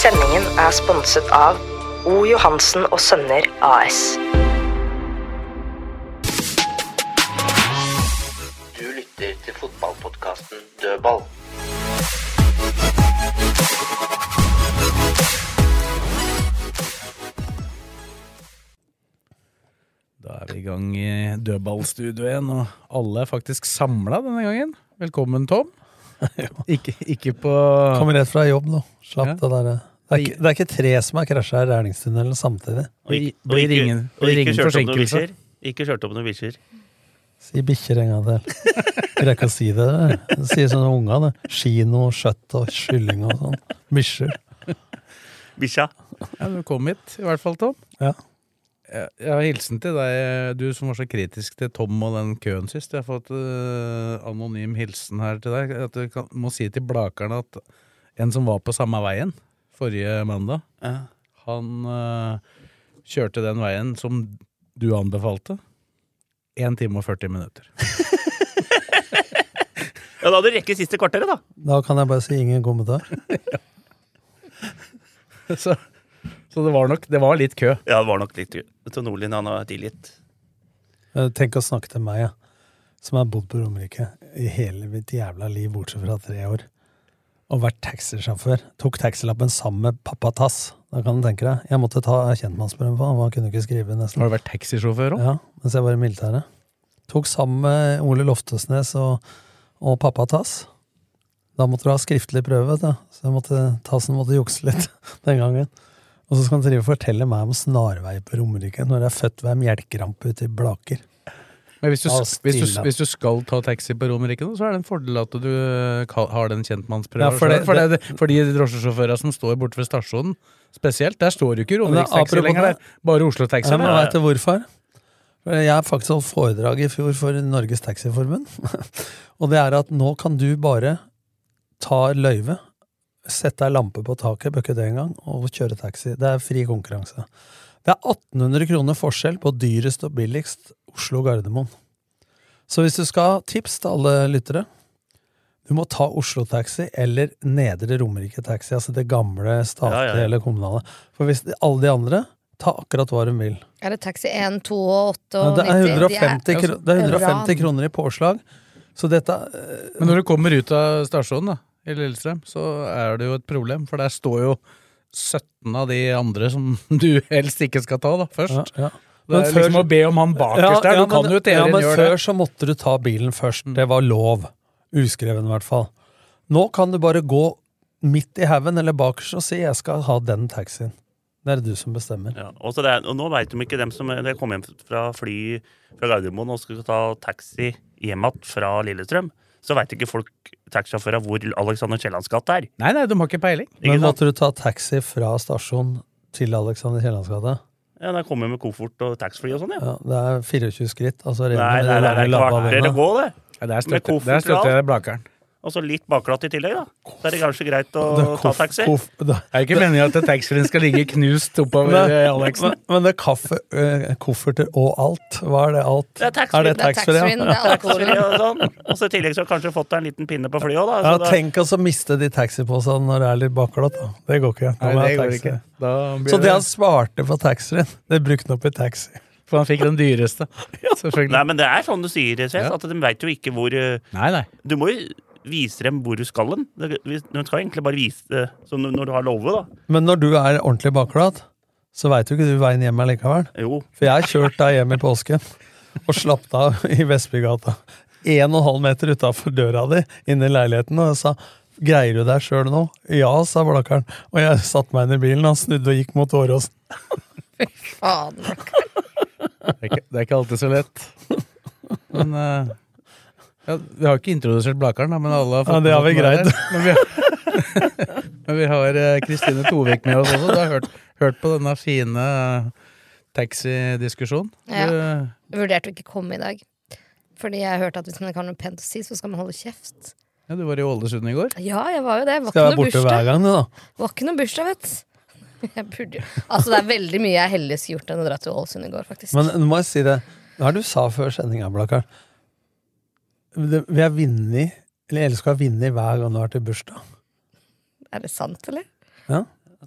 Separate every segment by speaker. Speaker 1: Sendingen er sponset av O. Johansen og Sønner AS.
Speaker 2: Du lytter til fotballpodkasten Dødball.
Speaker 3: Da er vi i gang i dødballstudioet igjen, og alle er faktisk samla denne gangen. Velkommen, Tom. Ikke, ikke på
Speaker 4: Kommer rett fra jobb nå. Slapp
Speaker 3: Ja.
Speaker 4: det derre. Det er, ikke, det er ikke tre som har krasja i Rælingstunnelen samtidig.
Speaker 3: Blir blir ingen, blir ingen forsinkelse.
Speaker 2: Ikke kjørt opp noen bikkjer.
Speaker 4: Si bikkjer en gang til. Jeg rekker å si det. dere. Det sier sånne unger, det. Kino, kjøtt og kylling og sånn. Bikkjer.
Speaker 2: Bikkja.
Speaker 3: Ja, du kom hit, i hvert fall, Tom.
Speaker 4: Ja.
Speaker 3: Jeg jeg har hilsen til deg, du som var så kritisk til Tom og den køen sist. Jeg har fått eh, anonym hilsen her til deg. At du kan, må si til Blakerne at en som var på samme veien forrige mandag, han eh, kjørte den veien som du anbefalte. 1 time og 40 minutter.
Speaker 2: Ja, Da hadde du rekket siste kvarteret, da.
Speaker 4: Da kan jeg bare si ingen kommentar.
Speaker 3: så, så det var nok Det var litt kø.
Speaker 2: Ja, det var nok litt Til Nordlien, han har tilgitt.
Speaker 4: Eh, Tenk å snakke til meg, ja. som har bodd på Romerike i hele mitt jævla liv, bortsett fra tre år. Og vært taxisjåfør. Tok taxilappen sammen med pappa Tass. Da kan du tenke deg. Jeg måtte ta kjentmannsprøven på han, for han kunne ikke skrive nesten.
Speaker 3: Har du vært taxisjåfør òg?
Speaker 4: Ja, mens jeg var i militæret. Tok sammen med Ole Loftesnes og, og pappa Tass. Da måtte du ha skriftlig prøve, vet du. så jeg måtte, Tassen måtte jukse litt den gangen. Og så skal han drive og fortelle meg om snarvei på Romerike når jeg er født ved ei melkerampe ute i Blaker.
Speaker 3: Men hvis du,
Speaker 4: Ja,
Speaker 3: hvis, du,
Speaker 4: stille.
Speaker 3: hvis du skal ta taxi på Romerike, nå, så er det en fordel at du eh, ka- har den kjentmannsprøven.
Speaker 4: Ja, for det-
Speaker 3: for, det, for de drosjesjåførene som står borte ved stasjonen, spesielt, der står jo ikke
Speaker 4: Men det er
Speaker 3: Romerikstaxi
Speaker 4: apropos
Speaker 3: lenger.
Speaker 4: det.
Speaker 3: Det er bare Oslo-taxi.
Speaker 4: Ja, men
Speaker 3: der.
Speaker 4: vet du hvorfor? For Jeg har faktisk holdt foredrag i fjor for Norges Taxiforbund. og det er at nå kan du bare ta løyve, sette ei lampe på taket, bøkke det en gang, og kjøre taxi. Det er fri konkurranse. Det er 1800 kroner forskjell på dyrest og billigst Oslo-Gardermoen. Så hvis du skal ha tips til alle lyttere du må ta Oslo Taxi eller Nedre Romerike Taxi, altså det gamle statlige
Speaker 2: Ja, ja, ja.
Speaker 4: eller kommunale. For hvis alle de andre Ta akkurat hva de vil.
Speaker 5: Er det taxi 1, 2 og 8
Speaker 4: Ja,
Speaker 5: og
Speaker 4: det, er
Speaker 5: 90? De
Speaker 4: 150 kro det er
Speaker 5: Ran.
Speaker 4: 150 kroner i påslag. Så dette eh,
Speaker 3: Men når du kommer ut av stasjonen da, i Lillestrøm, så er det jo et problem, for der står jo 17 av de andre som du helst ikke skal ta da,
Speaker 4: ja,
Speaker 3: først.
Speaker 4: ja.
Speaker 3: Det
Speaker 4: Men
Speaker 3: er
Speaker 4: før-
Speaker 3: liksom å be om han bakerst der. Du kan jo i
Speaker 4: ja,
Speaker 3: teorien
Speaker 4: men
Speaker 3: gjøre
Speaker 4: før
Speaker 3: det.
Speaker 4: så måtte du ta bilen først.
Speaker 2: Mm.
Speaker 4: Det var lov. Uskreven, i hvert fall. Nå kan du bare gå midt i haugen eller bakerst og si 'jeg skal ha den taxien'. Det er det du som bestemmer.
Speaker 2: Ja, og, så det er, og nå veit de ikke dem som de kom hjem fra fly fra Gardermoen og skulle ta taxi hjem igjen fra Lillestrøm. Så veit ikke folk taxisjåfører hvor Alexander Kiellands gate er.
Speaker 3: Nei, nei, de har ikke peiling.
Speaker 2: Ikke
Speaker 4: Men
Speaker 2: sant?
Speaker 4: måtte du ta taxi fra stasjonen til Alexander Kiellands gate?
Speaker 2: Ja, Der kommer med koffert og taxfree og sånn, ja.
Speaker 4: Ja, det er 24 skritt. Altså,
Speaker 2: Nei,
Speaker 4: Remi,
Speaker 2: nei, nei, det
Speaker 4: lange
Speaker 2: er
Speaker 4: labba
Speaker 2: kvarter
Speaker 4: beina.
Speaker 2: å gå, det.
Speaker 3: Ja, der
Speaker 2: Med
Speaker 3: støtter
Speaker 2: koffert
Speaker 3: der
Speaker 2: og
Speaker 3: støtter jeg Blakeren.
Speaker 2: Og så litt bakglatt i tillegg, da. Så er det kanskje greit å
Speaker 4: Det er
Speaker 2: ta
Speaker 4: koff-
Speaker 2: taxi.
Speaker 4: koff- det er-
Speaker 3: Det er ikke meningen at taxfree-en skal ligge knust oppover
Speaker 4: Nei,
Speaker 3: eh, Alexen.
Speaker 4: Men, men det er kaffe, eh, kofferter og alt. Hva er det alt?
Speaker 2: Det er taxfree.
Speaker 4: Er det
Speaker 5: Det er
Speaker 4: taxfree,
Speaker 5: taxfree, det
Speaker 4: ja?
Speaker 5: er alkoholen.
Speaker 2: Og sånn. Og så i tillegg så har kanskje fått deg en liten pinne på flyet òg, da.
Speaker 4: Ja,
Speaker 2: Så
Speaker 3: Altså,
Speaker 2: da-
Speaker 4: tenk oss å miste de taxiposene når det er litt bakglatt. da. Det går ikke.
Speaker 3: Nei,
Speaker 4: Da må
Speaker 3: det
Speaker 4: jeg ha
Speaker 3: går
Speaker 4: taxi.
Speaker 3: ikke. Da blir
Speaker 4: Så det
Speaker 3: det,
Speaker 4: han svarte på taxfree-en, det brukte han opp i taxi.
Speaker 3: for han fikk den dyreste. Selvfølgelig.
Speaker 2: Nei, men det er sånn du sier, Sves,
Speaker 3: Ja.
Speaker 2: at de veit jo ikke hvor eh,
Speaker 3: Nei, nei.
Speaker 2: Du må jo vise dem hvor du skal hen. Det- vi- Du skal egentlig bare vise det som når du har lovet, da.
Speaker 4: Men når du er ordentlig bakglatt, så veit jo ikke du veien hjem allikevel.
Speaker 2: Jo.
Speaker 4: For jeg har kjørt deg hjem i påsken og slappet av i Vestbygata. En og en halv meter utafor døra di, inne i leiligheten, og jeg sa 'Greier du deg sjøl nå?' 'Ja', sa Blakkaren. Og jeg satte meg inn i bilen, han snudde og gikk mot Åråsen.
Speaker 5: Faen.
Speaker 3: Det er ikke, det er ikke alltid så lett. Men eh, ja, Vi har ikke introdusert Blakeren, da, men alle har
Speaker 4: Ja,
Speaker 3: fått
Speaker 4: det har vi
Speaker 3: med seg
Speaker 4: greid.
Speaker 3: det. Men vi har, Men vi har eh, Kristine Tovik med oss også. Du har hørt, hørt på denne fine eh, taxidiskusjonen.
Speaker 5: Ja.
Speaker 3: Du-
Speaker 5: Jeg vurderte å ikke komme i dag. Fordi jeg hørte at hvis man ikke har noe pent å si, så skal man holde kjeft.
Speaker 3: Ja, du var i Ålesund i går.
Speaker 5: Ja, jeg var jo det. Var
Speaker 4: Skal
Speaker 5: ikke
Speaker 4: være
Speaker 5: noe
Speaker 4: borte hver
Speaker 5: bursdag.
Speaker 4: gang, du, da.
Speaker 5: Var ikke noe bursdag, vet du. Jeg burde jo Altså, det er veldig mye jeg heldigvis gjort enn å dra til Ålesund i går, faktisk.
Speaker 4: Men nå må jeg si det. Hva er det du sa før sendinga, Blakkaren? Det- Vi har vunnet, eller jeg elsker å ha vunnet hver gang du har vært i bursdag.
Speaker 5: Er det sant, eller?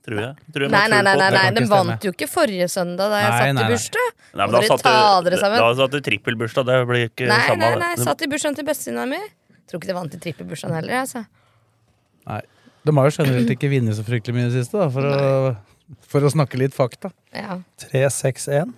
Speaker 2: Tror jeg. Tror jeg
Speaker 5: Nei, nei, nei, nei, nei.
Speaker 3: kan
Speaker 5: den
Speaker 3: ikke stemme.
Speaker 5: vant jo ikke forrige søndag da jeg
Speaker 3: Nei,
Speaker 5: satt
Speaker 3: nei, nei.
Speaker 5: i bursdag.
Speaker 2: Nei, men da
Speaker 5: Dere
Speaker 2: satt
Speaker 5: ta
Speaker 2: du-
Speaker 5: dere sammen.
Speaker 2: Da satt du trippelbursdag. Det blir ikke
Speaker 5: Nei,
Speaker 2: samme.
Speaker 5: nei,
Speaker 2: det.
Speaker 5: nei, satt i bursdagen til bestevenninna mi. Tror ikke det vant i trippelbursdagen heller, altså.
Speaker 3: De har jo generelt ikke vunnet så fryktelig mye i det siste, da, for, å, for å snakke litt fakta.
Speaker 5: Ja.
Speaker 4: 3-6-1.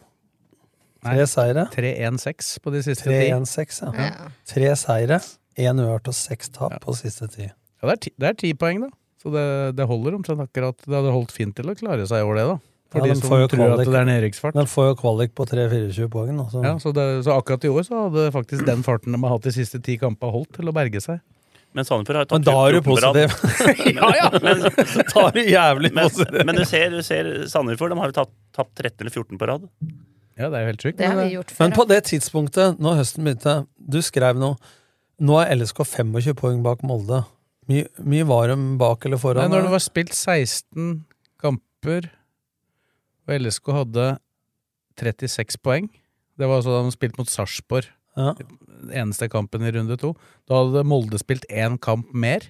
Speaker 4: Tre
Speaker 3: Nei.
Speaker 4: seire.
Speaker 3: 3-1-6 på de siste ti.
Speaker 4: 3-1-6, ja.
Speaker 5: Ja.
Speaker 4: Tre seire, én uavgjort og seks tap på siste ti.
Speaker 3: Ja, det er, ti, det er ti poeng, da. Så det, det holder omtrent akkurat. Det hadde holdt fint til å klare seg over det, da.
Speaker 4: Ja,
Speaker 3: For
Speaker 4: de
Speaker 3: de som
Speaker 4: får jo
Speaker 3: tror at
Speaker 4: kvalik.
Speaker 3: det er nedrykksfart.
Speaker 4: Men får jo kvalik på 3-24 poeng, da. Så.
Speaker 3: Ja, så, det, så akkurat i år så hadde faktisk den farten de har hatt de siste ti kampene, holdt til å berge seg.
Speaker 2: Men Sandefjord har jo
Speaker 4: Men
Speaker 2: tatt
Speaker 4: da er du
Speaker 2: 14 på rad.
Speaker 4: positiv.
Speaker 2: ja, ja. Men,
Speaker 4: da er du jævlig
Speaker 2: men,
Speaker 4: positiv.
Speaker 2: men du ser, du ser Sandefjord, de har jo tatt- tapt 13 eller 14 på rad.
Speaker 3: Ja, det er jo helt sjukt.
Speaker 5: Det har
Speaker 3: men
Speaker 5: vi
Speaker 3: det-
Speaker 5: gjort før.
Speaker 4: Men på
Speaker 5: da.
Speaker 4: det tidspunktet, når høsten begynte, du skrev noe Nå er LSK 25 poeng bak Molde. Mye, mye var de bak eller
Speaker 3: Nei,
Speaker 4: foran?
Speaker 3: når det
Speaker 4: eller?
Speaker 3: var spilt 16 kamper, og LSK hadde 36 poeng Det var altså da de spilte mot Sarpsborg,
Speaker 4: Ja.
Speaker 3: den eneste kampen i runde to. Da hadde Molde spilt én kamp mer,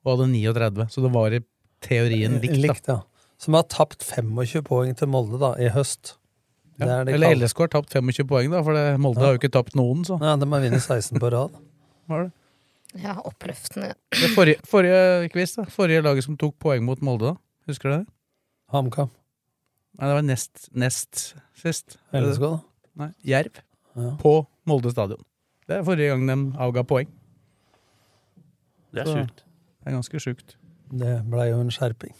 Speaker 3: og hadde 39. Så det var i teorien likt, da.
Speaker 4: ja. Som har tapt 25 poeng til Molde da, i høst.
Speaker 3: Ja.
Speaker 4: Det er det
Speaker 3: Eller
Speaker 4: kalde.
Speaker 3: LSK har tapt 25 poeng, da, for det, Molde
Speaker 4: Ja.
Speaker 3: har jo ikke tapt noen. Så.
Speaker 4: Ja, de har vunnet 16 på rad.
Speaker 3: Var det.
Speaker 5: Ja, oppløftende.
Speaker 3: Det forrige, forrige quiz, da. Forrige laget som tok poeng mot Molde, da. Husker du det?
Speaker 4: HamKam.
Speaker 3: Nei, det var nest, nest sist.
Speaker 4: LSK, da.
Speaker 3: Nei, Jerv.
Speaker 4: Ja.
Speaker 3: På Molde stadion. Det er forrige gang de avga poeng.
Speaker 2: Det er
Speaker 3: Så-
Speaker 2: sjukt.
Speaker 3: Det er ganske sjukt.
Speaker 4: Det blei jo en skjerping.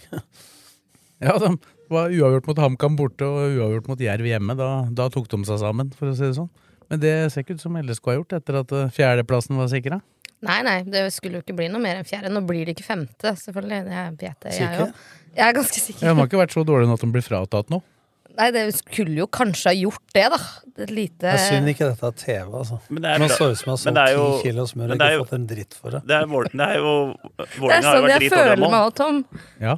Speaker 3: Ja, de var uavgjort mot HamKam borte og uavgjort mot Jerv hjemme. Da, da tok de seg sammen, for å si det sånn. Men det ser ikke ut som LSK har gjort etter at eh, fjerdeplassen var sikra.
Speaker 5: Nei, nei, det skulle jo ikke bli noe mer enn fjerde. Nå blir det ikke femte, selvfølgelig. Det vet jeg, jeg
Speaker 4: Sikker?
Speaker 5: jo. Jeg er ganske sikker.
Speaker 3: De har ikke vært så dårlige nå at de blir fratatt nå.
Speaker 5: Nei, det skulle jo kanskje ha gjort det, da. Et lite
Speaker 4: Det er synd ikke dette er TV, altså.
Speaker 2: Men det er,
Speaker 4: Man
Speaker 2: bra.
Speaker 4: så ut som man så
Speaker 2: Men det er jo-
Speaker 4: 10 kilo smør og
Speaker 2: men det er
Speaker 4: ikke
Speaker 2: jo-
Speaker 4: fått en dritt for det.
Speaker 2: Det er, Vål- det er jo
Speaker 5: Det er
Speaker 2: Vålerenga har jo
Speaker 5: sånn
Speaker 2: vært
Speaker 5: jeg
Speaker 2: dritdårlig
Speaker 5: føler
Speaker 2: av
Speaker 5: meg
Speaker 2: mål.
Speaker 5: òg, Tom.
Speaker 3: Ja.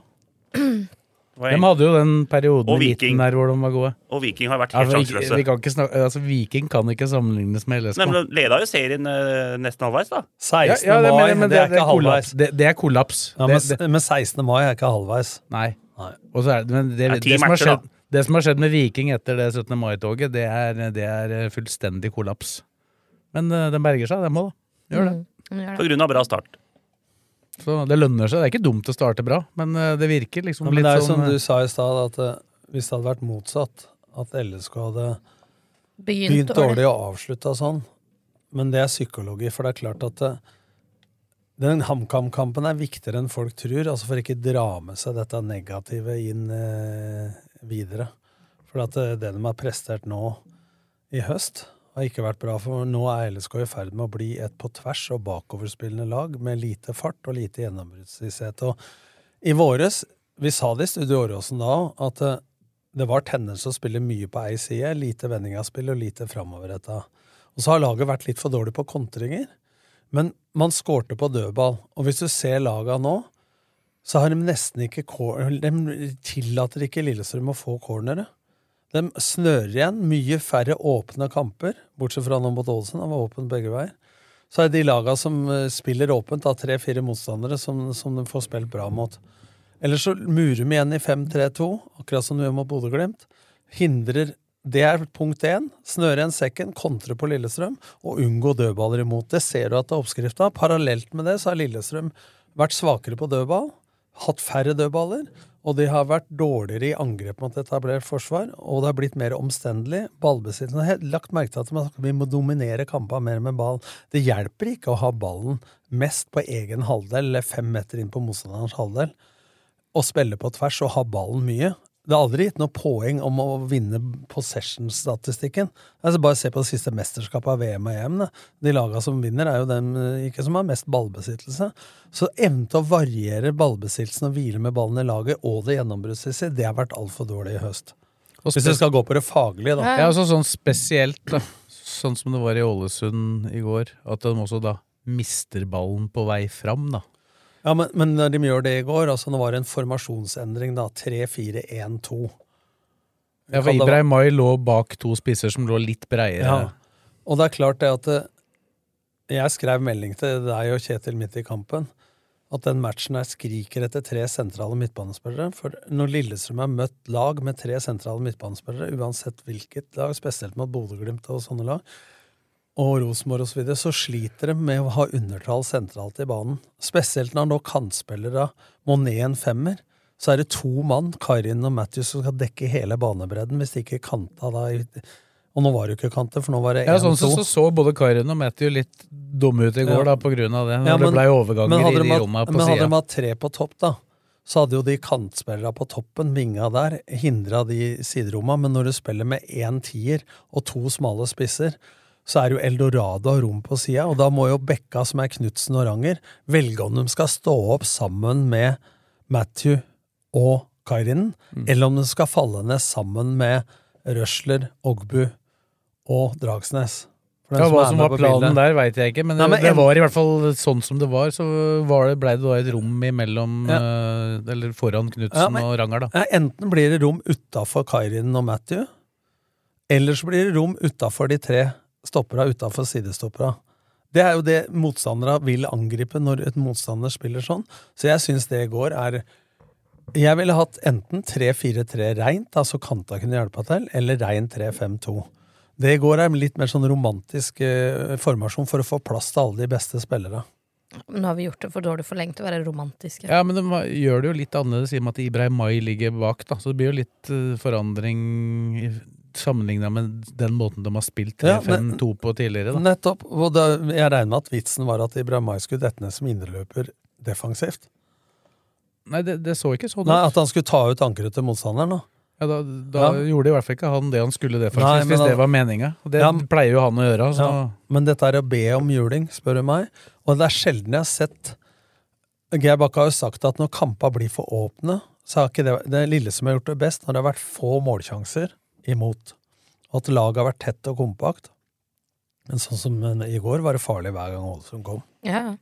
Speaker 2: Og
Speaker 3: De
Speaker 2: Eng-
Speaker 3: hadde jo den perioden
Speaker 2: Og
Speaker 3: i midten
Speaker 2: Viking.
Speaker 3: der hvor de var gode.
Speaker 2: Og Viking har vært
Speaker 3: Ja,
Speaker 2: helt
Speaker 3: for vi, vi
Speaker 2: sjanseløse.
Speaker 3: kan ikke snakke, altså, Viking kan ikke sammenlignes med LSK.
Speaker 2: Nei, men de leda jo serien eh, nesten halvveis, da.
Speaker 4: 16.
Speaker 3: Ja, ja, det,
Speaker 4: mai,
Speaker 3: men, men
Speaker 4: det er ikke halvveis.
Speaker 3: kollaps. Det, det er kollaps.
Speaker 4: Ja,
Speaker 3: det,
Speaker 4: men,
Speaker 3: det,
Speaker 4: men 16. mai er ikke halvveis.
Speaker 3: nei.
Speaker 4: Nei.
Speaker 3: Og så er det, men det,
Speaker 2: Det er
Speaker 3: det,
Speaker 2: ti
Speaker 3: som har
Speaker 2: matcher, da.
Speaker 3: skjedd, det som har skjedd med Viking etter det 17. mai-toget, det, er- det er eh, fullstendig kollaps. Men eh, den berger seg, den må da. Gjør det.
Speaker 5: Mm, gjør
Speaker 2: På
Speaker 5: det.
Speaker 2: grunn av bra start.
Speaker 3: Så det lønner seg. Det er ikke dumt å starte bra, men eh, det virker liksom
Speaker 4: Ja, men
Speaker 3: litt
Speaker 4: det er jo
Speaker 3: sånn
Speaker 4: som du
Speaker 3: eh,
Speaker 4: sa i stad, at eh, hvis det hadde vært motsatt, at LSK hadde
Speaker 5: Begynt
Speaker 4: begynt
Speaker 5: dårlig.
Speaker 4: dårlig og avslutta sånn Men det er psykologi, for det er klart at eh, den HamKam-kampen er viktigere enn folk tror, altså for ikke dra med seg dette negative inn eh, videre. For at eh, det de har prestert nå i høst, har ikke vært bra. For nå er LSK i ferd med å bli et på tvers og bakoverspillende lag med lite fart og lite gjennombruddsvisshet. Og i våres, vi sa det i Studio Åråsen da òg, at eh, det var tendens til å spille mye på ei side, lite vendingaspill og lite framoverretta. Og så har laget vært litt for dårlig på kontringer. Men man skårte på dødball, og hvis du ser laga nå, så har de nesten ikke cor- De tillater ikke Lillestrøm å få cornere. De snører igjen. Mye færre åpne kamper, bortsett fra nå mot Ålesund. Han var åpen begge veier. Så er de laga som eh, spiller åpent, da tre-fire motstandere som, som de får spilt bra mot. Eller så murer de igjen i 5-3-2, akkurat som de gjør mot Bodø-Glimt. Hindrer Det er punkt én. Snøre igjen sekken, kontre på Lillestrøm og unngå dødballer imot. Det ser du at det er oppskrifta. Parallelt med det så har Lillestrøm vært svakere på dødball, hatt færre dødballer, og de har vært dårligere i angrep mot etablert forsvar, og det har blitt mer omstendelig. Ballbesittelse Jeg har lagt merke til at man- vi må dominere kampene mer med ball. Det hjelper ikke å ha ballen mest på egen halvdel eller fem meter inn på motstanderens halvdel å spille på tvers og ha ballen mye. Det har aldri gitt noe poeng om å vinne possession-statistikken. Altså Bare se på det siste mesterskapet av VM og EM. da. De laga som vinner, er jo dem eh, ikke som har mest ballbesittelse. Så evnen til å variere ballbesittelsen og hvile med ballen i laget og det gjennombruddsmessige, det har vært altfor dårlig i høst.
Speaker 3: Og
Speaker 4: Hvis du skal gå på det faglige, da.
Speaker 3: Ja, altså sånn spesielt, da. Sånn som det var i Ålesund i går. At de også da mister ballen på vei fram, da.
Speaker 4: Ja, men, men når de gjør det i går, altså nå var det en formasjonsendring, da. 3-4-1-2.
Speaker 3: Ja, for
Speaker 4: Kan det
Speaker 3: Ibrahim Mai lå bak to spisser som lå litt breiere.
Speaker 4: eh, Og det er klart det at eh, jeg skrev melding til deg og Kjetil midt i kampen at den matchen her skriker etter tre sentrale midtbanespillere. For når Lillestrøm har møtt lag med tre sentrale midtbanespillere, uansett hvilket lag, spesielt mot Bodø-Glimt og sånne lag, og Rosenborg osv., så, videre, så sliter de med å ha undertall sentralt i banen. Spesielt når nå kantspillere må ned en femmer. Så er det to mann, Karin og Matthews, som skal dekke hele banebredden, hvis de ikke kanta da i Og nå var det jo ikke kanter, for nå var det
Speaker 3: Ja, sånn sett
Speaker 4: to.
Speaker 3: så, så både Karin og Matthew litt dumme ut i går, da,
Speaker 4: Ja.
Speaker 3: på grunn av det. Når
Speaker 4: Ja,
Speaker 3: det
Speaker 4: men-
Speaker 3: blei overganger
Speaker 4: Men hadde,
Speaker 3: i
Speaker 4: de
Speaker 3: de
Speaker 4: hatt,
Speaker 3: romma på
Speaker 4: men hadde de
Speaker 3: sida.
Speaker 4: hatt tre på topp, da, så hadde jo de kantspillerne på toppen, vinga der, hindra de sideromma. Men når du spiller med én tier og to smale spisser, så er jo Eldorado av rom på sida, og da må jo Bekka, som er Knutsen og Ranger, velge om de skal stå opp sammen med Matthew og Kairinen,
Speaker 3: Mm.
Speaker 4: eller om de skal falle ned sammen med Røsler, Ogbu og Dragsnes. For den
Speaker 3: Ja, hva
Speaker 4: er
Speaker 3: som
Speaker 4: med
Speaker 3: var
Speaker 4: på
Speaker 3: planen
Speaker 4: bildet.
Speaker 3: der, veit jeg ikke, men,
Speaker 4: Nei, men
Speaker 3: det
Speaker 4: en-
Speaker 3: var i hvert fall sånn som det var. Så var det, blei det da et rom imellom,
Speaker 4: Ja.
Speaker 3: eh, eller foran Knutsen
Speaker 4: Ja, men-
Speaker 3: og Ranger, da.
Speaker 4: Ja, Eh, Enten blir det rom utafor Kairinen og Matthew, eller så blir det rom utafor de tre stoppera utafor sidestoppera. Det er jo det motstandere vil angripe når et motstander spiller sånn, så jeg syns det i går er Jeg ville hatt enten 3-4-3 reint, altså kanta kunne hjelpa til, eller rein 3-5-2. Det i går er en litt mer sånn romantisk eh, formasjon for å få plass til alle de beste spillere.
Speaker 5: Men nå har vi gjort det for dårlig for lenge til å være romantiske.
Speaker 3: Ja, men de var- gjør det jo litt annerledes i og med at Ibrahim Mai ligger bak, da. Så det blir jo litt eh, forandring i- sammenlignet med den måten de har spilt
Speaker 4: Ja,
Speaker 3: 3-5-2 på tidligere, da.
Speaker 4: Nettopp. Og da, jeg regner med at vitsen var at Ibrahimai skulle dette ned som indreløper defensivt.
Speaker 3: Nei, det, det så ikke sånn
Speaker 4: Nei,
Speaker 3: ut.
Speaker 4: At han skulle ta ut ankeret til motstanderen, da.
Speaker 3: Ja, da da
Speaker 4: Ja.
Speaker 3: gjorde i hvert fall ikke han det han skulle det, faktisk,
Speaker 4: Nei, men
Speaker 3: hvis
Speaker 4: han-
Speaker 3: det var meninga. Og Det
Speaker 4: Ja.
Speaker 3: pleier jo han å gjøre. altså. Så.
Speaker 4: Ja. Men dette er å be om juling, spør du meg. Og det er sjelden jeg har sett Geir Bakke har jo sagt at når kampa blir for åpne, så har ikke det Det lille som har gjort det best, når det har vært få målsjanser imot. Og at laget har vært tett og kompakt. Men sånn som eh, i går, var det farlig hver gang Ålesund kom.
Speaker 5: Ja.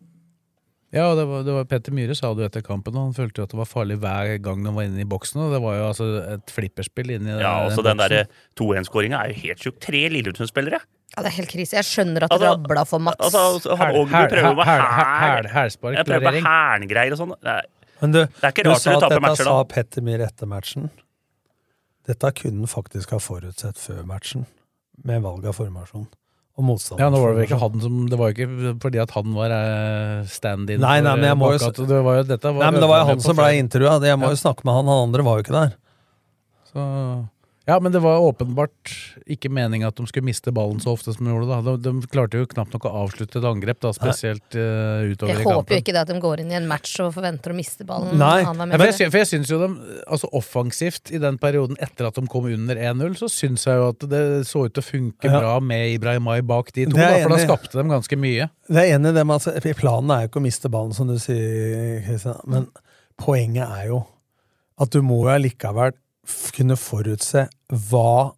Speaker 3: Ja, og det var, det var Petter Myhre sa det jo etter kampen, og han følte jo at det var farlig hver gang de var inne i boksen. Og det var jo altså et flipperspill inni
Speaker 2: Ja, altså Den
Speaker 3: Eh, boksen.
Speaker 2: der 2-1-skåringa er jo helt sjuk. Tre Lillestrøm-spellere!
Speaker 5: ja, det er helt krise. Jeg skjønner at det
Speaker 2: Altså,
Speaker 5: rabla for Mats.
Speaker 2: Altså, altså, han
Speaker 3: Hæl-
Speaker 2: Ågbu
Speaker 3: hæl-
Speaker 2: prøver med
Speaker 3: hæl-
Speaker 2: hæl.
Speaker 3: hæl- hælspark,
Speaker 2: Jeg prøver med
Speaker 3: klarering.
Speaker 2: hælngreier og sånn. Nei,
Speaker 4: Men du,
Speaker 2: Det er ikke
Speaker 4: du
Speaker 2: rart
Speaker 4: sa
Speaker 2: dere
Speaker 4: at
Speaker 2: taper
Speaker 4: dette
Speaker 2: matcher
Speaker 4: sa
Speaker 2: nå.
Speaker 4: Petter Myhre etter matchen. Dette kunne han faktisk ha forutsett før matchen, med valg av formasjon. Og motstander.
Speaker 3: Ja, nå var det vel ikke han som Det var jo ikke fordi at han var eh, stand-in.
Speaker 4: Nei, nei,
Speaker 3: for,
Speaker 4: men jeg
Speaker 3: eh,
Speaker 4: må jo
Speaker 3: Bakka,
Speaker 4: s-
Speaker 3: det var jo, dette var
Speaker 4: Nei, men det var jo han
Speaker 3: på
Speaker 4: som ble
Speaker 3: feil.
Speaker 4: intervjua. Jeg må jo snakke med han, han andre var jo ikke der.
Speaker 3: Så- Ja, men det var åpenbart ikke meninga at de skulle miste ballen så ofte som de gjorde. da De, de klarte jo knapt nok å avslutte et angrep, da, spesielt eh, utover
Speaker 5: jeg
Speaker 3: i
Speaker 5: håper jo
Speaker 3: kampen.
Speaker 5: ikke det at de går inn i en match og forventer å miste ballen.
Speaker 4: Nei,
Speaker 3: Ja,
Speaker 5: Han er med
Speaker 3: men jeg,
Speaker 5: på det.
Speaker 3: sy- for jeg syns jo de, altså offensivt i den perioden etter at de kom under 1-0, så syns jeg jo at det så ut til å funke
Speaker 4: Ja.
Speaker 3: bra med Ibrahimai bak de to,
Speaker 4: Det er
Speaker 3: da,
Speaker 4: jeg
Speaker 3: for da
Speaker 4: enig i.
Speaker 3: skapte de ganske mye.
Speaker 4: Det er enig i det med at altså, planen er jo ikke å miste ballen, som du sier, Kristian. Men poenget er jo at du må jo allikevel f- kunne forutse hva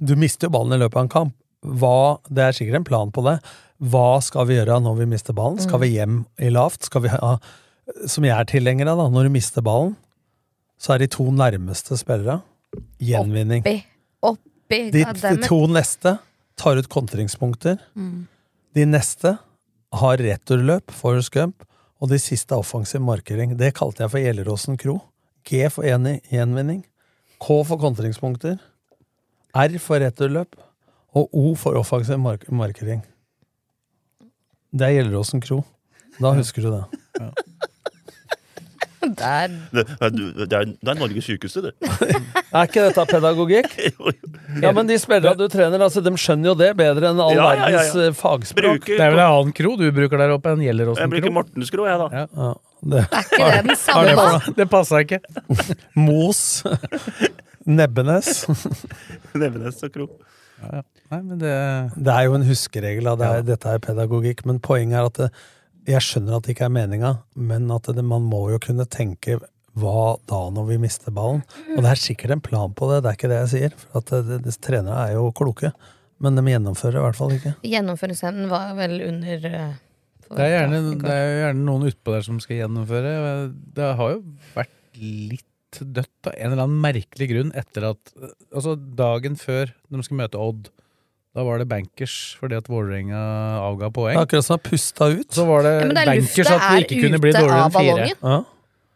Speaker 4: Du mister jo ballen i løpet av en kamp. Hva, det er sikkert en plan på det. Hva skal vi gjøre når vi mister ballen? Skal vi hjem i lavt? Skal vi ha, som jeg er tilhenger av, da, når du mister ballen, så er de to nærmeste spillere gjenvinning.
Speaker 5: Oppi. Oppi.
Speaker 4: De,
Speaker 5: God
Speaker 4: de
Speaker 5: damn it.
Speaker 4: to neste tar ut kontringspunkter. De neste har returløp for skump, og de siste er offensiv markering. Det kalte jeg for Gjelleråsen kro. G for eni- gjenvinning. K for kontringspunkter. R for returløp. Og O for offensiv mark markering. Det er Gjelleråsen kro. Da husker du det.
Speaker 5: Der.
Speaker 2: Det, det, er, det er Norges sjukeste, det.
Speaker 4: Er ikke dette pedagogikk? Ja, men de spillerne du trener, altså, de skjønner jo det bedre enn all
Speaker 2: Ja, ja, ja, ja.
Speaker 4: verdens eh, fagspråk.
Speaker 2: Bruker,
Speaker 3: Det er vel en annen kro du bruker der oppe enn Gjelleråsen
Speaker 2: jeg bruker
Speaker 3: kro?
Speaker 2: Mortenskrå, jeg, da.
Speaker 3: Ja.
Speaker 4: Ja. Det,
Speaker 5: Er ikke det
Speaker 3: Hva
Speaker 5: den
Speaker 3: er
Speaker 5: samme
Speaker 3: det for
Speaker 5: båten?
Speaker 3: noe? Det passa ikke.
Speaker 4: Mos. Nebbenes.
Speaker 2: Nevenes og Kro.
Speaker 3: Nei, men det
Speaker 4: Det er jo en huskeregel. da. Det er, Dette er pedagogikk. Men poenget er at det, jeg skjønner at det ikke er meninga, men at det, man må jo kunne tenke hva da når vi mister ballen? Og det er sikkert en plan på det, det er ikke det jeg sier. For at eh, det, det, trenere er jo kloke, men de gjennomfører i hvert fall ikke.
Speaker 5: Gjennomføringsevnen var vel under eh,
Speaker 3: Det er gjerne,
Speaker 5: forventet i går.
Speaker 3: det er jo gjerne noen utpå der som skal gjennomføre. Det har jo vært litt dødt av en eller annen merkelig grunn etter at Altså dagen før de skal møte Odd. Da var det bankers fordi at Vålerenga avga
Speaker 4: Det er
Speaker 3: poeng.
Speaker 4: akkurat som det har pusta ut.
Speaker 3: Så var det
Speaker 5: Ja, men det er
Speaker 3: bankers
Speaker 5: lufta
Speaker 3: at det ikke kunne bli
Speaker 5: er ute
Speaker 3: dårligere
Speaker 5: av
Speaker 3: enn fire.
Speaker 5: ballongen.
Speaker 4: Ja,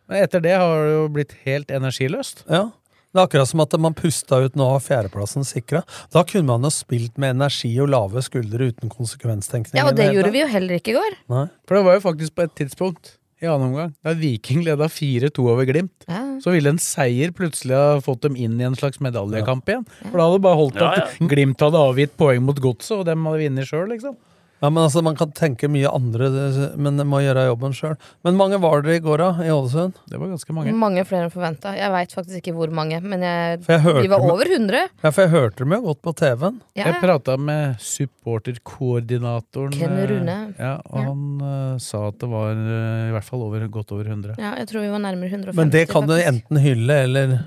Speaker 3: Men etter det har det jo blitt helt energiløst.
Speaker 4: ja. Det er akkurat som at man pusta ut nå av fjerdeplassen sikra. Da kunne man jo spilt med energi og lave skuldre uten konsekvenstenkning.
Speaker 5: Ja, og det gjorde vi jo heller ikke i går.
Speaker 4: Nei.
Speaker 3: For det var jo faktisk på et tidspunkt i annen omgang, da Viking leda 4-2 over Glimt,
Speaker 5: Ja.
Speaker 3: så ville en seier plutselig ha fått dem inn i en slags medaljekamp igjen. For da hadde det bare holdt
Speaker 2: Ja,
Speaker 3: at Glimt hadde avgitt poeng mot Godset, og dem hadde vunnet sjøl, liksom.
Speaker 4: Ja, men altså, Man kan tenke mye andre, men man må gjøre jobben sjøl. Men mange var dere i går, da? I Ålesund?
Speaker 3: Det var ganske mange.
Speaker 5: Mange flere enn forventa. Jeg veit faktisk ikke hvor mange, men jeg,
Speaker 4: For jeg hørte
Speaker 5: vi var
Speaker 4: med-
Speaker 5: over 100.
Speaker 4: Ja, for jeg hørte dem jo godt på TV-en.
Speaker 5: Ja,
Speaker 3: Jeg
Speaker 5: ja.
Speaker 3: prata med supporterkoordinatoren,
Speaker 5: Ken
Speaker 3: eh,
Speaker 5: Rune.
Speaker 3: Ja, og
Speaker 5: Ja.
Speaker 3: han eh, sa at det var eh, i hvert fall over, godt over 100.
Speaker 5: ja, jeg tror vi var nærmere 150.
Speaker 4: Men det kan du
Speaker 5: faktisk.
Speaker 4: enten hylle eller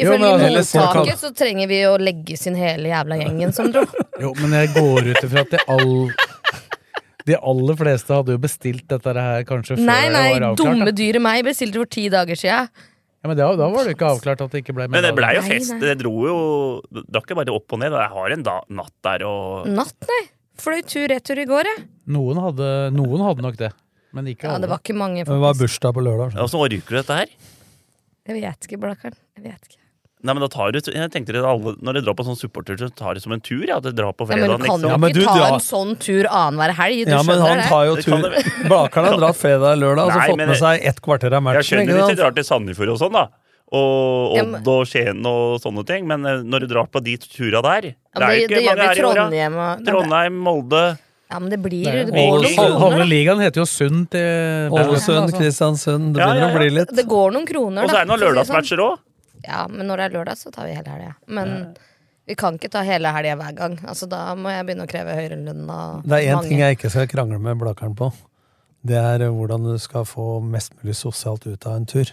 Speaker 4: Jo, men
Speaker 5: Ifølge
Speaker 4: altså, ellers så kan-
Speaker 5: mottaket så trenger vi å legge sin hele jævla gjengen som dro.
Speaker 3: Jo, men jeg går ut ifra at de, all, de aller fleste hadde jo bestilt dette her kanskje før
Speaker 5: Nei,
Speaker 3: det
Speaker 5: nei,
Speaker 3: var avklart.
Speaker 5: dumme
Speaker 3: da.
Speaker 5: dyret meg bestilte for ti dager sia.
Speaker 3: Ja, men det, da var det jo ikke avklart at det ikke ble
Speaker 2: Men det blei jo
Speaker 5: Nei,
Speaker 2: fest.
Speaker 5: nei.
Speaker 2: Det dro jo Det var ikke bare opp og ned. Jeg har en da, natt der og
Speaker 5: Natt, nei. Fløy tur-retur i går, jeg.
Speaker 3: Noen hadde, noen hadde nok det, men ikke
Speaker 5: Ja,
Speaker 3: alle.
Speaker 5: det var ikke mange,
Speaker 4: Det var
Speaker 5: faktisk.
Speaker 4: bursdag på lørdag. så.
Speaker 2: Åssen orker du dette her?
Speaker 5: Jeg vet ikke, Blakkaren. Jeg vet ikke.
Speaker 2: Nei, men da tar du, jeg tenkte dere alle, Når dere drar på sånn supportertur, så tar dere som en tur? Ja, at dere drar på
Speaker 5: Nei, men
Speaker 2: fredag.
Speaker 5: du kan jo
Speaker 4: Ja,
Speaker 2: liksom.
Speaker 4: men
Speaker 5: ikke
Speaker 4: du
Speaker 5: ta
Speaker 4: drar-
Speaker 5: en sånn tur annenhver helg. Du
Speaker 4: Ja, men
Speaker 5: skjønner
Speaker 4: han
Speaker 5: det?
Speaker 4: tar jo
Speaker 2: Det kan
Speaker 4: tur
Speaker 2: det
Speaker 4: Blakeren har dratt fredag eller lørdag og så
Speaker 2: Nei,
Speaker 4: fått
Speaker 2: men
Speaker 4: med
Speaker 2: det-
Speaker 4: seg ett kvarter av
Speaker 2: Jeg
Speaker 4: matchen.
Speaker 2: skjønner
Speaker 4: Ikke
Speaker 2: hvis dere
Speaker 4: sant?
Speaker 2: drar til Sandefjord og sånn, da. Og
Speaker 5: Ja, men-
Speaker 2: Odd og Skien og sånne ting. Men eh, når du drar på de tura der
Speaker 5: Ja, men
Speaker 2: jo
Speaker 5: det, det gjør vi i
Speaker 2: her i åra.
Speaker 5: Trondheim og
Speaker 2: Trondheim, Molde
Speaker 5: Ja, men det blir
Speaker 3: Det er jo
Speaker 5: jo det går
Speaker 2: Ålesund.
Speaker 5: noen
Speaker 3: Halve halve
Speaker 5: kroner.
Speaker 3: ligaen heter jo Sund til
Speaker 5: Altså.
Speaker 4: Ålesund, Kristiansund. Det
Speaker 2: Ja,
Speaker 4: begynner
Speaker 2: ja, ja.
Speaker 4: å bli
Speaker 5: da.
Speaker 4: litt.
Speaker 5: Det går noen kroner,
Speaker 2: Og så er det noen
Speaker 5: for å si det sånn.
Speaker 2: lørdagsmatcher òg.
Speaker 5: Ja, men når det er lørdag, så tar vi hele helga. Men vi kan ikke ta hele helga hver gang. Altså, da må jeg begynne å kreve høyere lønn av
Speaker 4: Det er én
Speaker 5: mange.
Speaker 4: ting jeg ikke skal krangle med Blakeren på. Det er eh, hvordan du skal få mest mulig sosialt ut av en tur.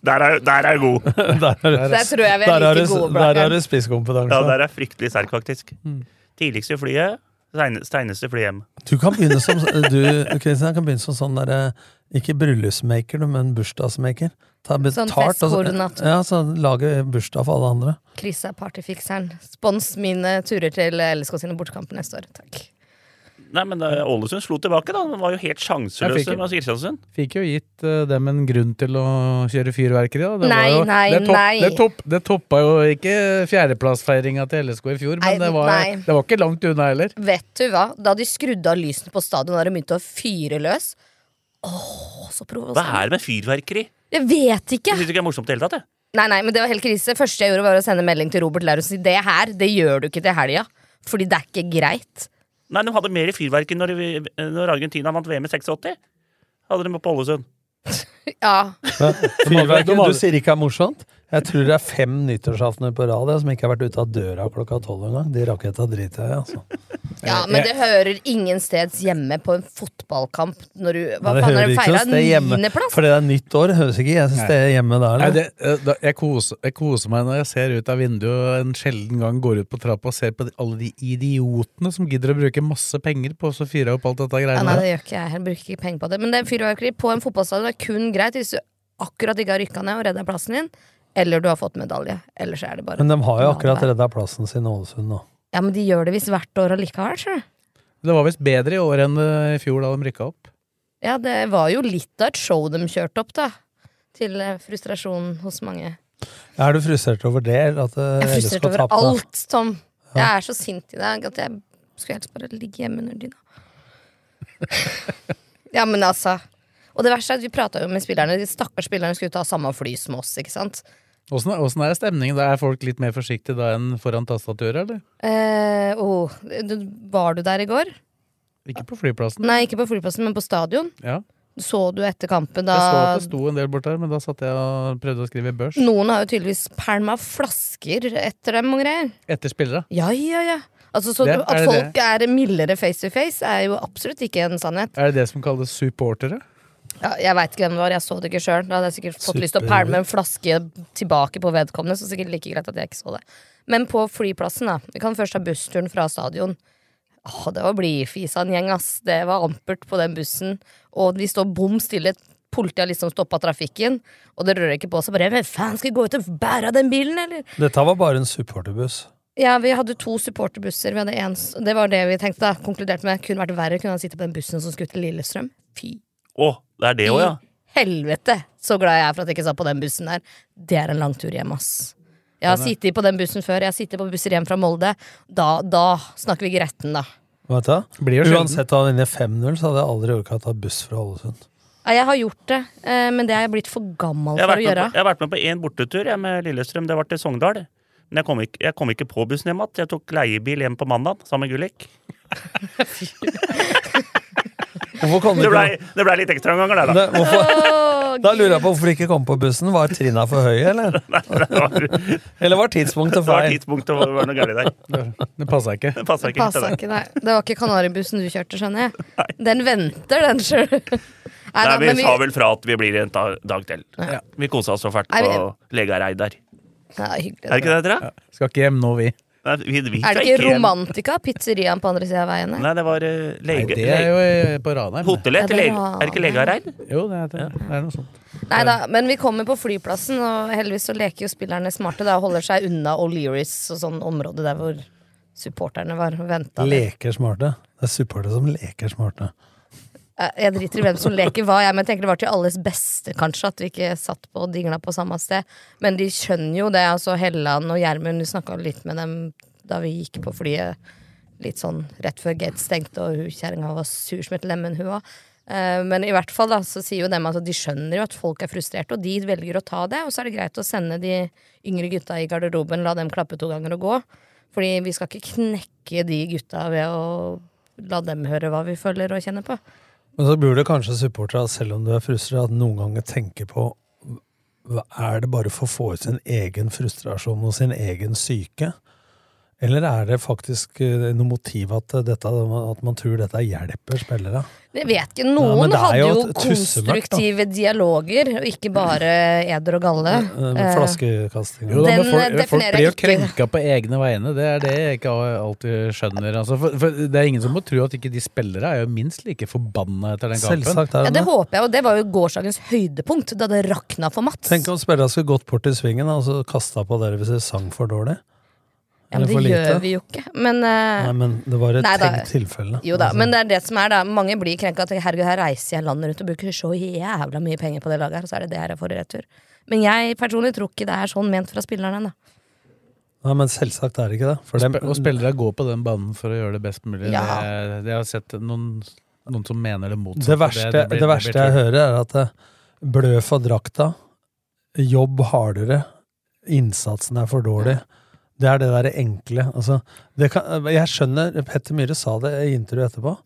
Speaker 2: Der er der er jeg god.
Speaker 4: Der er,
Speaker 5: Der tror jeg vi
Speaker 4: der
Speaker 5: er
Speaker 4: er,
Speaker 5: like
Speaker 4: du-
Speaker 5: gode,
Speaker 4: der er
Speaker 5: Blakkaren.
Speaker 4: du spisskompetanse.
Speaker 2: Ja, der er jeg fryktelig sterk, faktisk.
Speaker 4: Mm.
Speaker 2: Tidligste flyet, seine- seineste fly hjem.
Speaker 4: Du kan begynne som du, Kristian, kan begynne som sånn derre Ikke bryllupsmaker, du, men bursdagsmaker. Ta
Speaker 5: Sånn
Speaker 4: betalt, og så-
Speaker 5: festkoordinator.
Speaker 4: Ja, så lage bursdag for alle andre.
Speaker 5: Chris er partyfikseren. Spons mine turer til LSK sine bortekamper neste år. Takk.
Speaker 2: Nei, men eh, Ålesund slo tilbake, da. De var jo
Speaker 3: Jeg
Speaker 2: helt
Speaker 3: fikk
Speaker 2: sjanseløse
Speaker 3: ikke-
Speaker 2: mot Kristiansund.
Speaker 3: Fikk jo gitt eh, dem en grunn til å kjøre fyrverkeri, da.
Speaker 5: Nei,
Speaker 3: var jo,
Speaker 5: nei,
Speaker 3: det
Speaker 5: nei.
Speaker 3: Det, topp, det toppa jo ikke fjerdeplassfeiringa til LSK i fjor, men
Speaker 5: Nei,
Speaker 3: det, var,
Speaker 5: nei.
Speaker 3: det var ikke langt unna heller.
Speaker 5: Vet du hva? Da de skrudde av lysene på stadion og de begynte å fyre løs Åh, så
Speaker 2: Hva
Speaker 5: provoserende.
Speaker 2: er det med fyrverkeri?
Speaker 5: Jeg vet
Speaker 2: Jeg
Speaker 5: ikke!
Speaker 2: syns ikke det er morsomt i det hele tatt. jeg.
Speaker 5: Nei, nei, men det var helt krise. Første jeg gjorde, var å sende melding til Robert Lauritzen og si det her, det gjør du ikke til helga. Fordi det er ikke greit.
Speaker 2: Nei, De hadde mer i fyrverkeri når, vi- når Argentina vant VM i 86. Hadde de på Ålesund.
Speaker 5: Ja,
Speaker 4: Fyrverkeri, du sier ikke er morsomt? Jeg tror det er fem nyttårsaftener på rad jeg, som ikke har vært ute av døra klokka tolv engang. De raketta driter jeg i, altså.
Speaker 5: ja Men det hører ingen steds hjemme på en fotballkamp når du Hva
Speaker 4: Men det
Speaker 5: faen
Speaker 4: hører
Speaker 5: har du
Speaker 4: ikke
Speaker 5: feira?
Speaker 4: noe sted hjemme.
Speaker 5: Niendeplass?
Speaker 4: Fordi det er nytt år, høres ikke jeg synes det er hjemme der.
Speaker 3: Nei,
Speaker 4: eller?
Speaker 3: det, eh, da, jeg, koser, jeg koser meg når jeg ser ut av vinduet og en sjelden gang går ut på trappa og ser på de, alle de idiotene som gidder å bruke masse penger på å så fyre opp alt dette
Speaker 5: Ja,
Speaker 3: greiene.
Speaker 5: nei,
Speaker 3: der.
Speaker 5: det gjør ikke jeg. Jeg bruker ikke penger på det. Men det fyrverkeri på en fotballstadion er kun greit hvis du akkurat ikke har rykka ned og redda plassen din, eller du har fått medalje. Ellers er det bare
Speaker 4: Men de har jo akkurat redda plassen sin, Ålesund, nå.
Speaker 5: Ja, men de gjør det visst hvert år allikevel, sjøl.
Speaker 3: Det var visst bedre i år enn eh, i fjor da de rykka opp.
Speaker 5: Ja, det var jo litt av et show de kjørte opp, da. Til eh, frustrasjon hos mange.
Speaker 4: Er du frustrert over det? Eller at eh,
Speaker 5: Jeg er
Speaker 4: LSK
Speaker 5: frustrert over
Speaker 4: tapte?
Speaker 5: alt, Tom. Jeg er så sint i dag at jeg skulle helst bare ligge hjemme under dyna. ja, men altså. Og det verste er at vi prata jo med spillerne. De stakkars spillerne skulle ta samme fly som oss, ikke sant.
Speaker 3: Åssen er, åssen er stemningen? Da er folk litt mer forsiktige da enn foran tastaturet, eller?
Speaker 5: Eh, åh, du, var du der i går?
Speaker 3: Ikke på flyplassen.
Speaker 5: Nei, ikke på flyplassen, men på stadion.
Speaker 3: Ja.
Speaker 5: Så du etter kampen
Speaker 3: Jeg så
Speaker 5: da Mm.
Speaker 3: at det sto en del bort der, men da satt jeg og prøvde å skrive børs.
Speaker 5: Noen har jo tydeligvis pælma flasker etter dem og greier.
Speaker 3: Etter spillere.
Speaker 5: Ja, ja, ja. Altså, så
Speaker 3: Det-
Speaker 5: du,
Speaker 3: er
Speaker 5: at
Speaker 3: det
Speaker 5: folk er mildere face to face, er jo absolutt ikke en sannhet.
Speaker 3: Er det det som kalles supportere?
Speaker 5: Ja, jeg veit ikke hvem det var, jeg så det ikke sjøl. Da hadde jeg sikkert fått lyst til å pælme en flaske tilbake på vedkommende. Så sikkert like greit at jeg ikke så det. Men på flyplassen, da. Vi kan først ta bussturen fra stadion. Åh, det var blidfis av en gjeng, ass. Det var ampert på den bussen. Og de står bom stille. Politiet har liksom stoppa trafikken, og det rører ikke på seg. Bare, Hvem faen skal gå ut og bære den bilen, eller?
Speaker 4: Dette var bare en supporterbuss.
Speaker 5: Ja, vi hadde to supporterbusser. Vi hadde en, s- det var det vi tenkte, da. Konkludert med. Kunne vært verre. Kunne han sitte på den bussen som skulle til Lillestrøm? Fy
Speaker 2: Å, det er det òg, ja.
Speaker 5: helvete så glad jeg er for at jeg ikke satt på den bussen der. Det er en lang tur hjem, ass. Jeg har sittet på den bussen før. Jeg har sittet på busser hjem fra Molde. Da, da snakker vi gretten, da.
Speaker 4: Vet du? hva?
Speaker 3: Blir jo sjelden.
Speaker 4: Uansett om han vinner 5-0, så hadde jeg aldri orka å ta buss fra Ålesund.
Speaker 5: Ja, Jeg har gjort det, eh, men det er jeg blitt for gammel
Speaker 2: Jeg har
Speaker 5: for
Speaker 2: vært
Speaker 5: å
Speaker 2: med
Speaker 5: gjøre.
Speaker 2: på- jeg har vært med på én bortetur jeg, med Lillestrøm. Det var til Sogndal. Men jeg kom, ikke, jeg kom ikke på bussen hjem igjen. Jeg tok leiebil hjem på mandag sammen med Gullik.
Speaker 4: Hvorfor kom du
Speaker 2: Det
Speaker 4: ikke
Speaker 2: blei det ble litt ekstraomganger der, da.
Speaker 4: det, hvorfor,
Speaker 5: Åh,
Speaker 4: Da lurer jeg på hvorfor de ikke kom på bussen. Var trinna for høye, eller?
Speaker 2: Det var, det
Speaker 4: Eller var tidspunktet
Speaker 2: var
Speaker 4: feil?
Speaker 2: tidspunktet hvor det var noe galt der.
Speaker 3: Det passa ikke.
Speaker 2: Det passa
Speaker 5: det
Speaker 2: ikke.
Speaker 5: passet
Speaker 2: Ikke,
Speaker 5: ikke, nei. Det var ikke Kanaribussen du kjørte, skjønner jeg. Den venter, den sjøl. Nei,
Speaker 2: Nei,
Speaker 5: da, men
Speaker 2: vi sa vel fra at vi blir en da- dag til. Vi kosa oss så fælt
Speaker 5: Nei, vi-
Speaker 2: på Legareid der.
Speaker 5: Nei, hyggelig.
Speaker 2: Er det ikke det, tror jeg?
Speaker 3: Skal ikke hjem nå, vi.
Speaker 2: Nei, vi, vi
Speaker 5: Er det
Speaker 2: skal
Speaker 5: ikke
Speaker 2: hjem.
Speaker 5: Romantica, pizzeriaen på andre sida av veien? her?
Speaker 2: Nei, det var eh,
Speaker 3: Nei,
Speaker 2: lege...
Speaker 3: det er jo eh, på Ranheim. det.
Speaker 2: Hotellet
Speaker 5: Ja,
Speaker 2: til
Speaker 5: det
Speaker 2: lege...
Speaker 5: var-
Speaker 2: Er det ikke Legareid?
Speaker 3: Jo, det er, det er noe sånt.
Speaker 5: Nei da, men vi kommer på flyplassen, og heldigvis så leker jo spillerne smarte da, og holder seg unna O'Learys og sånn område der hvor supporterne var og venta.
Speaker 4: Leker smarte. Det er supportere som leker smarte.
Speaker 5: Eh, Jeg driter i hvem som leker hva, jeg, men jeg tenker det var til alles beste, kanskje, at vi ikke satt på og dingla på samme sted. Men de skjønner jo det. altså Helland og Gjermund, du snakka litt med dem da vi gikk på flyet litt sånn rett før gate stengte, og hun kjerringa var sur som et lemen, hun òg. Eh, Men i hvert fall da, så sier jo dem at de skjønner jo at folk er frustrerte, og de velger å ta det. Og så er det greit å sende de yngre gutta i garderoben, la dem klappe to ganger og gå. Fordi vi skal ikke knekke de gutta ved å la dem høre hva vi føler og kjenner på.
Speaker 4: Men så burde kanskje supportere, selv om du er frustrert, at noen ganger tenke på hva Er det bare for å få ut sin egen frustrasjon og sin egen syke? Eller er det faktisk eh, noe motiv at, dette, at man tror dette hjelper spillere?
Speaker 5: Jeg vet ikke.
Speaker 4: Ja,
Speaker 5: Noen
Speaker 4: men det er
Speaker 5: hadde
Speaker 4: jo
Speaker 5: jo,
Speaker 4: et tussemørkt, da.
Speaker 5: konstruktive dialoger, og ikke bare eder og galle.
Speaker 4: Eh, Flaskekasting
Speaker 3: Jo, da, men
Speaker 5: Den, eh,
Speaker 3: folk, folk
Speaker 5: definerer
Speaker 3: blir jo
Speaker 5: ikke-
Speaker 3: krenka på egne vegne. Det er det jeg ikke alltid skjønner. Altså, for, for det er ingen som må tro at ikke de spillere er jo minst like forbanna etter den kampen.
Speaker 4: Selvsagt er
Speaker 5: Ja,
Speaker 4: det
Speaker 5: det
Speaker 4: det.
Speaker 5: håper jeg, og det var jo gårsdagens høydepunkt, da det rakna for Mats.
Speaker 4: Tenk om spillerne skulle gått bort til svingen da, og så kasta på dere hvis dere sang for dårlig.
Speaker 5: ja, men
Speaker 4: eller for
Speaker 5: det gjør
Speaker 4: lite.
Speaker 5: vi jo ikke. Men, eh,
Speaker 4: Nei, men det var et
Speaker 5: Nei, da-
Speaker 4: tenkt tilfelle.
Speaker 5: jo da,
Speaker 4: Altså,
Speaker 5: men det er det som er, da. Mange blir krenka. Tenker, Herregud, her reiser jeg landet rundt og bruker så jævla mye penger på det laget her, og så er det det her jeg får i retur. Men jeg personlig tror ikke det er sånn ment fra spillerne, da.
Speaker 4: Nei, men selvsagt er det ikke det. For
Speaker 3: Spe-
Speaker 4: dem-
Speaker 3: Og spillere går på den banen for å gjøre det best mulig.
Speaker 5: Ja.
Speaker 3: Det, det har jeg sett noen, noen som mener det motsatte.
Speaker 4: det verste, det
Speaker 3: blir- blir
Speaker 4: verste jeg
Speaker 3: tull.
Speaker 4: hører, er at eh, blø for drakta, jobb hardere, innsatsen er for dårlig. Det er det derre enkle. Altså, det kan, jeg skjønner Petter Myhre sa det i intervjuet etterpå.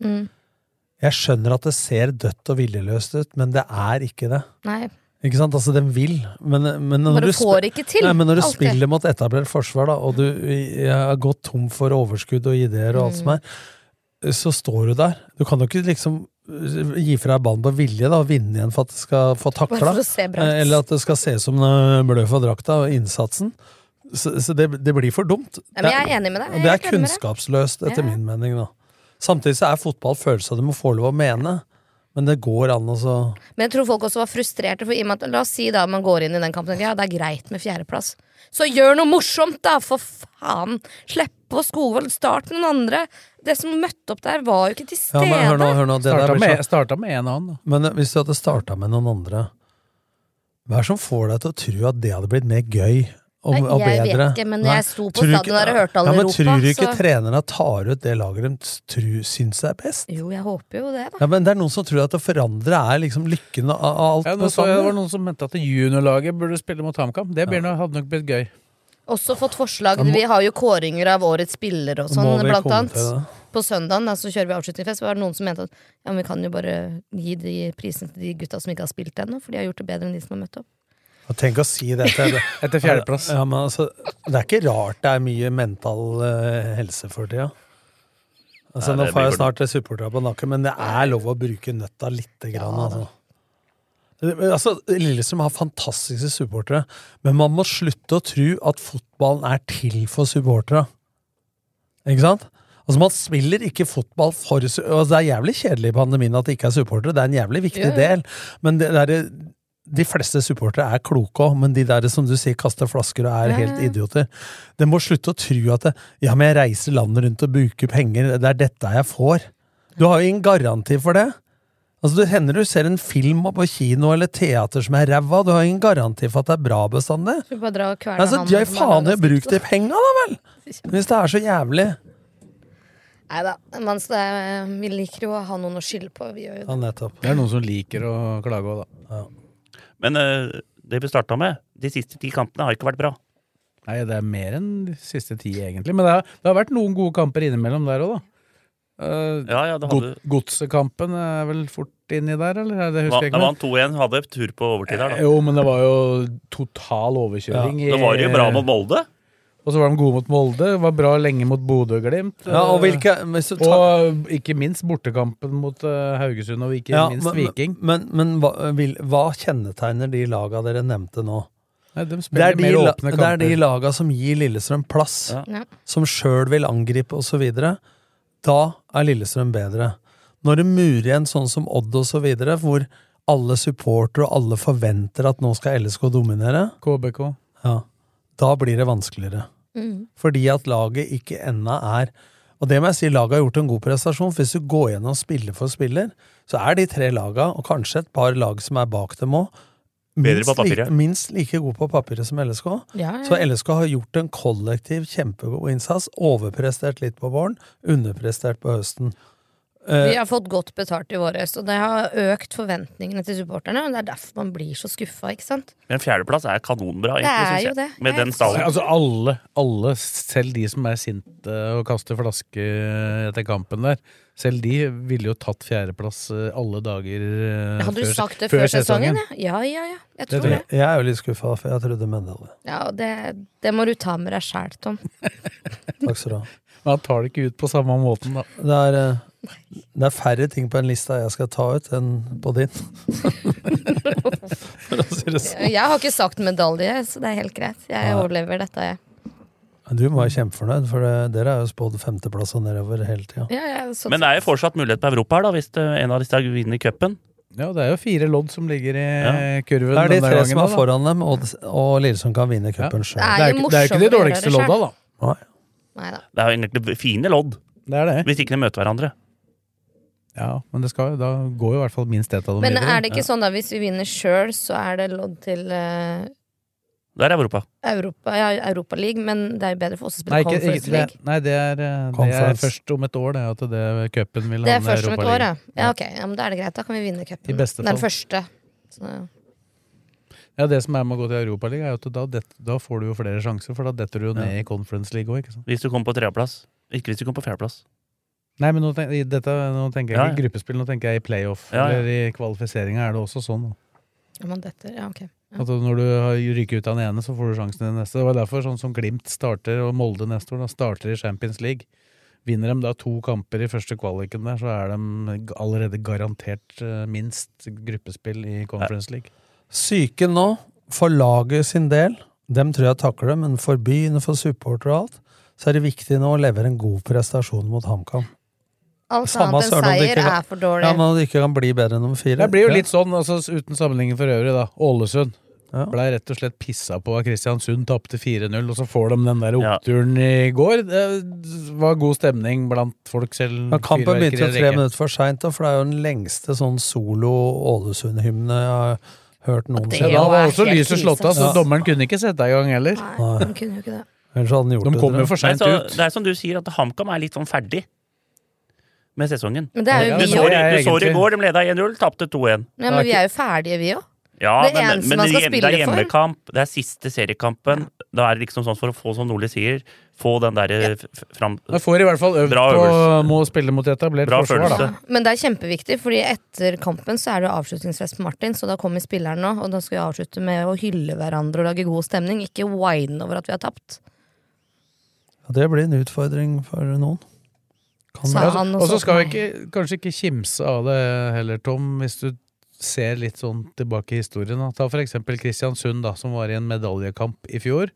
Speaker 4: Jeg skjønner at det ser dødt og viljeløst ut, men det er ikke det.
Speaker 5: Nei.
Speaker 4: Ikke sant? Altså, den vil, men, men når
Speaker 5: Bare
Speaker 4: du sp-
Speaker 5: får ikke til.
Speaker 4: Nei, men når du
Speaker 5: alt det.
Speaker 4: spiller mot etablert forsvar, da, og du eh, har gått tom for overskudd og ideer og alt
Speaker 5: Mm.
Speaker 4: som er, så står du der. Du kan jo ikke liksom eh, gi fra deg ballen på vilje da, og vinne igjen for at det skal få
Speaker 5: Bare for
Speaker 4: takla.
Speaker 5: å se bra
Speaker 4: Eh,
Speaker 5: ut.
Speaker 4: Eller at det skal se ut som eh, bløff av drakta og innsatsen. Så, så det, det blir for dumt.
Speaker 5: Nei, men jeg er enig med deg.
Speaker 4: Og
Speaker 5: Jeg
Speaker 4: det er
Speaker 5: er helt enig med deg.
Speaker 4: kunnskapsløst, etter
Speaker 5: Ja.
Speaker 4: min mening. da. Samtidig så er fotball følelser du må få lov å mene, men det går an å så
Speaker 5: Men jeg tror folk også var frustrerte. For i og med at, la oss si da man går inn i den kampen og tenker, Ja, det er greit med fjerdeplass. Så gjør noe morsomt, da! For faen! Slipp på Skogvold, start med noen andre! Det som møtte opp der, var jo ikke til
Speaker 4: Ja,
Speaker 5: stede.
Speaker 4: men hør nå, hør nå. Det der
Speaker 3: Starta
Speaker 4: blir sånn- så
Speaker 3: med, starta med en annen. da.
Speaker 4: Men eh, hvis du hadde starta med noen andre, hva er det som får deg til å tro at det hadde blitt mer gøy og,
Speaker 5: Nei,
Speaker 4: og
Speaker 5: jeg vet
Speaker 4: bedre?
Speaker 5: ikke, men
Speaker 4: Nei,
Speaker 5: jeg sto på
Speaker 4: tror du
Speaker 5: stadion der og hørte alle
Speaker 4: ja, men
Speaker 5: ropa,
Speaker 4: Tror du ikke
Speaker 5: så-
Speaker 4: trenerne tar ut det laget de tror, syns er best?
Speaker 5: Jo, jeg håper jo det, da.
Speaker 4: Ja, men Det er noen som tror at å forandre er liksom lykken av av alt.
Speaker 3: Ja, nå
Speaker 4: på
Speaker 3: så jeg det var
Speaker 4: sammen.
Speaker 3: noen som mente at juniorlaget burde spille mot HamKam. Det blir noe- hadde nok blitt gøy.
Speaker 5: Også fått forslag. Vi har jo kåringer av årets spillere og
Speaker 4: Må
Speaker 5: sånn,
Speaker 4: vi
Speaker 5: blant
Speaker 4: komme
Speaker 5: annet.
Speaker 4: til det?
Speaker 5: på søndagen da, så kjører vi avslutningsfest, var det noen som mente at ja, men vi kan jo bare gi de prisene til de gutta som ikke har spilt ennå, for de har gjort det bedre enn de som har møtt opp.
Speaker 4: Og Tenk å si det etter,
Speaker 3: Etter fjerdeplass.
Speaker 4: Ja, men altså, det er ikke rart det er mye mental eh, helse for tida. Altså,
Speaker 2: Nei,
Speaker 4: nå
Speaker 2: det
Speaker 4: får jeg
Speaker 2: blir for-
Speaker 4: snart supportere på nakken, men det er lov å bruke nøtta lite grann. altså. Men Altså, Lillestrøm har fantastiske supportere, men man må slutte å tro at fotballen er til for supportere. Ikke sant? Altså, Man spiller ikke fotball for su- altså, Det er jævlig kjedelig i pandemien at det ikke er supportere, det er en jævlig viktig
Speaker 5: Ja, ja.
Speaker 4: del, men det eh, der, de fleste supportere er kloke òg, men de der som du sier kaster flasker og er
Speaker 5: Ja, ja,
Speaker 4: helt
Speaker 5: ja.
Speaker 4: idioter. Det må slutte å tro at det, ja, men jeg reiser landet rundt og bruker penger, det er dette jeg får. Du har jo ingen garanti for det. Altså, Det hender du ser en film på kino eller teater som er ræva, du har ingen garanti for at det er bra bestandig.
Speaker 5: Skal vi bare dra og kverne
Speaker 4: Altså,
Speaker 5: han
Speaker 4: de har
Speaker 5: som har
Speaker 4: faen
Speaker 5: laget
Speaker 4: jo brukt de
Speaker 5: snittet?
Speaker 4: penga, da vel! Hvis det er så jævlig.
Speaker 5: Nei da. Men så det er- eh, vi liker jo å ha noen å skylde på. Vi gjør jo det.
Speaker 4: Ja, nettopp.
Speaker 3: Det er noen som liker å klage òg, da.
Speaker 2: Men eh, det vi starta med, de siste ti kampene har ikke vært bra.
Speaker 3: Nei, det er mer enn de siste ti, egentlig. Men det har, det har vært noen gode kamper innimellom der òg, da. Eh,
Speaker 2: Ja, ja, det
Speaker 3: god,
Speaker 2: hadde...
Speaker 3: Godsekampen er vel fort inni der, eller? Det
Speaker 2: Va-
Speaker 3: husker jeg
Speaker 2: Da
Speaker 3: ikke. men-
Speaker 2: vant 2-1, hadde tur på overtid der, da.
Speaker 3: Jo, men det var jo total overkjøring. i-
Speaker 2: Da var det jo bra mot Molde.
Speaker 3: Og så var de gode mot Molde. Var bra lenge mot Bodø og Glimt. Eh,
Speaker 4: Ja, og hvilke hvis du tar-
Speaker 3: Og ikke minst bortekampen mot eh, Haugesund, og ikke
Speaker 4: Ja,
Speaker 3: minst Viking.
Speaker 4: Men, men hva, vil, hva kjennetegner de laga dere nevnte nå?
Speaker 3: Nei, de
Speaker 4: Det er,
Speaker 3: spiller
Speaker 4: de,
Speaker 3: mer
Speaker 4: la-
Speaker 3: åpne
Speaker 4: det er
Speaker 3: kamper.
Speaker 4: de laga som gir Lillestrøm plass,
Speaker 5: Ja.
Speaker 4: som sjøl vil angripe osv. Da er Lillestrøm bedre. Når det murer igjen sånn som Odd osv., hvor alle supporter og alle forventer at nå skal LSK dominere,
Speaker 3: KBK.
Speaker 4: ja, da blir det vanskeligere.
Speaker 5: Mm.
Speaker 4: Fordi at laget ikke ennå er Og det må jeg si, laget har gjort en god prestasjon. for Hvis du går gjennom spiller for spiller, så er de tre laga, og kanskje et par lag som er bak dem òg,
Speaker 2: Bedre på
Speaker 4: like,
Speaker 2: papiret.
Speaker 4: minst like gode på papiret som LSK.
Speaker 5: Ja, ja.
Speaker 4: Så LSK har gjort en kollektiv kjempegod innsats. Overprestert litt på våren, underprestert på høsten.
Speaker 3: Eh.
Speaker 5: Vi har fått godt betalt i våres, og det har økt forventningene til supporterne. Og det er derfor man blir så skuffa, ikke sant.
Speaker 2: Men fjerdeplass er kanonbra,
Speaker 5: Det er
Speaker 2: egentlig,
Speaker 5: jo
Speaker 2: syns jeg.
Speaker 5: det.
Speaker 2: Med
Speaker 5: Det er
Speaker 2: den
Speaker 3: Nei,
Speaker 2: stallen.
Speaker 3: Altså alle, alle, selv de som er sinte og kaster flaske etter kampen der, selv de ville jo tatt fjerdeplass eh, alle dager eh,
Speaker 5: Hadde du
Speaker 3: før-
Speaker 5: sagt det før sesongen? Ja, ja, ja. ja. Jeg tror det.
Speaker 4: Jeg, jeg er jo litt skuffa, for jeg trodde Mendele.
Speaker 5: Ja, og det, det må du ta med deg sjæl, Tom.
Speaker 4: Takk skal du ha.
Speaker 3: Men han tar det ikke ut på samme måten, da.
Speaker 4: Det er, eh, det er færre ting på den lista jeg skal ta ut, enn på din. For å si det sånn.
Speaker 5: Jeg har ikke sagt medalje, så det er helt greit. Jeg overlever dette, jeg.
Speaker 4: Men Du må være kjempefornøyd, for det, dere er jo spådd femteplass og nedover hele tida.
Speaker 5: Ja, ja, så-
Speaker 2: Men det er jo fortsatt mulighet på Europa her, da, hvis eh, en av disse vinner cupen.
Speaker 3: Ja, det er jo fire lodd som ligger i eh, kurven.
Speaker 4: Det er de
Speaker 3: denne
Speaker 4: tre
Speaker 3: gangen
Speaker 4: som
Speaker 3: da,
Speaker 4: er
Speaker 3: da.
Speaker 4: foran dem, og, og Lillesund kan vinne cupen
Speaker 5: Ja.
Speaker 4: sjøl.
Speaker 5: Nei.
Speaker 3: Det er jo ikke, det er jo ikke de
Speaker 5: morsommere å gjøre
Speaker 3: dårligste
Speaker 5: det selv.
Speaker 3: lodda, da.
Speaker 5: Neida.
Speaker 2: Det er jo egentlig fine lodd,
Speaker 3: Det er det.
Speaker 2: hvis ikke de møter hverandre.
Speaker 3: Ja, men det skal, jo- da går jo i hvert fall minst ett av dem
Speaker 5: Men
Speaker 3: videre.
Speaker 5: er det ikke sånn da hvis vi vinner sjøl, så er det lodd til eh,
Speaker 2: Der er Europa.
Speaker 5: Europa, ja, Europa League, men det er jo bedre for oss å spille
Speaker 3: Nei, ikke,
Speaker 5: Conference
Speaker 3: ikke, det,
Speaker 5: League.
Speaker 3: nei, det er, eh, det er
Speaker 4: Conference.
Speaker 3: først om et år, det, at det cupen vil
Speaker 5: Det er
Speaker 3: havne i
Speaker 5: først om et
Speaker 3: eh, Europa
Speaker 5: år, ja.
Speaker 3: League.
Speaker 5: ja ok, ja, men Da er det greit. Da kan vi vinne cupen.
Speaker 3: I beste
Speaker 5: Den
Speaker 3: fall.
Speaker 5: første. Så,
Speaker 3: Ja, Det som er med å gå til Europaligaen, er jo at da, det- da får du jo flere sjanser, for da detter du jo ned i Conference League òg, ikke sant.
Speaker 2: Hvis du kommer på tredjeplass. Ikke hvis du kommer på fjerdeplass.
Speaker 3: Nei, men nå, ten- i dette, nå tenker jeg
Speaker 2: Ja,
Speaker 3: ikke gruppespill, nå tenker jeg i playoff.
Speaker 2: Ja, ja.
Speaker 3: Eller i kvalifiseringa er det også sånn. da.
Speaker 5: ja, man detter, ja, ok.
Speaker 3: At når du har- ryker ut av den ene, så får du sjansen i den neste. Det var derfor sånn som Glimt starter, og Molde neste år, da starter i Champions League. Vinner de da to kamper i første kvaliken der, så er de g- allerede garantert eh, minst gruppespill i Conference League.
Speaker 4: Syken nå, for laget sin del, dem tror jeg takler det, men for byen, for supporter og alt, så er det viktig nå å levere en god prestasjon mot HamKam.
Speaker 5: Alt
Speaker 4: Samme
Speaker 5: annet enn
Speaker 4: søren om det
Speaker 5: seier
Speaker 4: ikke var-
Speaker 5: er for dårlig.
Speaker 4: Ja, men at det ikke kan bli bedre enn nummer fire.
Speaker 3: Det blir jo
Speaker 4: Ja.
Speaker 3: litt sånn, altså, s- uten sammenligning for øvrig, da. Ålesund
Speaker 4: Ja.
Speaker 3: ble rett og slett pissa på av Kristiansund, tapte 4-0, og så får de den der
Speaker 2: Ja.
Speaker 3: oppturen i går. Det var god stemning blant folk selv.
Speaker 4: Ja, kampen
Speaker 3: fyrverkeri
Speaker 4: begynte jo
Speaker 3: eller
Speaker 4: tre
Speaker 3: ikke.
Speaker 4: minutter for seint, for det er jo den lengste sånn solo-Ålesund-hymne jeg har hørt
Speaker 3: Ja,
Speaker 5: Det
Speaker 4: noensinne.
Speaker 3: da
Speaker 5: jo
Speaker 3: var
Speaker 5: er
Speaker 3: også
Speaker 5: helt
Speaker 3: lyset
Speaker 5: krise.
Speaker 3: slått av, så
Speaker 4: altså. Ja.
Speaker 3: dommeren kunne ikke sette i gang heller.
Speaker 5: Nei, de kunne jo ikke det.
Speaker 4: Ellers hadde den gjort
Speaker 3: De
Speaker 4: det,
Speaker 3: kom jo
Speaker 4: tror jeg.
Speaker 3: for
Speaker 2: Det er,
Speaker 3: seint
Speaker 2: så,
Speaker 3: ut.
Speaker 2: det er som du sier, at HamKam er litt sånn ferdig med sesongen.
Speaker 5: Men det er jo
Speaker 3: Ja,
Speaker 2: Du
Speaker 5: vi
Speaker 2: så,
Speaker 3: det er
Speaker 5: òg.
Speaker 3: jeg
Speaker 2: du så i
Speaker 3: egentlig.
Speaker 2: går, de leda 1-0, tapte 2-1.
Speaker 5: Ja, men vi er jo ferdige, vi òg.
Speaker 2: Ja,
Speaker 5: Det
Speaker 2: men,
Speaker 5: eneste
Speaker 2: men
Speaker 5: man
Speaker 2: det,
Speaker 5: skal
Speaker 2: er hjem- det er
Speaker 5: spille for.
Speaker 2: hjemmekamp. Det er siste seriekampen. Da er det liksom sånn for å få, som Nordli sier, få den derre f- f- fram...
Speaker 3: Da får i hvert fall øvd
Speaker 2: Bra
Speaker 3: på
Speaker 2: øvelse.
Speaker 3: må spille mot etablert
Speaker 2: Bra
Speaker 3: forsvar, da.
Speaker 2: følelse.
Speaker 5: Men det er kjempeviktig, fordi etter kampen så er det jo avslutningsfest på Martin, så da kommer spilleren nå, og da skal vi avslutte med å hylle hverandre og lage god stemning, ikke wine over at vi har tapt.
Speaker 4: Ja, det blir en utfordring for noen. Kan
Speaker 5: Sa
Speaker 4: være.
Speaker 5: han
Speaker 3: Og så
Speaker 5: til
Speaker 3: skal vi
Speaker 5: meg.
Speaker 3: ikke, kanskje ikke kimse av det heller, Tom, hvis du ser litt sånn tilbake i historien. Da. Ta for eksempel Kristiansund, da, som var i en medaljekamp i fjor.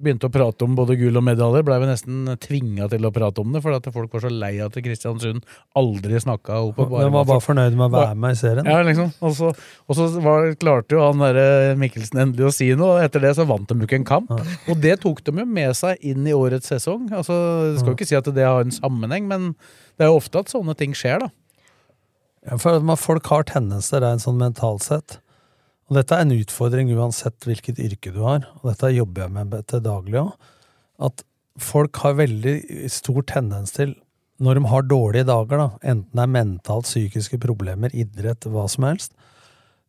Speaker 3: Begynte å prate om både gull og medaljer, blei vi nesten tvinga til å prate om det, fordi at folk var så lei av at Kristiansund aldri snakka opp. og
Speaker 4: Den var bare fornøyd med å
Speaker 3: Bare-
Speaker 4: være med i serien.
Speaker 3: ja, liksom. Og så, og så var, klarte jo han der eh, Mikkelsen endelig å si noe, og etter det så vant de jo ikke en kamp. Og det tok de jo med seg inn i årets sesong. Altså, jeg skal jo ikke si at det har en sammenheng, men det er jo ofte at sånne ting skjer, da.
Speaker 4: Ja, for at man, folk har tendenser, det er en sånn mentalt sett. Og dette er en utfordring uansett hvilket yrke du har, og dette jobber jeg med til daglig òg, at folk har veldig stor tendens til, når de har dårlige dager, da, enten det er mentalt, psykiske problemer, idrett, hva som helst,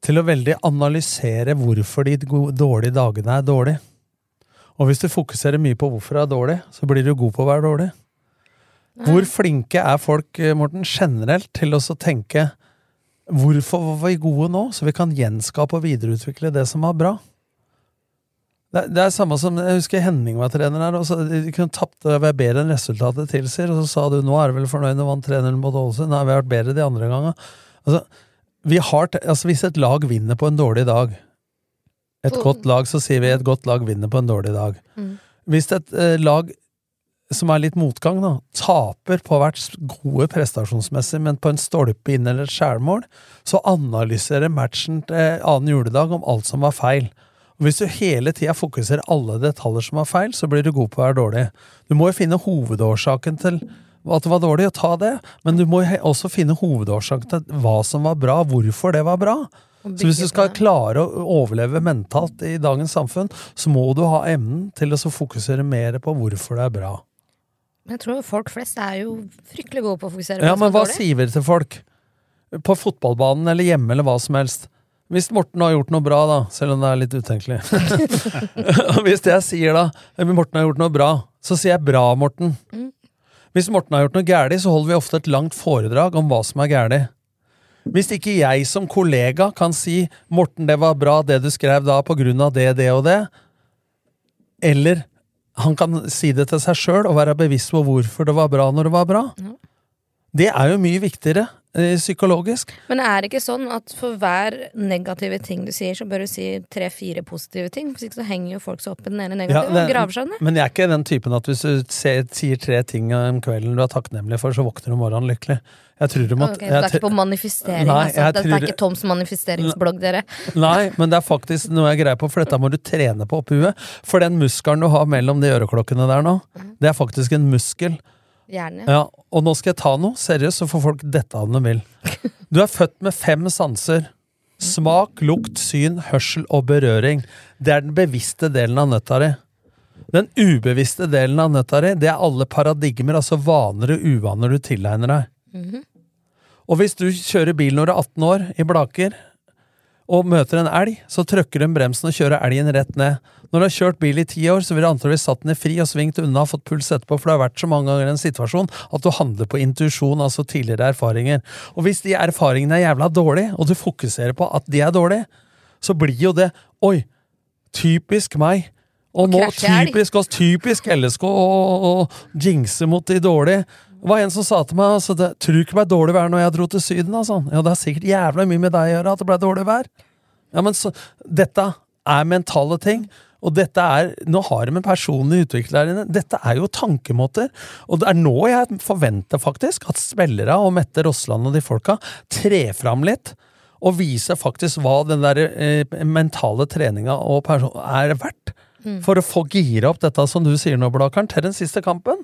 Speaker 4: til å veldig analysere hvorfor de go- dårlige dagene er dårlige. Og hvis du fokuserer mye på hvorfor det er dårlig, så blir du god på å være dårlig. Hvor flinke er folk, eh, Morten, generelt til å så tenke Hvorfor var vi gode nå? Så vi kan gjenskape og videreutvikle det som var bra. Det, det er samme som, Jeg husker Henning var trener her. og så De kunne tapt og være bedre enn resultatet tilsier. Og så sa du nå er du vel fornøyd med å vant 3-0 mot Ålesund. Nei, vi har vært bedre de andre gangene. Altså, vi har, te- altså, hvis et lag vinner på en dårlig dag Et
Speaker 5: Mm.
Speaker 4: godt lag, så sier vi et godt lag vinner på en dårlig dag. Hvis et eh, lag som er litt motgang, da, taper på å ha vært s- gode prestasjonsmessig, men på en stolpe inn eller et skjærmål, så analyserer matchen til eh, annen juledag om alt som var feil. Og hvis du hele tida fokuserer alle detaljer som var feil, så blir du god på å være dårlig. Du må jo finne hovedårsaken til at det var dårlig, og ta det, men du må jo he- også finne hovedårsaken til hva som var bra, hvorfor det var bra. Så hvis du skal klare å overleve mentalt i dagens samfunn, så må du ha evnen til å så fokusere mer på hvorfor det er bra.
Speaker 5: Men jeg tror folk flest er jo fryktelig gode på å fokusere på
Speaker 4: Ja,
Speaker 5: det som
Speaker 4: men
Speaker 5: er
Speaker 4: hva
Speaker 5: dårlig.
Speaker 4: sier vi til folk? På fotballbanen eller hjemme eller hva som helst. Hvis Morten har gjort noe bra, da, selv om det er litt utenkelig Og Hvis jeg sier da eh, Morten har gjort noe bra, så sier jeg bra, Morten. Hvis Morten har gjort noe gærlig, så holder vi ofte et langt foredrag om hva som er gærlig. Hvis ikke jeg som kollega kan si 'Morten, det var bra det du skrev da på grunn av det, det og det', eller han kan si det til seg sjøl og være bevisst på hvorfor det var bra når det var bra, det er jo mye viktigere eh, psykologisk.
Speaker 5: Men er det ikke sånn at for hver negative ting du sier, så bør du si tre-fire positive ting? Hvis ikke så henger jo folk seg opp i den
Speaker 4: Ja,
Speaker 5: ene negative
Speaker 4: det-
Speaker 5: og graver seg ned.
Speaker 4: men jeg er ikke den typen at hvis du ser, sier tre ting om kvelden du er takknemlig for, så våkner du om morgenen lykkelig. Jeg tror du må
Speaker 5: Ok, så det er
Speaker 4: jeg
Speaker 5: ikke på
Speaker 4: tr-
Speaker 5: manifestering,
Speaker 4: Nei,
Speaker 5: altså.
Speaker 4: jeg
Speaker 5: Dette
Speaker 4: tror-
Speaker 5: er ikke Toms manifesteringsblogg, dere.
Speaker 4: Nei, men det er faktisk noe jeg er grei på, for dette må du trene på oppi huet. For den muskelen du har mellom de øreklokkene der nå,
Speaker 5: Mm.
Speaker 4: det er faktisk en muskel.
Speaker 5: Gjerne.
Speaker 4: Ja, og nå skal jeg ta noe seriøst, så får folk dette av de vil. Du er født med fem sanser. Smak, lukt, syn, hørsel og berøring. Det er den bevisste delen av nøtta di. Den ubevisste delen av nøtta di, det er alle paradigmer, altså vaner og uvaner du tilegner deg. Og hvis du kjører bil når du er 18 år, i Blaker, og møter en elg, så trykker hun bremsen og kjører elgen rett ned. Når du har kjørt bil i ti år, så vil du antakeligvis satt den i fri og svingt unna og fått puls etterpå, for det har vært så mange ganger i en situasjon at du handler på intuisjon, altså tidligere erfaringer. Og hvis de erfaringene er jævla dårlige, og du fokuserer på at de er dårlige, så blir jo det Oi, typisk meg. Og nå
Speaker 5: krasje elg.
Speaker 4: typisk oss, typisk LSK og, og, og jinxe mot de dårlige. Det var en som sa til meg altså, det, Tror ikke det ble dårlig vær når jeg dro til Syden. Altså. Ja, det har sikkert jævla mye med deg å gjøre at det ble dårlig vær. Ja, men så, dette er mentale ting. Og dette er, nå har de en personlig utvikler her inne. Dette er jo tankemåter. Og det er nå jeg forventer faktisk at spillere og Mette Rossland og de folka trer fram litt. Og viser faktisk hva den der eh, mentale treninga og perso- er verdt. For å få gire opp dette som du sier nå, Blakeren, til den siste kampen.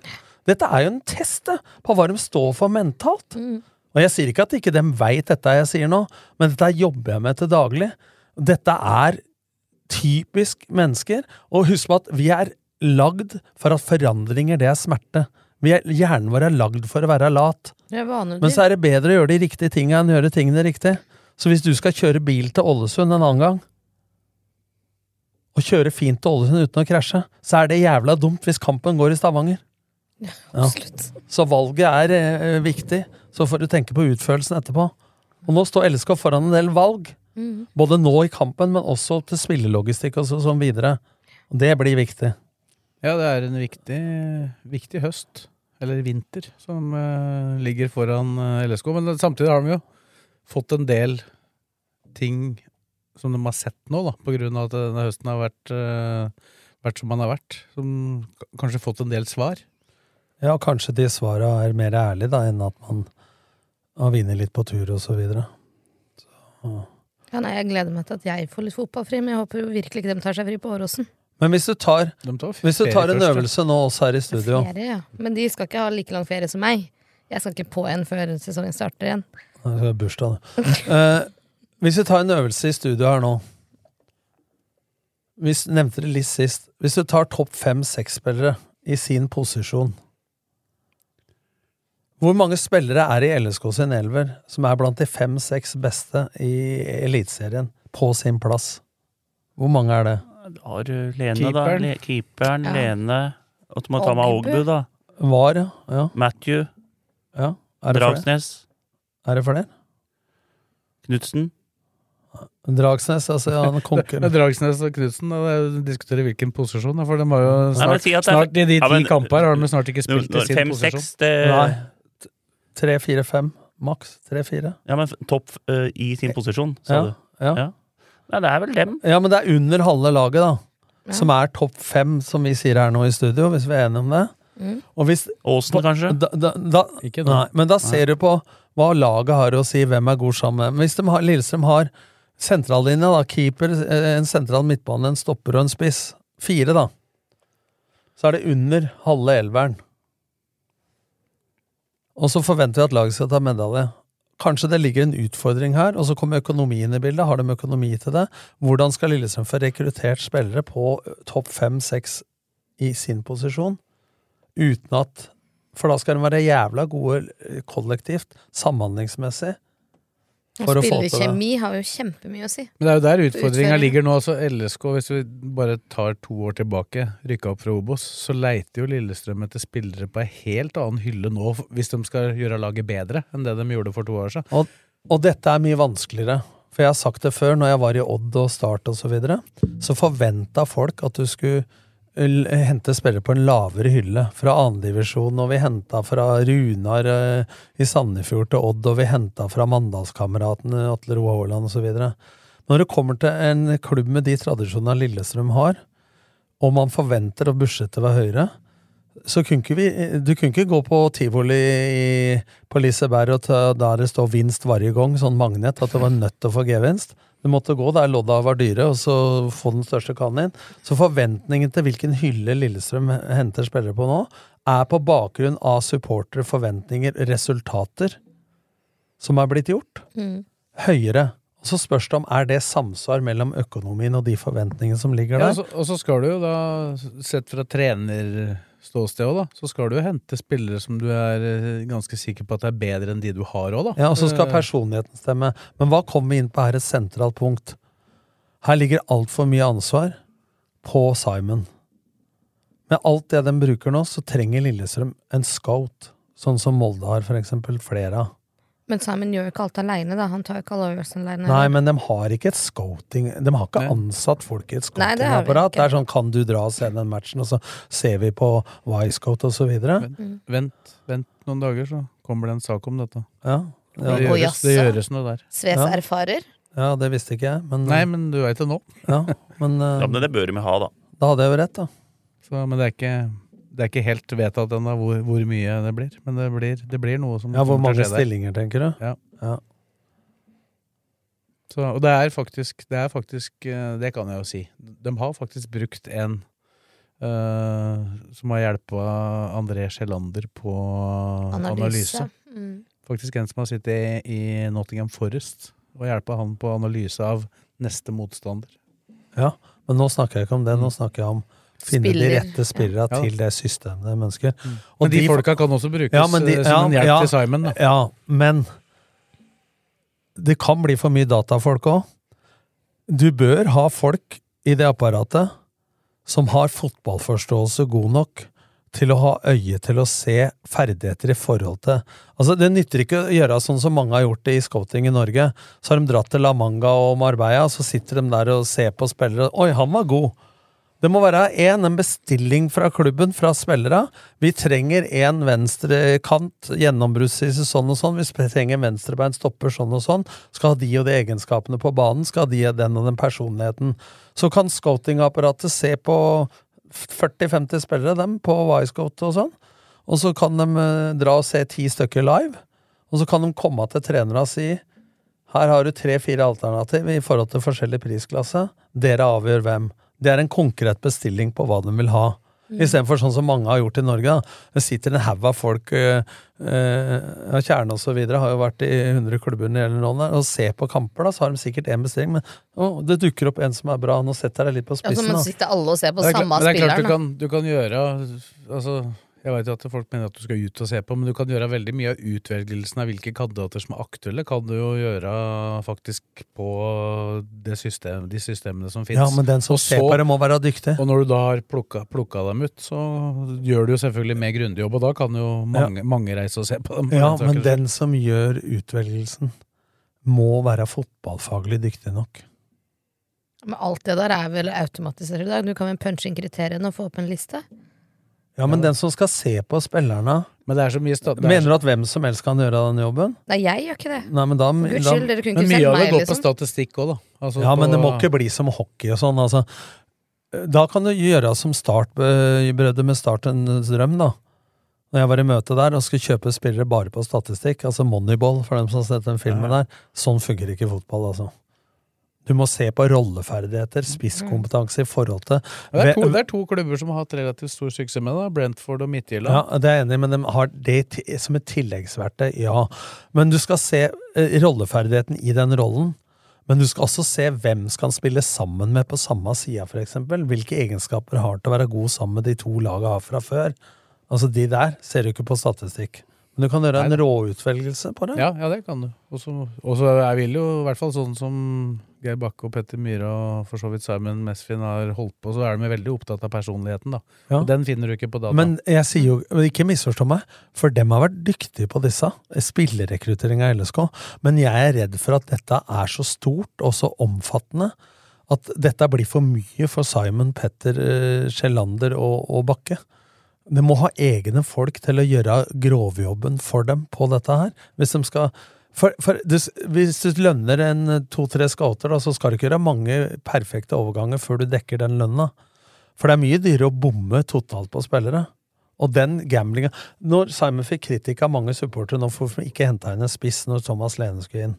Speaker 4: Dette er jo en test det, på hva de står for mentalt. Og jeg sier ikke at ikke de veit dette jeg sier nå, men dette jobber jeg med til daglig. Dette er typisk mennesker, og husk på at vi er lagd for at forandringer, det er smerte. Vi er, hjernen vår er lagd for å være lat.
Speaker 5: Det er
Speaker 4: Men
Speaker 5: vanedyr.
Speaker 4: så er det bedre å gjøre de riktige tinga enn å gjøre tingene riktig. Så hvis du skal kjøre bil til Ålesund en annen gang, og kjører fint til Ålesund uten å krasje, så er det jævla dumt hvis kampen går i Stavanger. Ja. Så valget er eh, viktig. Så får du tenke på utførelsen etterpå. Og nå står LSK foran en del valg. Både nå i kampen, men også til spillelogistikk og så, sånn videre. Og det blir viktig.
Speaker 3: Ja, det er en viktig, viktig høst, eller vinter, som eh, ligger foran eh, LSK. Men samtidig har de jo fått en del ting som de har sett nå, da, på grunn av at denne høsten har vært, eh, vært som den har vært. Som k- kanskje fått en del svar.
Speaker 4: Ja, og kanskje de svara er mer ærlige da, enn at man har vunnet litt på tur og så videre.
Speaker 5: Ja, nei, jeg gleder meg til at jeg får litt fotballfri, men jeg håper jo virkelig ikke dem tar seg fri på Åråsen.
Speaker 4: Men hvis du tar,
Speaker 3: De tar f-
Speaker 4: hvis du
Speaker 3: ferie
Speaker 4: tar en
Speaker 3: først, da.
Speaker 4: øvelse nå også her i studio
Speaker 5: Ferie, ja. Men de skal ikke ha like lang ferie som meg. Jeg skal ikke på en før sesongen starter igjen.
Speaker 4: Nei, Det er bursdag, det. Eh, hvis vi tar en øvelse i studio her nå Hvis nevnte det litt sist. Hvis du tar topp fem-seks spillere i sin posisjon Hvor mange spillere er i LSK sin elver som er blant de fem-seks beste i Eliteserien på sin plass? Hvor mange er det?
Speaker 2: Du har eh, Lene, da.
Speaker 3: Keeperen.
Speaker 2: Le keeperen,
Speaker 5: Ja.
Speaker 2: Lene Og du må ta med
Speaker 5: Ogbu.
Speaker 2: Ogbu, da.
Speaker 4: Var, ja. ja.
Speaker 2: Matthew.
Speaker 4: ja. Er, det flere?
Speaker 2: Dragsnes.
Speaker 4: er det flere?
Speaker 2: Knutsen.
Speaker 4: Dragsnes, altså. Ja, han
Speaker 3: Det er
Speaker 4: konkurrerer.
Speaker 3: Dragsnes og Knutsen diskuterer hvilken posisjon, da, for de har jo
Speaker 2: Nei, men
Speaker 3: snart,
Speaker 2: si at det er-
Speaker 3: snart i de ti
Speaker 2: Ja, men-
Speaker 3: kamper har de snart ikke spilt i sin posisjon.
Speaker 2: Fem-seks, det
Speaker 4: Nei. Tre, fire, fem. Maks tre-fire.
Speaker 2: Ja, men topp eh, i sin posisjon, sa
Speaker 4: Ja,
Speaker 2: du.
Speaker 4: ja.
Speaker 2: Ja. Nei, det er vel dem.
Speaker 4: Ja, men det er under halve laget, da.
Speaker 5: Ja.
Speaker 4: Som er topp fem, som vi sier her nå i studio, hvis vi er enige om det.
Speaker 5: Mm.
Speaker 4: Og hvis,
Speaker 2: Aasen, kanskje.
Speaker 4: da, da, da,
Speaker 3: Ikke nå.
Speaker 4: nei, men da ser du på hva laget har å si, hvem er god sammen med. Men Hvis de har, Lillestrøm har sentrallinja, da, keeper, eh, en sentral midtbane, en stopper og en spiss. Fire, da. Så er det under halve elveren. Og så forventer vi at laget skal ta medalje. Kanskje det ligger en utfordring her, og så kommer økonomien i bildet. Har de økonomi til det? Hvordan skal Lillestrøm få rekruttert spillere på ø, topp fem-seks i sin posisjon, uten at For da skal de være jævla gode ø, kollektivt, samhandlingsmessig. For å få til det.
Speaker 5: Spillekjemi har jo kjempemye å si.
Speaker 3: Men det er jo der utfordringa
Speaker 5: Utføring.
Speaker 3: ligger nå. Altså LSK, hvis vi bare tar to år tilbake, rykka opp fra Obos, så leiter jo Lillestrøm etter spillere på ei helt annen hylle nå, hvis de skal gjøre laget bedre enn det de gjorde for to år siden.
Speaker 4: Og dette er mye vanskeligere. For jeg har sagt det før, når jeg var i Odd og Start og så videre, så forventa folk at du skulle l- hente spillere på en lavere hylle. Fra andredivisjon, og vi henta fra Runar eh, i Sandefjord til Odd, og vi henta fra Mandalskameratene, Atle Roa Haaland osv. Når det kommer til en klubb med de tradisjonene Lillestrøm har, og man forventer at budsjettet var høyere, så kunne ikke vi, du kunne ikke gå på tivoli i- på Liseberg og ta, der det står 'vinst varje gang', sånn magnet, at du var nødt til å få gevinst. Du måtte gå der lodda var dyre, og så få den største kanen. Så forventningen til hvilken hylle Lillestrøm henter spillere på nå, er på bakgrunn av supportere, forventninger, resultater som er blitt gjort, høyere. Og så spørs det om er det samsvar mellom økonomien og de forventningene som ligger der.
Speaker 3: Ja, så, og så skal du jo da, sett fra trenerståsted òg, da, så skal du jo hente spillere som du er eh, ganske sikker på at er bedre enn de du har òg, da.
Speaker 4: Ja, og så skal
Speaker 3: Eh,
Speaker 4: personligheten stemme. Men hva kommer vi inn på her et sentralt punkt? Her ligger altfor mye ansvar på Simon. Med alt det de bruker nå, så trenger Lillestrøm en scout. Sånn som Molde har, for eksempel. Flere av.
Speaker 5: Men Simon gjør jo ikke alt aleine, da. Han tar jo ikke alle avgjørelsene aleine.
Speaker 4: Nei, men de har ikke et scouting De har ikke
Speaker 3: Nei.
Speaker 4: ansatt folk i et
Speaker 5: Nei, det har vi
Speaker 4: scoutingapparat.
Speaker 5: ikke.
Speaker 4: Det er sånn 'kan du dra og se den matchen', og så ser vi på Wisecout og så videre.
Speaker 3: Vent, vent noen dager, så kommer det en sak om dette.
Speaker 4: Ja,
Speaker 3: Det
Speaker 4: ja,
Speaker 5: Og
Speaker 3: gjøres, det
Speaker 5: jassa.
Speaker 3: gjøres noe der.
Speaker 5: Sves
Speaker 4: Ja.
Speaker 5: erfarer.
Speaker 4: ja, det visste ikke jeg, men,
Speaker 3: Nei, men du veit det nå.
Speaker 4: ja, men
Speaker 2: Ja,
Speaker 4: eh,
Speaker 2: men det bør de ha, da.
Speaker 4: da hadde jeg jo rett, da.
Speaker 3: Mm, Så, men det er ikke, det er ikke helt vedtatt ennå hvor, hvor mye det blir. Men det blir, det blir noe som
Speaker 4: Ja, Hvor
Speaker 3: kommer til å
Speaker 4: mange
Speaker 3: skje der.
Speaker 4: stillinger, tenker du?
Speaker 3: Så, og det er faktisk Det er faktisk eh, Det kan jeg jo si. De har faktisk brukt en eh, som har hjelpa André Sjelander på analyse.
Speaker 5: Analyse. Mm.
Speaker 3: Faktisk en som har sittet i, i Nottingham Forest og hjelpa han på analyse av neste motstander.
Speaker 4: Ja, men nå snakker jeg ikke om det. Nå snakker jeg om å finne de
Speaker 5: Spiller.
Speaker 4: rette spillerne
Speaker 3: Mm. Ja. Mm.
Speaker 4: til det systemet de ønsker. Og
Speaker 3: Men de,
Speaker 4: de-
Speaker 3: folka kan også brukes
Speaker 4: Ja, men de-
Speaker 3: eh, som en
Speaker 4: ja,
Speaker 3: hjelp
Speaker 4: ja.
Speaker 3: til Simon. Da.
Speaker 4: Ja, men det kan bli for mye datafolk òg. Du bør ha folk i det apparatet som har fotballforståelse god nok til å ha øye til å se ferdigheter i forhold til Altså, Det nytter ikke å gjøre sånn som mange har gjort det i scouting i Norge. Så har de dratt til La Manga og Marbella, så sitter de der og ser på spillere. Oi, han var god! Det må være en, en bestilling fra klubben, fra spillere. Vi trenger en venstrekant, gjennombruddsis sånn og sånn. Vi trenger en venstrebein, stopper sånn og sånn. Skal ha de og de egenskapene på banen, skal ha de og den og den personligheten. Så kan scoutingapparatet se på 40-50 spillere, dem, på Wisecoat og sånn. Og så kan de eh, dra og se ti stykker live. Og så kan de komme til trenere og si her har du tre-fire alternativ i forhold til forskjellig prisklasse. Dere avgjør hvem. Det er en konkret bestilling på hva de vil ha.
Speaker 5: Mm.
Speaker 4: Istedenfor sånn som mange har gjort i Norge. da. Det sitter en haug av folk øh, øh, ja, Kjerne og så videre har jo vært i 100 klubber når det gjelder noen der, og ser på kamper, da, så har de sikkert én bestilling, men å, det dukker opp en som er bra. Nå setter jeg deg litt på
Speaker 5: Ja, så
Speaker 4: spissen.
Speaker 5: må
Speaker 4: da.
Speaker 5: sitte Altså, alle og se på
Speaker 3: Det er klart-
Speaker 5: samme
Speaker 3: men det er klart
Speaker 5: spilleren.
Speaker 3: du
Speaker 5: da.
Speaker 3: kan, du kan gjøre altså, Jeg vet jo at folk mener at du skal ut og se på, men du kan gjøre veldig mye av utvelgelsen av hvilke kandidater som er aktuelle, kan du jo gjøre faktisk på det system, de systemene som fins.
Speaker 4: Ja, men den som
Speaker 3: Og
Speaker 4: ser
Speaker 3: så-
Speaker 4: på det, må være dyktig.
Speaker 3: Og når du da har plukka, plukka dem ut, så gjør du jo selvfølgelig mer grundig jobb, og da kan jo mange, mange reise og se på dem.
Speaker 4: Ja, men den som gjør utvelgelsen, må være fotballfaglig dyktig nok.
Speaker 5: Men alt det der er vel automatisert i dag. Du kan vel punche inn kriteriene og få opp en liste.
Speaker 4: Ja, men den som skal se på spillerne
Speaker 3: Men det er så mye sta- det er
Speaker 4: Mener du at hvem som helst kan gjøre den jobben?
Speaker 5: Nei, jeg gjør ikke det.
Speaker 4: Nei, men da,
Speaker 5: For Guds
Speaker 4: da
Speaker 5: skyld, dere kunne
Speaker 3: Men
Speaker 5: ikke
Speaker 3: mye
Speaker 5: sendt
Speaker 3: av det
Speaker 5: meg,
Speaker 3: går på
Speaker 5: liksom.
Speaker 3: statistikk òg, da. Altså
Speaker 4: Ja, men
Speaker 3: på-
Speaker 4: det må ikke bli som hockey og sånn, altså. Da kan du gjøre som startbrødre med Startens drøm, da. Når jeg var i møte der og skulle kjøpe spillere bare på statistikk, altså Moneyball, for dem som har sett den filmen der, sånn funker ikke fotball, altså. Du må se på rolleferdigheter, spisskompetanse i forhold til
Speaker 3: Ja, det, er to,
Speaker 4: Ve-
Speaker 3: det er to klubber som har hatt relativt stor suksess med det, da. Brentford og Midtjylland.
Speaker 4: Ja, det er jeg enig i, men de har det ti- som et tilleggsverktøy, ja. Men du skal se eh, rolleferdigheten i den rollen. Men du skal også se hvem skal han spille sammen med på samme sida, f.eks. Hvilke egenskaper har han til å være god sammen med de to laga har fra før. Altså, de der ser du ikke på statistikk. Men du kan gjøre en råutvelgelse på det.
Speaker 3: Ja, ja, det kan du. Og så og så jeg vil jo, i hvert fall sånn som Geir Bakke og Petter Myhre og for så vidt Simon Mesfin har holdt på, så er de veldig opptatt av personligheten, da.
Speaker 4: Ja.
Speaker 3: Og den finner du ikke på data.
Speaker 4: Men jeg sier jo, men ikke misforstå meg, for dem har vært dyktige på disse. eh, Spillerekrutteringa i LSK. Men jeg er redd for at dette er så stort og så omfattende at dette blir for mye for Simon, Petter, eh, Sjelander og, og Bakke. De må ha egne folk til å gjøre grovjobben for dem på dette her. Hvis de skal for, for du, s- Hvis du lønner en eh, to-tre scouter, da, så skal du ikke gjøre mange perfekte overganger før du dekker den lønna. For det er mye dyrere å bomme totalt på spillere. Og den gamblinga Når Simon fikk kritikk av mange supportere nå for hvorfor han ikke henta inn en spiss når Thomas Lene skulle inn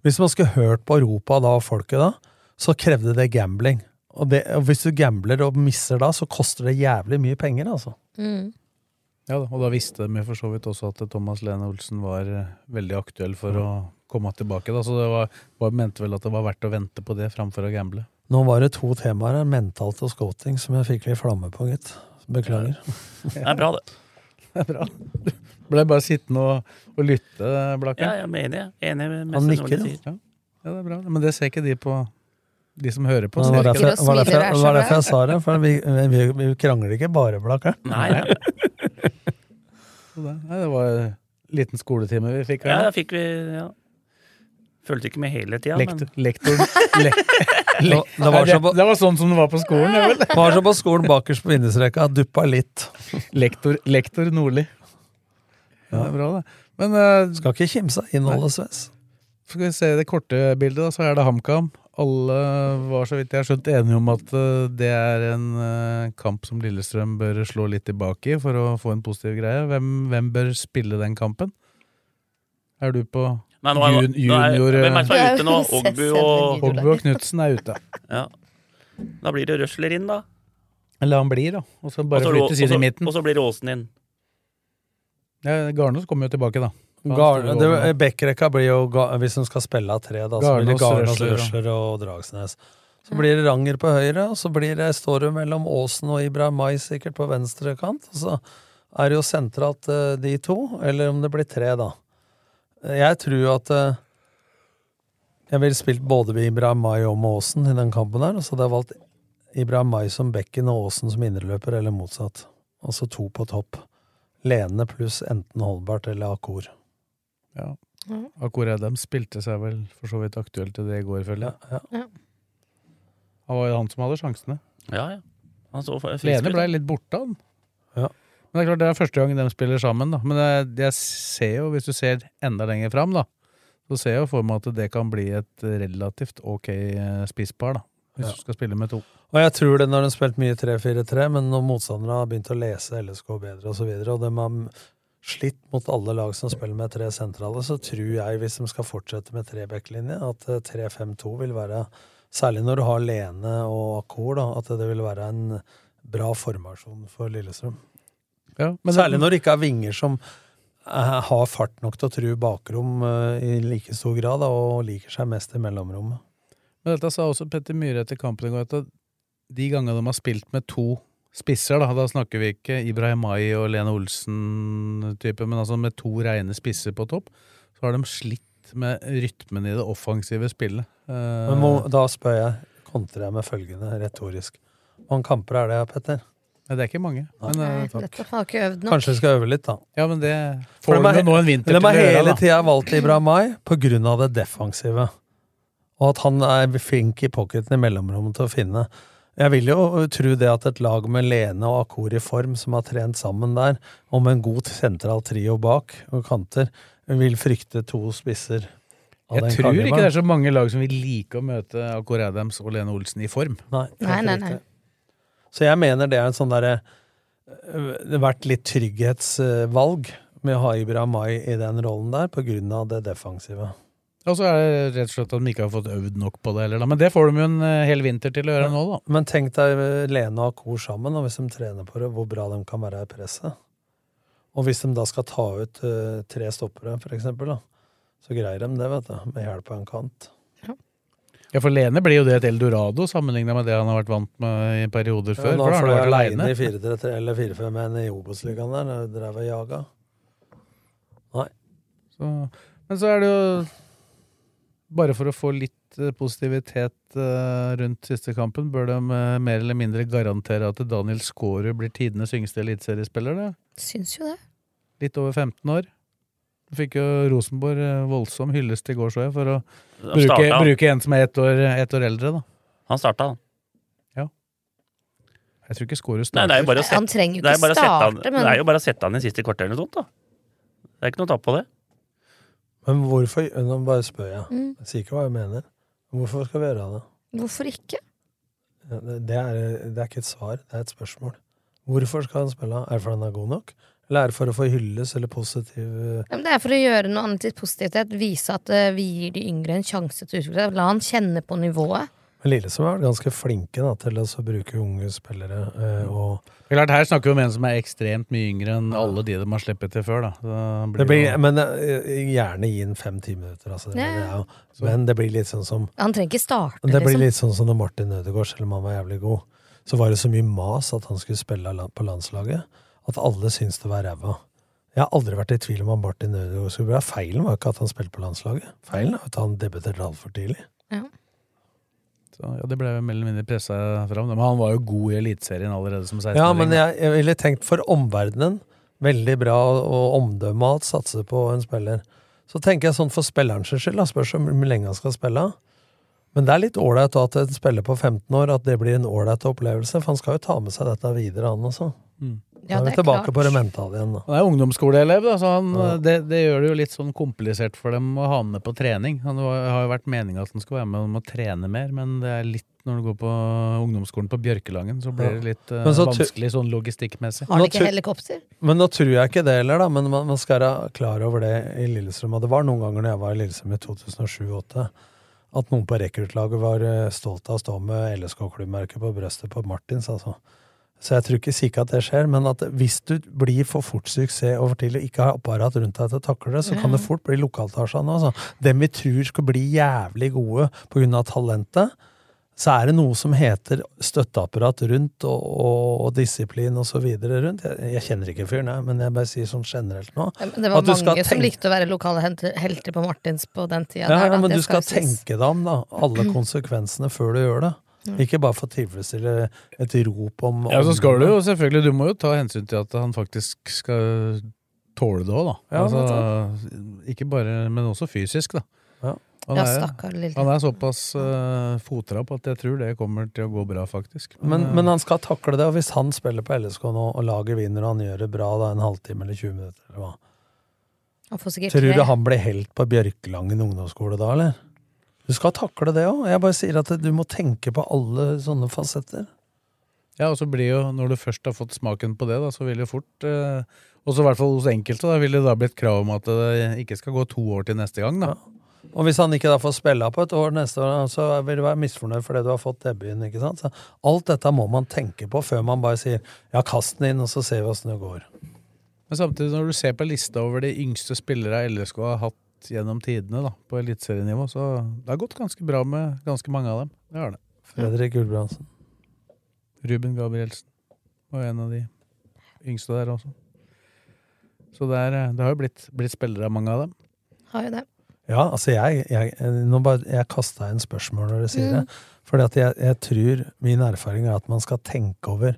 Speaker 4: Hvis man skulle hørt på Europa da og folket da, så krevde det gambling. Og, det, og hvis du gambler og misser da, så koster det jævlig mye penger, altså.
Speaker 5: Mm.
Speaker 3: Ja, da, og da visste de jo for så vidt også at Thomas Lene Olsen var eh, veldig aktuell for å komme tilbake, da. Så det var, var, mente vel at det var verdt å vente på det framfor å gamble.
Speaker 4: Nå var det to temaer her, mentalt og scouting, som jeg fikk litt flamme på, gitt. Beklager.
Speaker 2: Det er bra, det.
Speaker 3: Det er bra. Ble bare sittende og, og lytte,
Speaker 2: Ja,
Speaker 3: Blakken.
Speaker 2: jeg er enig. jeg. Enig med
Speaker 4: Han
Speaker 2: mest av det
Speaker 4: nikker,
Speaker 2: du
Speaker 4: ja.
Speaker 2: sier.
Speaker 3: Ja, det er bra. Men det ser ikke de på, de som hører på.
Speaker 4: Det
Speaker 3: Ser
Speaker 4: var
Speaker 3: ikke
Speaker 4: derfor,
Speaker 3: det.
Speaker 5: og
Speaker 4: var derfor,
Speaker 5: smiler er så
Speaker 4: var derfor jeg sa det, for vi, vi, vi krangler ikke bare, Blakke.
Speaker 2: Nei, nei.
Speaker 3: Nei, det var en liten skoletime vi fikk
Speaker 2: Ja,
Speaker 3: her.
Speaker 2: da fikk vi ja. Følte ikke med hele tida, men
Speaker 3: Lektor, lektoren le-
Speaker 4: Det, det var
Speaker 3: det,
Speaker 4: som på,
Speaker 3: det var sånn som det var på skolen, det vel?
Speaker 4: det var som på skolen bakerst på vindusrekka, duppa litt.
Speaker 3: Lektor, lektor Nordli. Ja, det er bra, det. Men eh,
Speaker 4: Skal ikke kimse av innholdet, Sves.
Speaker 3: skal vi se det korte bildet, da, så er det HamKam. Alle var så vidt jeg har skjønt enige om at eh, det er en eh, kamp som Lillestrøm bør slå litt tilbake i for å få en positiv greie. Hvem, hvem bør spille den kampen? Er du på
Speaker 2: Nei, nå er,
Speaker 3: Jun-
Speaker 2: nå er,
Speaker 3: junior,
Speaker 2: Hvem er det som
Speaker 5: eh,
Speaker 2: er ute nå? Ogbu
Speaker 5: Jeg har jo sett
Speaker 2: og
Speaker 5: den
Speaker 3: Hogbu og Knutsen er ute.
Speaker 2: ja. Da blir det Røsler inn, da.
Speaker 3: Eller han blir, da. Og så
Speaker 2: Og
Speaker 3: bare
Speaker 2: så-
Speaker 3: flyttes inn i
Speaker 2: og så-
Speaker 3: midten.
Speaker 2: og så blir det Åsen inn.
Speaker 3: Ja, Garnås kommer jo tilbake, da.
Speaker 4: Garn- det- Backrekka blir jo, ga- hvis hun skal spille av tre, da, så blir det
Speaker 3: Garnås,
Speaker 4: Garnås,
Speaker 3: Røsler,
Speaker 4: Røsler og Dragsnes. Så blir det Ranger på høyre, og så blir det, står hun mellom Åsen og Ibrahimai sikkert på venstre kant. Og så er det jo sentralt eh, de to, eller om det blir tre, da. Jeg tror jo at eh, Jeg ville spilt både med Ibrahim Mai og med Aasen i den kampen her, og så hadde jeg valgt Ibrahim Mai som bekken og Aasen som indreløper, eller motsatt. Altså to på topp. Lene pluss enten Holbert eller Akor.
Speaker 3: Ja. Akkurat dem spilte seg vel for så vidt aktuelt til det i går, føler jeg.
Speaker 4: Ja.
Speaker 3: Han var jo han som hadde sjansene.
Speaker 2: Ja, ja. Han så frisk
Speaker 3: Lene
Speaker 2: ut.
Speaker 3: ble litt borte, han.
Speaker 4: Ja.
Speaker 3: Men det er klart det er første gang de spiller sammen, da. Men jeg, jeg ser jo, hvis du ser enda lenger fram, da, så ser jeg jo for meg at det kan bli et relativt ok eh, spisspar, da. Hvis
Speaker 4: Ja.
Speaker 3: du skal spille med to.
Speaker 4: Og jeg tror det når de har spilt mye 3-4-3, men når motstanderne har begynt å lese LSK bedre og så videre, og de har slitt mot alle lag som spiller med tre sentrale, så tror jeg, hvis de skal fortsette med trebacklinje, at eh, 3-5-2 vil være Særlig når du har Lene og Akor, da, at det vil være en bra formasjon for Lillestrøm.
Speaker 3: Ja, men det-
Speaker 4: Særlig når det ikke er vinger som eh, har fart nok til å true bakrom eh, i like stor grad, da, og liker seg mest i mellomrommet.
Speaker 3: Men dette sa også Petter Myhre etter kampen i går, at de gangene de har spilt med to spisser, da, da snakker vi ikke Ibrahim Mai og Lene Olsen-type, men altså med to reine spisser på topp, så har de slitt med rytmen i det offensive spillet. Eh,
Speaker 4: Men må, da spør jeg, kontrer jeg med følgende retorisk. Hvor mange kamper er det, Petter?
Speaker 3: men det er ikke mange. Men, eh,
Speaker 5: Dette har ikke øvd nok.
Speaker 4: Kanskje vi skal øve litt, da.
Speaker 3: ja, men det får
Speaker 4: For de
Speaker 3: de
Speaker 4: er-
Speaker 3: jo nå en vinter til
Speaker 4: De
Speaker 3: å
Speaker 4: har hele
Speaker 3: gjøre, da.
Speaker 4: tida valgt Ibra Mai på grunn av det defensive. Og at han er flink i pocketen i mellomrommet til å finne. Jeg vil jo tro det at et lag med Lene og Akor i form, som har trent sammen der, og med en god sentral trio bak og kanter, vil frykte to spisser. av den
Speaker 3: Jeg tror ikke det
Speaker 4: kaliberen.
Speaker 3: er så mange lag som vil like å møte Akor Adams og Lene Olsen i form.
Speaker 4: Nei, jeg
Speaker 5: Nei,
Speaker 4: tror
Speaker 5: nei,
Speaker 4: ikke
Speaker 5: nei.
Speaker 4: det. Så jeg mener det er en sånn derre øh, Det har vært litt trygghetsvalg med å ha Ibra Mai i den rollen der, på grunn av det defensive.
Speaker 3: Og så er det rett og slett at de ikke har fått øvd nok på det heller, da. Men det får de jo en eh, hel vinter til å gjøre nå, da.
Speaker 4: Men tenk deg eh, Lene og Kor sammen, og hvis de trener på det, hvor bra de kan være i presset. Og hvis de da skal ta ut eh, tre stoppere, for eksempel, da, så greier de det, vet du, med hjelp av en kant.
Speaker 3: Ja, for Lene blir jo det et eldorado sammenligna med det han har vært vant med i perioder før.
Speaker 4: Nå
Speaker 3: for da har
Speaker 4: fløy
Speaker 3: han vært
Speaker 4: jeg alene
Speaker 3: alene.
Speaker 4: i 4-3 eller 4-5-1 i Obos-ligaen der, og drev og jaga.
Speaker 3: Så, men så er det jo Bare for å få litt eh, positivitet eh, rundt siste kampen, bør de eh, mer eller mindre garantere at Daniel Skårud blir tidenes yngste eliteseriespiller? det?
Speaker 5: Syns jo det.
Speaker 3: Litt over 15 år. Du fikk jo Rosenborg eh, voldsom hyllest i går, så jeg, for å
Speaker 2: Han
Speaker 3: bruke,
Speaker 2: starta,
Speaker 3: bruke en som er ett år, ett år eldre, da.
Speaker 2: han. starta, han.
Speaker 3: Jeg tror ikke Skårud
Speaker 2: Nei, det er jo
Speaker 3: starter.
Speaker 2: bare å
Speaker 5: Han
Speaker 2: sette,
Speaker 5: trenger
Speaker 2: det
Speaker 5: jo
Speaker 2: er bare
Speaker 5: ikke
Speaker 2: å sette han,
Speaker 5: starte,
Speaker 2: det
Speaker 5: men
Speaker 2: er jo bare å sette han i siste kvarter eller noe sånt, da. Det er ikke noe tap på det.
Speaker 4: Men hvorfor eh, Nå bare spør jeg.
Speaker 5: Mm.
Speaker 4: Jeg sier ikke hva jeg mener. Hvorfor skal vi gjøre det?
Speaker 5: hvorfor ikke?
Speaker 4: Ja, Det det er, det er ikke et svar, det er et spørsmål. Hvorfor skal han spille? Er det fordi han er god nok? Eller er det for å få hylles eller positiv eh,
Speaker 5: Ja, men Det er for å gjøre noe annet til positivitet. Vise at eh, vi gir de yngre en sjanse til å utvikle seg. La han kjenne på nivået.
Speaker 4: Men Lillesund har vært ganske flinke da, til å så bruke unge spillere. eh, og
Speaker 3: Det er Klart, her snakker vi om en som er ekstremt mye yngre enn alle de de har sluppet til før. da. Så
Speaker 4: det blir,
Speaker 3: jo-
Speaker 4: men eh, gjerne gi den fem-ti minutter, altså. Det,
Speaker 5: Ja, ja.
Speaker 4: er jo, men det blir litt sånn som
Speaker 5: Han trenger ikke starte,
Speaker 4: Det blir
Speaker 5: liksom.
Speaker 4: litt sånn som når Martin Ødegaard, selv om han var jævlig god, så var det så mye mas at han skulle spille la- på landslaget, at alle syntes det var ræva. Jeg har aldri vært i tvil om at Martin Ødegaard skulle bli Feilen var ikke at han spilte på landslaget. Feilen var at han debuterte altfor tidlig.
Speaker 3: Så, ja, det ble jo mer eller mindre pressa fram. Men han var jo god i Eliteserien allerede som 16-åring.
Speaker 4: Ja, men jeg, jeg ville tenkt for omverdenen. Veldig bra å omdømme alt, satse på en spiller. Så tenker jeg sånn for spillerens skyld, da, spørs om hvor lenge han skal spille. Men det er litt ålreit da at en spiller på 15 år, at det blir en ålreit opplevelse, for han skal jo ta med seg dette videre, han også.
Speaker 5: Ja,
Speaker 4: da er vi
Speaker 5: det er
Speaker 4: tilbake
Speaker 5: klart.
Speaker 4: på det mentale igjen, da.
Speaker 3: Han er jo ungdomsskoleelev, da, så han,
Speaker 4: Ja.
Speaker 3: det, det gjør det jo litt sånn komplisert for dem å ha han med på trening. Han var, har jo vært meninga at han skulle være med om å trene mer, men det er litt når du går på ungdomsskolen på Bjørkelangen, så blir det litt eh,
Speaker 4: Men så tu-
Speaker 3: vanskelig sånn logistikkmessig.
Speaker 5: Har
Speaker 4: Nå
Speaker 5: han ikke
Speaker 4: tu-
Speaker 5: helikopter?
Speaker 4: Men nå tror jeg ikke det heller, da, men man, man skal være klar over det i Lillestrøm. Og det var noen ganger når jeg var i Lillestrøm i 2007-2008, at noen på rekruttlaget var eh, stolt av å stå med LSK-klubbmerket på brøstet på Martins, altså. Så jeg tror ikke sikkert at det skjer, men at hvis du blir for fort suksess over til og ikke har apparat rundt deg til å takle det, så kan det fort bli lokaltasja nå, altså. Dem vi tror skal bli jævlig gode på grunn av talentet, så er det noe som heter støtteapparat rundt, og, og, og disiplin og så videre rundt. Jeg, jeg kjenner ikke fyren, jeg, men jeg bare sier sånn generelt nå.
Speaker 5: Ja, men Det var
Speaker 4: At du skal
Speaker 5: mange som
Speaker 4: tenke-
Speaker 5: likte å være lokale hente- helter på Martins på den tida.
Speaker 4: Ja,
Speaker 5: der, da.
Speaker 4: men
Speaker 5: Det
Speaker 4: du skal
Speaker 5: jo Mm. sies.
Speaker 4: tenke deg om, da. Alle konsekvensene før du gjør det.
Speaker 5: Mm.
Speaker 4: Ikke bare for å tilfredsstille et rop om
Speaker 3: Ja, så skal du jo selvfølgelig Du må jo ta hensyn til at han faktisk skal tåle det òg, da.
Speaker 4: Ja,
Speaker 3: altså, ikke bare, men også fysisk, da.
Speaker 4: Ja.
Speaker 3: Han,
Speaker 5: Ja,
Speaker 3: er,
Speaker 5: stakkar lille.
Speaker 3: han er såpass uh, fotrapp at jeg tror det kommer til å gå bra, faktisk.
Speaker 4: Men,
Speaker 3: eh,
Speaker 4: men han skal takle det, og hvis han spiller på LSK nå, og laget vinner, og han gjør det bra da en halvtime eller 20 minutter, eller hva
Speaker 5: Han får sikkert
Speaker 4: Tror du
Speaker 5: tre.
Speaker 4: han blir helt på Bjørkelangen ungdomsskole da, eller? Du skal takle det òg. Jeg bare sier at du må tenke på alle sånne fasetter.
Speaker 3: Ja, og så blir jo, når du først har fått smaken på det, da, så vil det fort eh, Også i hvert fall hos enkelte, da vil det da bli et krav om at det ikke skal gå to år til neste gang, da.
Speaker 4: Og hvis han ikke da får spille på et år neste år, så vil du være misfornøyd fordi du har fått debuten. ikke sant? Så alt dette må man tenke på før man bare sier ja, kast den inn, og så ser vi åssen det går.
Speaker 3: Men samtidig, når du ser på lista over de yngste spillere LSK har hatt gjennom tidene da, på eliteserienivå, så det har gått ganske bra med ganske mange av dem. Det har det.
Speaker 4: Fredrik Gulbrandsen.
Speaker 3: Ruben Gabrielsen var en av de yngste der også. Så det, er, eh, det har jo blitt, blitt spillere av mange av dem.
Speaker 5: Har jo det.
Speaker 4: Ja, altså jeg, jeg, nå bare, jeg kasta inn spørsmål når du sier det. Fordi at jeg, jeg tror min erfaring er at man skal tenke over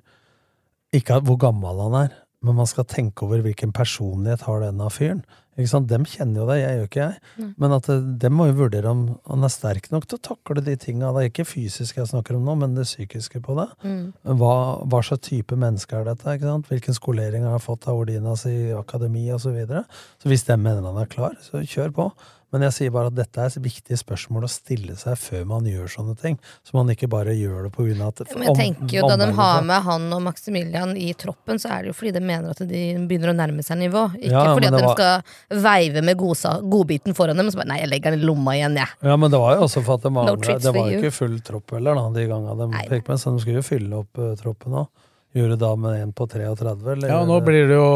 Speaker 4: Ikke at hvor gammel han er, men man skal tenke over hvilken personlighet har denne fyren. Ikke sant? Dem kjenner jo deg, jeg gjør ikke jeg. Men at eh, dem må jo vurdere om han er sterk nok til å takle de tinga. Det er ikke fysisk jeg snakker om nå, men det psykiske på det.
Speaker 5: Mm.
Speaker 4: Hva, hva slags type menneske er dette? Ikke sant? Hvilken skolering har han fått av Ordinas i akademi osv.? Så, videre? så hvis dem mener han er klar, så kjør på. Men jeg sier bare at dette er viktige spørsmål å stille seg før man gjør sånne ting. Så man ikke bare gjør det på grunn av at
Speaker 5: Men jeg tenker jo Da de
Speaker 4: omverdenen-
Speaker 3: liksom?
Speaker 5: har med han og Maximilian i troppen, så er det jo fordi de mener at de begynner å nærme seg nivå. Ikke
Speaker 4: Ja,
Speaker 5: fordi
Speaker 4: men
Speaker 5: at
Speaker 4: det
Speaker 5: de
Speaker 4: var-
Speaker 5: skal veive med godsa, godbiten foran dem. Og så bare, nei, jeg legger den i lomma igjen, jeg.
Speaker 4: Ja, men det var jo også for at det mangla
Speaker 5: treats
Speaker 4: Det
Speaker 5: for
Speaker 4: var jo
Speaker 5: you.
Speaker 4: ikke full tropp heller, da, de gangene de
Speaker 5: Nei.
Speaker 4: fikk med, så de skulle jo fylle opp eh, troppen òg. Gjorde da med en på 33, eller?
Speaker 3: Ja, og nå blir det jo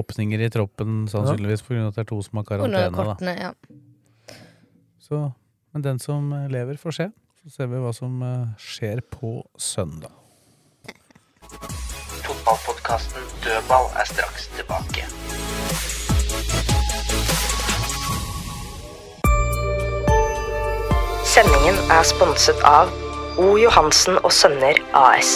Speaker 3: åpninger i troppen sannsynligvis pga. at det er to som har
Speaker 5: Under
Speaker 3: karantene. Da.
Speaker 5: kortene, ja.
Speaker 3: Så, men den som eh, lever, får se. Så ser vi hva som eh, skjer på søndag.
Speaker 1: Fotballpodkasten Dødball er straks tilbake. Sendingen er sponset av O. Johansen og Sønner AS.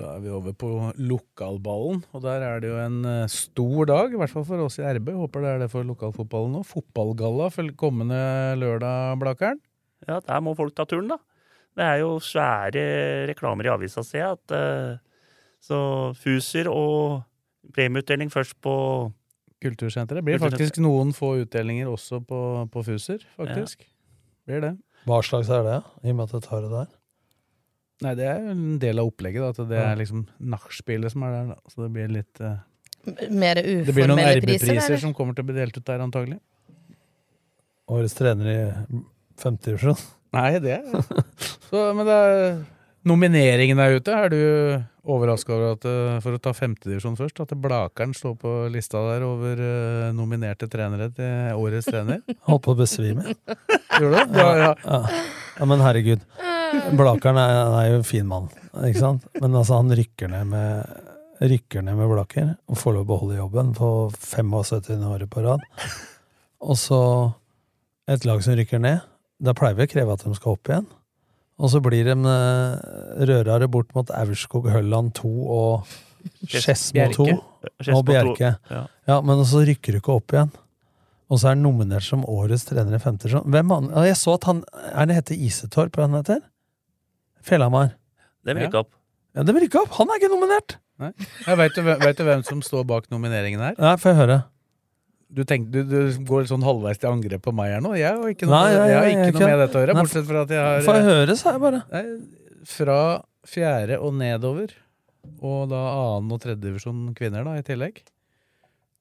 Speaker 3: Da er vi over på lokalballen, og der er det jo en eh, stor dag, i hvert fall for oss i RB. Håper det er det for lokalfotballen nå. Fotballgalla føl- kommende lørdag, Blakeren.
Speaker 2: Ja, der må folk ta turen, da. Det er jo svære reklamer i avisa, ser jeg. At, eh, så Fuser og premieutdeling først på
Speaker 3: Kultursenteret. Blir
Speaker 2: Kultursenteret.
Speaker 3: faktisk noen få utdelinger også på, på Fuser, faktisk. Blir det.
Speaker 4: eh, Hva slags er det, i og med at du tar det der?
Speaker 3: Nei, det er jo en del av opplegget, da, at det er liksom nachspielet som er der, da. Så det blir litt eh,
Speaker 5: Mer
Speaker 3: Det blir noen
Speaker 5: uformelle priser,
Speaker 3: RB-priser
Speaker 5: eller?
Speaker 3: som kommer til å bli delt ut der, antagelig.
Speaker 4: Årets trener i 50-årsrund?
Speaker 3: Nei, det så, Men det er, nomineringen er ute. Er du overraska over at eh, for å ta femtedivisjon først, at Blakeren står på lista der over eh, nominerte trenere til årets trener?
Speaker 4: Holdt på å besvime.
Speaker 3: Gjorde du det? Ja, ja.
Speaker 4: Ja. ja, men herregud. Blakeren er, han er jo en fin mann, ikke sant? Men altså, han rykker ned med Rykker ned med Blaker og får lov å beholde jobben på 75 år på rad. Og så et lag som rykker ned. Da pleier vi å kreve at de skal opp igjen. Og så blir de eh, rørere bort mot Aurskog Hølland 2 og Skedsmo 2
Speaker 2: Bjerke.
Speaker 4: og Bjerke.
Speaker 2: Ja.
Speaker 4: Ja, men så rykker du ikke opp igjen. Og så er han nominert som årets trener i femte divisjon. Hvem an- Ja, Jeg så at han Er det hette Isetorp han heter? Fjellhamar.
Speaker 2: Det vil
Speaker 3: Ja.
Speaker 2: ikke opp.
Speaker 4: Ja, det vil ikke opp! Han er ikke nominert!
Speaker 3: Jeg vet, du, hvem- vet du hvem som står bak nomineringen her?
Speaker 4: Nei, får jeg høre.
Speaker 3: Du, tenk, du, du går sånn halvveis til angrep på meg her nå. Jeg har ikke noe,
Speaker 4: Nei, nei,
Speaker 3: jeg har
Speaker 4: nei, jeg
Speaker 3: ikke
Speaker 4: kan-
Speaker 3: noe med dette å gjøre,
Speaker 4: Nei,
Speaker 3: bortsett fra at jeg har eh,
Speaker 4: Får jeg høre, sa jeg bare.
Speaker 3: Nei, fra fjerde og nedover, og da annen og tredje divisjon kvinner da, i tillegg,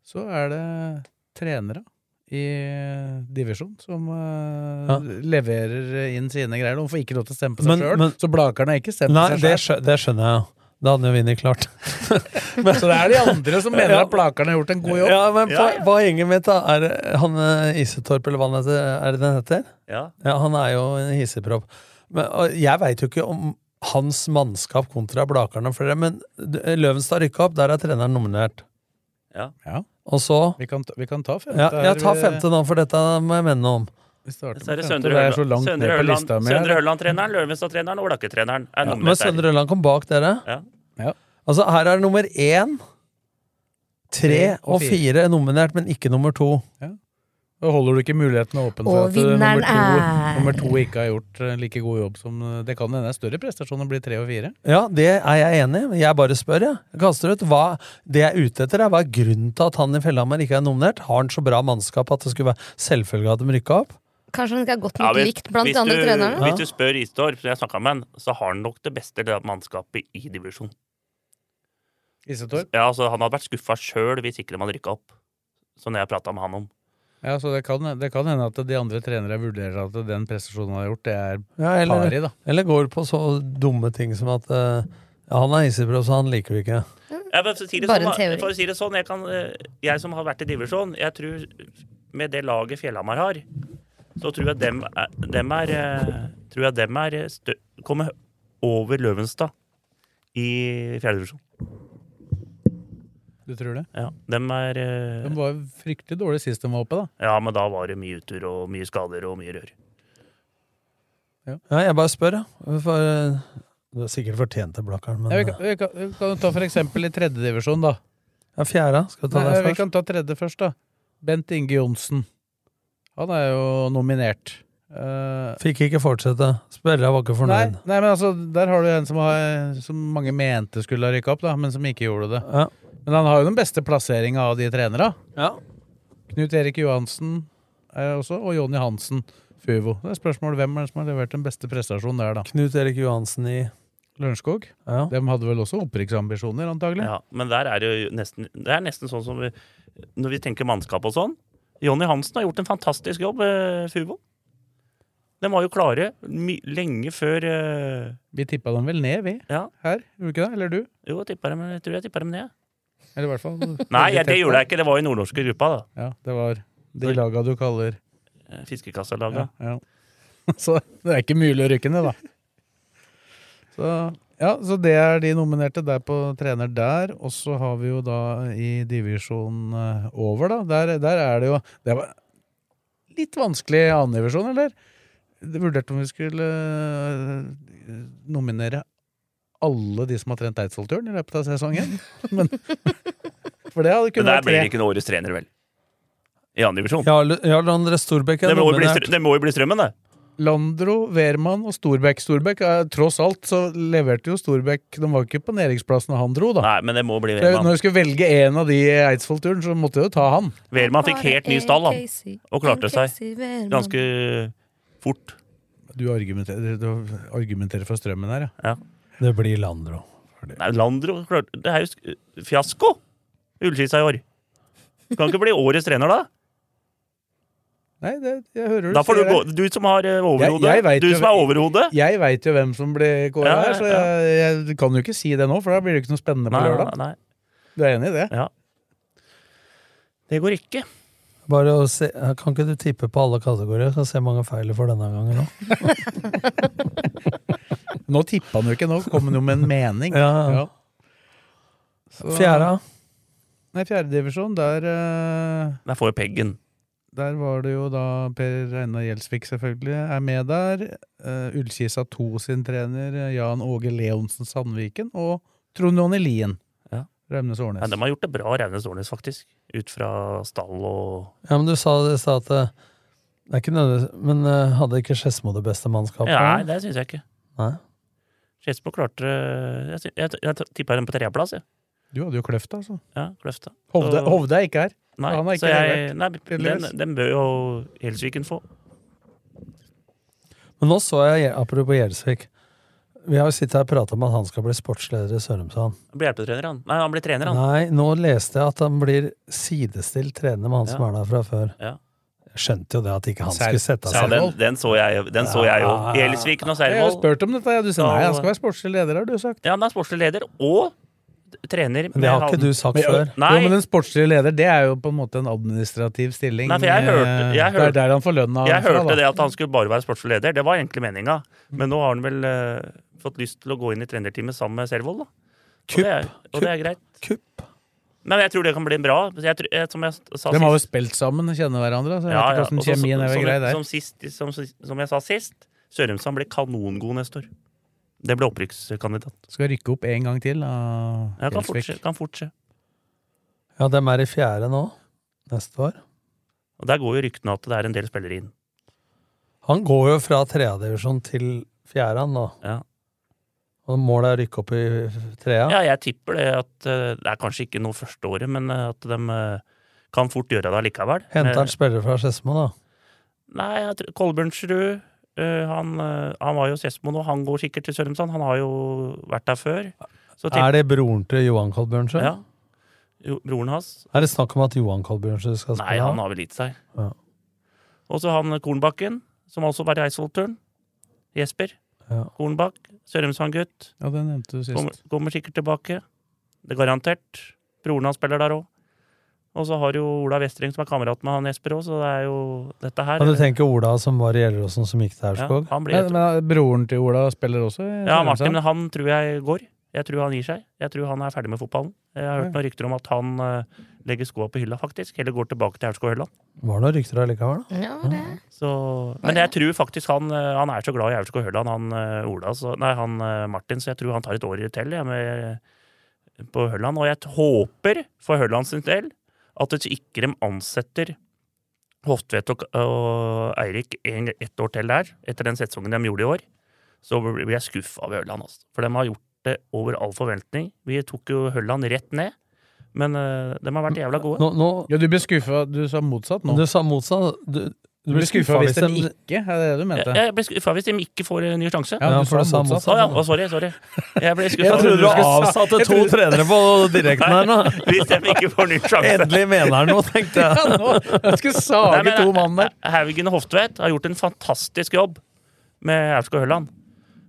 Speaker 3: så er det trenere i divisjon som eh,
Speaker 4: Ja.
Speaker 3: leverer inn sine greier. De får ikke lov til å stemme på
Speaker 4: Men-
Speaker 3: seg sjøl,
Speaker 4: men-
Speaker 3: så Blakerne har ikke stemt
Speaker 4: Nei,
Speaker 3: på seg
Speaker 4: det,
Speaker 3: sjøl.
Speaker 4: skjø det skjønner jeg jo. Det hadde jo Vinni klart.
Speaker 3: Så det er de andre som mener
Speaker 4: Ja.
Speaker 3: at Blakerne har gjort en god jobb.
Speaker 4: Ja, men
Speaker 2: Ja, ja.
Speaker 4: po- Poenget mitt da er han eh, Isetorp, eller hva han heter, er det den heter?
Speaker 2: Ja.
Speaker 4: Ja, han er jo en hissepropp. Men, og jeg veit jo ikke om hans mannskap kontra Blakerne og flere, men d- Løvenstad rykka opp, der er treneren nominert.
Speaker 2: Ja.
Speaker 3: Ja.
Speaker 4: Og så
Speaker 3: Vi, kan, ta- vi kan ta femte.
Speaker 4: ja,
Speaker 3: her.
Speaker 4: Jeg tar
Speaker 3: Vi-
Speaker 4: femte nå, for dette må jeg mene noe om.
Speaker 3: vi starter
Speaker 2: Så er det
Speaker 3: med femte.
Speaker 2: Søndre
Speaker 3: Det er så
Speaker 2: Hølland-
Speaker 3: langt ned
Speaker 2: Søndre
Speaker 3: på
Speaker 2: Hølland-
Speaker 3: lista mi her.
Speaker 2: Søndre Hølland-treneren, Løvenstad-treneren og Blakke-treneren er
Speaker 4: Ja,
Speaker 2: nominert
Speaker 4: men
Speaker 2: der.
Speaker 4: Søndre Ørland kom bak dere.
Speaker 2: Ja.
Speaker 3: Ja.
Speaker 4: Altså, her er det nummer én, tre
Speaker 3: Tre og
Speaker 4: og fire nominert, men ikke nummer to.
Speaker 3: Da holder du ikke mulighetene åpne for
Speaker 5: Og
Speaker 3: at eh, nummer to,
Speaker 5: vinneren er-
Speaker 3: nummer to ikke har gjort eh, like god jobb som eh, Det kan hende det er større prestasjon å bli tre og fire.
Speaker 4: Ja, det er jeg enig i. Jeg bare spør, jeg. jeg. Kaster ut. Hva, det jeg er ute etter, er hva er grunnen til at han i Fjellhamar ikke er nominert? Har han så bra mannskap at det skulle være selvfølgelig at de rykka opp?
Speaker 5: Kanskje han ikke har gått
Speaker 2: Ja,
Speaker 5: nok
Speaker 2: hvis-
Speaker 5: likt blant
Speaker 2: hvis
Speaker 5: de andre
Speaker 2: du-
Speaker 5: trenerne?
Speaker 2: Hvis du spør Istorp, som jeg snakka med, han, så har han nok det beste mannskapet i divisjon.
Speaker 3: Isetorp.
Speaker 2: Ja, altså, han hadde vært skuffa sjøl hvis ikke de hadde rykka opp. Som jeg prata med han om.
Speaker 3: Ja, så det kan, det kan hende at de andre trenere vurderer at den prestasjonen han har gjort, det er
Speaker 4: Ja, eller,
Speaker 3: pari, da.
Speaker 4: eller går på så dumme ting som at eh, ja, han er isipro, så han liker vi ikke.
Speaker 2: Jeg, for, å si det
Speaker 5: Bare
Speaker 2: sånn,
Speaker 5: en teori.
Speaker 2: da, for å si det sånn, jeg, kan, eh, jeg som har vært i divisjon, jeg tror med det laget Fjellhamar har, så tror jeg dem er, dem er, eh, tror jeg dem er eh, stø kommer over Løvenstad i fjerdedivisjon.
Speaker 3: Du tror det?
Speaker 2: Ja, dem er eh,
Speaker 3: De var fryktelig dårlig sist de var oppe, da.
Speaker 2: Ja, men da var det mye utur og mye skader og mye rør.
Speaker 4: Ja, jeg bare spør, ja. For, eh, du har sikkert fortjent det, Blakkaren, men
Speaker 3: Ja, vi,
Speaker 4: eh,
Speaker 3: kan, vi, kan, vi kan jo ta for eksempel i tredjedivisjon, da.
Speaker 4: ja, fjerde. Skal vi ta
Speaker 3: Nei,
Speaker 4: det
Speaker 3: vi
Speaker 4: først?
Speaker 3: kan ta tredje først, da. Bent Inge Johnsen. Han er jo nominert. Eh,
Speaker 4: Fikk ikke fortsette. Spørra var ikke
Speaker 3: nei,
Speaker 4: fornøyd.
Speaker 3: nei, men altså, der har du en som, har, som mange mente skulle ha rykka opp, da, men som ikke gjorde det.
Speaker 4: Ja.
Speaker 3: Men han har jo den beste plasseringa av de trenere.
Speaker 4: Ja.
Speaker 3: Knut Erik Johansen er også, og Jonny Hansen. Fuvo. Det er spørsmål hvem er det som har levert den beste prestasjonen der, da.
Speaker 4: Knut Erik Johansen i
Speaker 3: Lørenskog.
Speaker 4: ja.
Speaker 3: De hadde vel også opprykksambisjoner, antagelig.
Speaker 2: Ja, men der er det jo nesten, det er nesten sånn som vi, når vi tenker mannskap og sånn. Jonny Hansen har gjort en fantastisk jobb, eh, Fuvo. De var jo klare my lenge før eh,
Speaker 3: Vi tippa dem vel ned, vi.
Speaker 2: Ja.
Speaker 3: Her, gjorde vi ikke det? Eller du?
Speaker 2: Jo, jeg, tippa dem, jeg tror jeg tippa dem ned.
Speaker 3: Eller i hvert fall
Speaker 2: Nei, jeg, det
Speaker 3: tett på.
Speaker 2: gjorde jeg ikke. Det var jo nordnorske gruppa, da.
Speaker 3: Ja, det var de laga du kaller
Speaker 2: Eh, Fiskekassalaget.
Speaker 3: ja, ja. Så det er ikke mulig å rykke ned, da. Så, ja, så det er de nominerte der på trener der. Og så har vi jo da i divisjon eh, over, da. Der, der er det jo Det var litt vanskelig i annen divisjon, eller? Det vurderte om vi skulle eh, nominere alle de som har trent Eidsvollturen i løpet av sesongen. Men, for det hadde
Speaker 2: Men
Speaker 3: kunnet
Speaker 2: der
Speaker 3: vært
Speaker 2: blir
Speaker 3: tre.
Speaker 2: det ikke noe årets trener, vel? I andre divisjon.
Speaker 4: Jarl, Jarl André Storbekk
Speaker 2: Det
Speaker 4: er
Speaker 2: må jo bli,
Speaker 4: nominert.
Speaker 2: str- det må jo bli Strømmen, det.
Speaker 3: Landro, Wehrmann og Storbekk. Storbekk, eh, tross alt, så leverte jo Storbekk De var ikke på nedrykksplassen da han dro, da.
Speaker 2: Nei, men det må
Speaker 3: Så
Speaker 2: bli
Speaker 3: jeg- Når
Speaker 2: Wehrmann.
Speaker 3: jeg skulle velge en av de i Eidsvoll-turen, så måtte jeg jo ta han.
Speaker 2: Wehrmann fikk helt ny stall, han. og klarte seg. Ganske fort.
Speaker 3: Du argumenterer, du argumenterer for strømmen her, ja.
Speaker 4: Det blir Landro.
Speaker 2: Nei, Landro klarte Det er jo sk- fiasko! Ullskisa i år. Kan ikke bli årets trener, da?
Speaker 3: Nei, det, jeg hører du
Speaker 2: Da får du
Speaker 3: sier
Speaker 2: gå
Speaker 3: det.
Speaker 2: Du som har eh,
Speaker 3: Jeg- jeg
Speaker 2: overhodet.
Speaker 3: vet
Speaker 2: Du
Speaker 3: jo-
Speaker 2: som er overhodet.
Speaker 3: Jeg veit jo hvem som blir kåra
Speaker 2: Ja, ja,
Speaker 3: her, så jeg, jeg kan jo ikke si det nå, for da blir det ikke noe spennende på
Speaker 2: Nei,
Speaker 3: lørdag.
Speaker 2: nei,
Speaker 3: Du er enig i det?
Speaker 2: ja. Det går ikke.
Speaker 4: Bare å se, kan ikke du tippe på alle kategorier? Skal se hvor mange feil du får denne gangen òg.
Speaker 3: Nå tippa han jo ikke, nå kom han jo med en mening.
Speaker 4: Ja.
Speaker 3: Så-
Speaker 4: Fjerde.
Speaker 3: Nei, fjerdedivisjon, der eh,
Speaker 2: Der får jo Peggen.
Speaker 3: Der var det jo da Per Einar Gjelsvik selvfølgelig er med der. Uh, Ullkisa 2 sin trener, eh, Jan Åge Leonsen Sandviken, og Trond Jonny Lien.
Speaker 2: Ja.
Speaker 3: Raumnes Årnes.
Speaker 2: Men de har gjort det bra, Raunes Årnes, faktisk. Ut fra stall og
Speaker 4: Ja, men du sa det i stad at eh, det er ikke nødvendig, Men eh, hadde ikke Skedsmo det beste mannskapet?
Speaker 2: Nei, det syns jeg ikke.
Speaker 4: Nei.
Speaker 2: Skedsmo klarte det- Jeg, sy- jeg, jeg tippa dem på tredjeplass, jeg.
Speaker 3: Du hadde jo Kløfta, altså.
Speaker 2: Ja, Kløfta.
Speaker 3: Hovde,
Speaker 2: Så-
Speaker 3: Hovde er ikke her.
Speaker 2: Nei,
Speaker 3: Han har
Speaker 2: så
Speaker 3: ikke
Speaker 2: jeg, nei den,
Speaker 3: tydeligvis.
Speaker 2: den bør jo Helsviken få.
Speaker 4: Men nå så jeg, apropos Gjelsvik Vi har jo sittet her og prata om at han skal bli sportsleder i Sørumsand.
Speaker 2: Han blir hjelpetrener, han. Nei, han blir trener, han.
Speaker 4: Nei, nå leste jeg at han blir sidestilt trener med han som
Speaker 2: Ja.
Speaker 4: er der fra før.
Speaker 2: Ja.
Speaker 4: Jeg skjønte jo det at ikke han
Speaker 3: Sær-
Speaker 4: skulle sette
Speaker 2: Ja,
Speaker 4: av
Speaker 2: den,
Speaker 4: seg.
Speaker 2: den så jeg jo. Den så jeg jo.
Speaker 4: Ja.
Speaker 2: I Elsviken
Speaker 3: Jeg har jo
Speaker 2: og Seiervoll.
Speaker 3: spurt om dette. ja. Du sa nei, han skal være sportslig leder, har du sagt.
Speaker 2: Ja, han er sportslig leder og trener.
Speaker 4: Men det har ikke du sagt før.
Speaker 2: Nei.
Speaker 3: Jo, men en sportslig leder, det er jo på en måte en administrativ stilling.
Speaker 2: Nei, for jeg hørte- jeg
Speaker 3: Eh, det
Speaker 2: hørte-
Speaker 3: er der han får lønna.
Speaker 2: Jeg
Speaker 3: fra, da.
Speaker 2: hørte det altså. at han skulle bare være sportslig leder. Det var egentlig meninga. Men nå har han vel eh, fått lyst til å gå inn i trenerteamet sammen med Servold, da. Og det er, og det er greit.
Speaker 4: Kupp.
Speaker 2: Men jeg tror det kan bli bra. Jeg tror, jeg, som jeg s- sa
Speaker 3: De har jo
Speaker 2: sist-
Speaker 3: spilt sammen og kjenner hverandre. Så jeg
Speaker 2: Ja,
Speaker 3: vet
Speaker 2: ja.
Speaker 3: ikke hvordan
Speaker 2: Og så-
Speaker 3: kjemien er
Speaker 2: som,
Speaker 3: vel grei
Speaker 2: som,
Speaker 3: der.
Speaker 2: sist, som, som jeg sa sist, Sørumsand blir kanongod neste år. Det blir opprykkskandidat.
Speaker 3: Skal rykke opp en gang til. av
Speaker 2: Ja, kan fort
Speaker 3: Elsvik.
Speaker 2: skje. Kan fort skje.
Speaker 4: Ja, dem er i fjerde nå. Neste år.
Speaker 2: Og der går jo ryktene at det er en del spillere inn.
Speaker 4: Han går jo fra tredjedivisjon til fjerde han nå.
Speaker 2: Ja.
Speaker 4: Og målet er å rykke opp i trea.
Speaker 2: Ja, jeg tipper det at eh, det er kanskje ikke noe første året, men eh, at de eh, kan fort gjøre det allikevel.
Speaker 4: Henter
Speaker 2: Eh,
Speaker 4: han spillere fra Skedsmo, da?
Speaker 2: Nei, jeg tror- Kolbjørnsrud eh, han, eh, han var jo Skedsmo nå, han går sikkert til Sørumsand. Han har jo vært der før. Så
Speaker 4: Er det broren til Johan Kolbjørnsrud?
Speaker 2: ja. Jo, broren hans.
Speaker 4: Er det snakk om at Johan Kolbjørnsrud skal spille?
Speaker 2: Nei, han har vel gitt seg.
Speaker 4: Ja.
Speaker 2: Og så han eh, Kornbakken, som også var i Eidsvollturen. Jesper
Speaker 4: Ja.
Speaker 2: Kornbakk. Sørumsand-gutt.
Speaker 3: Ja, det nevnte du sist.
Speaker 2: Kommer, kommer sikkert tilbake. Det er garantert. Broren hans spiller der òg. Og så har jo Ola Vestreng, som er kamerat med han Jesper òg, så det er jo dette her.
Speaker 4: Ja, du tenker Ola som var i Gjelleråsen, som gikk til
Speaker 2: ja,
Speaker 4: Aurskog?
Speaker 2: han blir,
Speaker 3: Men, men broren til Ola spiller også? i
Speaker 2: ja,
Speaker 3: Sørumsand?
Speaker 2: Martin, men han tror jeg går. Jeg tror han gir seg. Jeg tror han er ferdig med fotballen. Jeg har hørt noen rykter om at han eh, legger skoa på hylla, faktisk. Heller går tilbake til Aurskog Høland.
Speaker 4: Var det noen rykter allikevel, da?
Speaker 5: Ja, det.
Speaker 2: Så, men jeg tror faktisk han, eh, han er så glad i Aurskog Høland, han eh, Ola, så, nei, han eh, Martin, så jeg tror han tar et år til jeg, med, på Høland. Og jeg t- håper for Høland sin del at det ikke de ansetter Hoftvedt og, og Eirik en, ett år til der, etter den sesongen de gjorde i år. Så blir jeg skuffa over Høland, altså. For de har gjort det over all forventning. Vi tok jo Høland rett ned, men eh, de har vært jævla gode.
Speaker 4: Nå, nå,
Speaker 3: Ja, du ble skuffa. Du sa motsatt nå.
Speaker 4: du sa motsatt. Du,
Speaker 3: Du ble skuffa hvis den
Speaker 4: de-
Speaker 3: ikke er det det du
Speaker 2: Jeg,
Speaker 3: mente?
Speaker 2: jeg blir skuffa hvis de ikke får en ny sjanse.
Speaker 4: Ja, for du sa motsatt.
Speaker 2: Å ja, å, sorry, sorry. Jeg ble skuffa.
Speaker 4: Jeg trodde du
Speaker 2: Skulle
Speaker 4: avsatte to trenere på direkten her nå!
Speaker 2: sa- Hvis de ikke får ny sjanse.
Speaker 4: Endelig mener han noe, tenkte jeg.
Speaker 3: Ja, nå, jeg skulle
Speaker 2: Nei,
Speaker 3: sage
Speaker 2: men,
Speaker 3: to mann der.
Speaker 2: Haugen og Hoftvedt har gjort en fantastisk jobb med Aurskog Høland.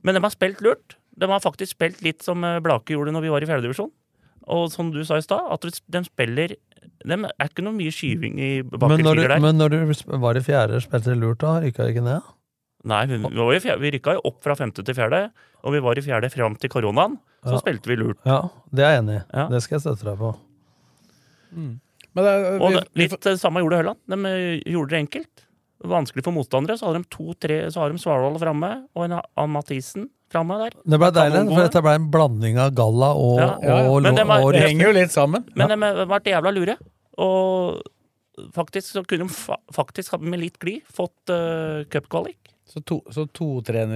Speaker 2: Men de har spilt lurt. De har faktisk spilt litt som eh, Blake gjorde når vi var i fjerdedivisjon. Og som du sa i stad, at de spiller De er ikke noe mye skyving i
Speaker 4: Men når,
Speaker 2: bakhjulsrygger
Speaker 4: du,
Speaker 2: der.
Speaker 4: men når du sp- var i fjerde, spilte du lurt da? Rykka ikke ned?
Speaker 2: Nei, vi, vi, var i fjerde, vi rykka jo opp fra femte til fjerde, og vi var i fjerde fram til koronaen. Så
Speaker 4: Ja.
Speaker 2: spilte vi lurt.
Speaker 4: Ja, det er jeg enig i.
Speaker 2: Ja.
Speaker 4: Det skal jeg støtte deg på.
Speaker 3: Men det, er-
Speaker 2: Og det,
Speaker 3: vi,
Speaker 2: litt det samme gjorde Høland. De eh, gjorde det enkelt. Vanskelig for motstandere. Så har de to-tre Så har de Svardal framme, og en Ann Mathisen framme der.
Speaker 4: Det ble deilig,
Speaker 2: Kanongode.
Speaker 4: for dette ble en blanding av galla og,
Speaker 2: Ja,
Speaker 3: ja, ja.
Speaker 4: og,
Speaker 2: Men det var-
Speaker 4: og
Speaker 3: det henger jo litt sammen.
Speaker 2: Men de har vært jævla lure. Og faktisk så kunne de fa faktisk ha- med litt glid fått uh, cupkvalik.
Speaker 3: Så, to, så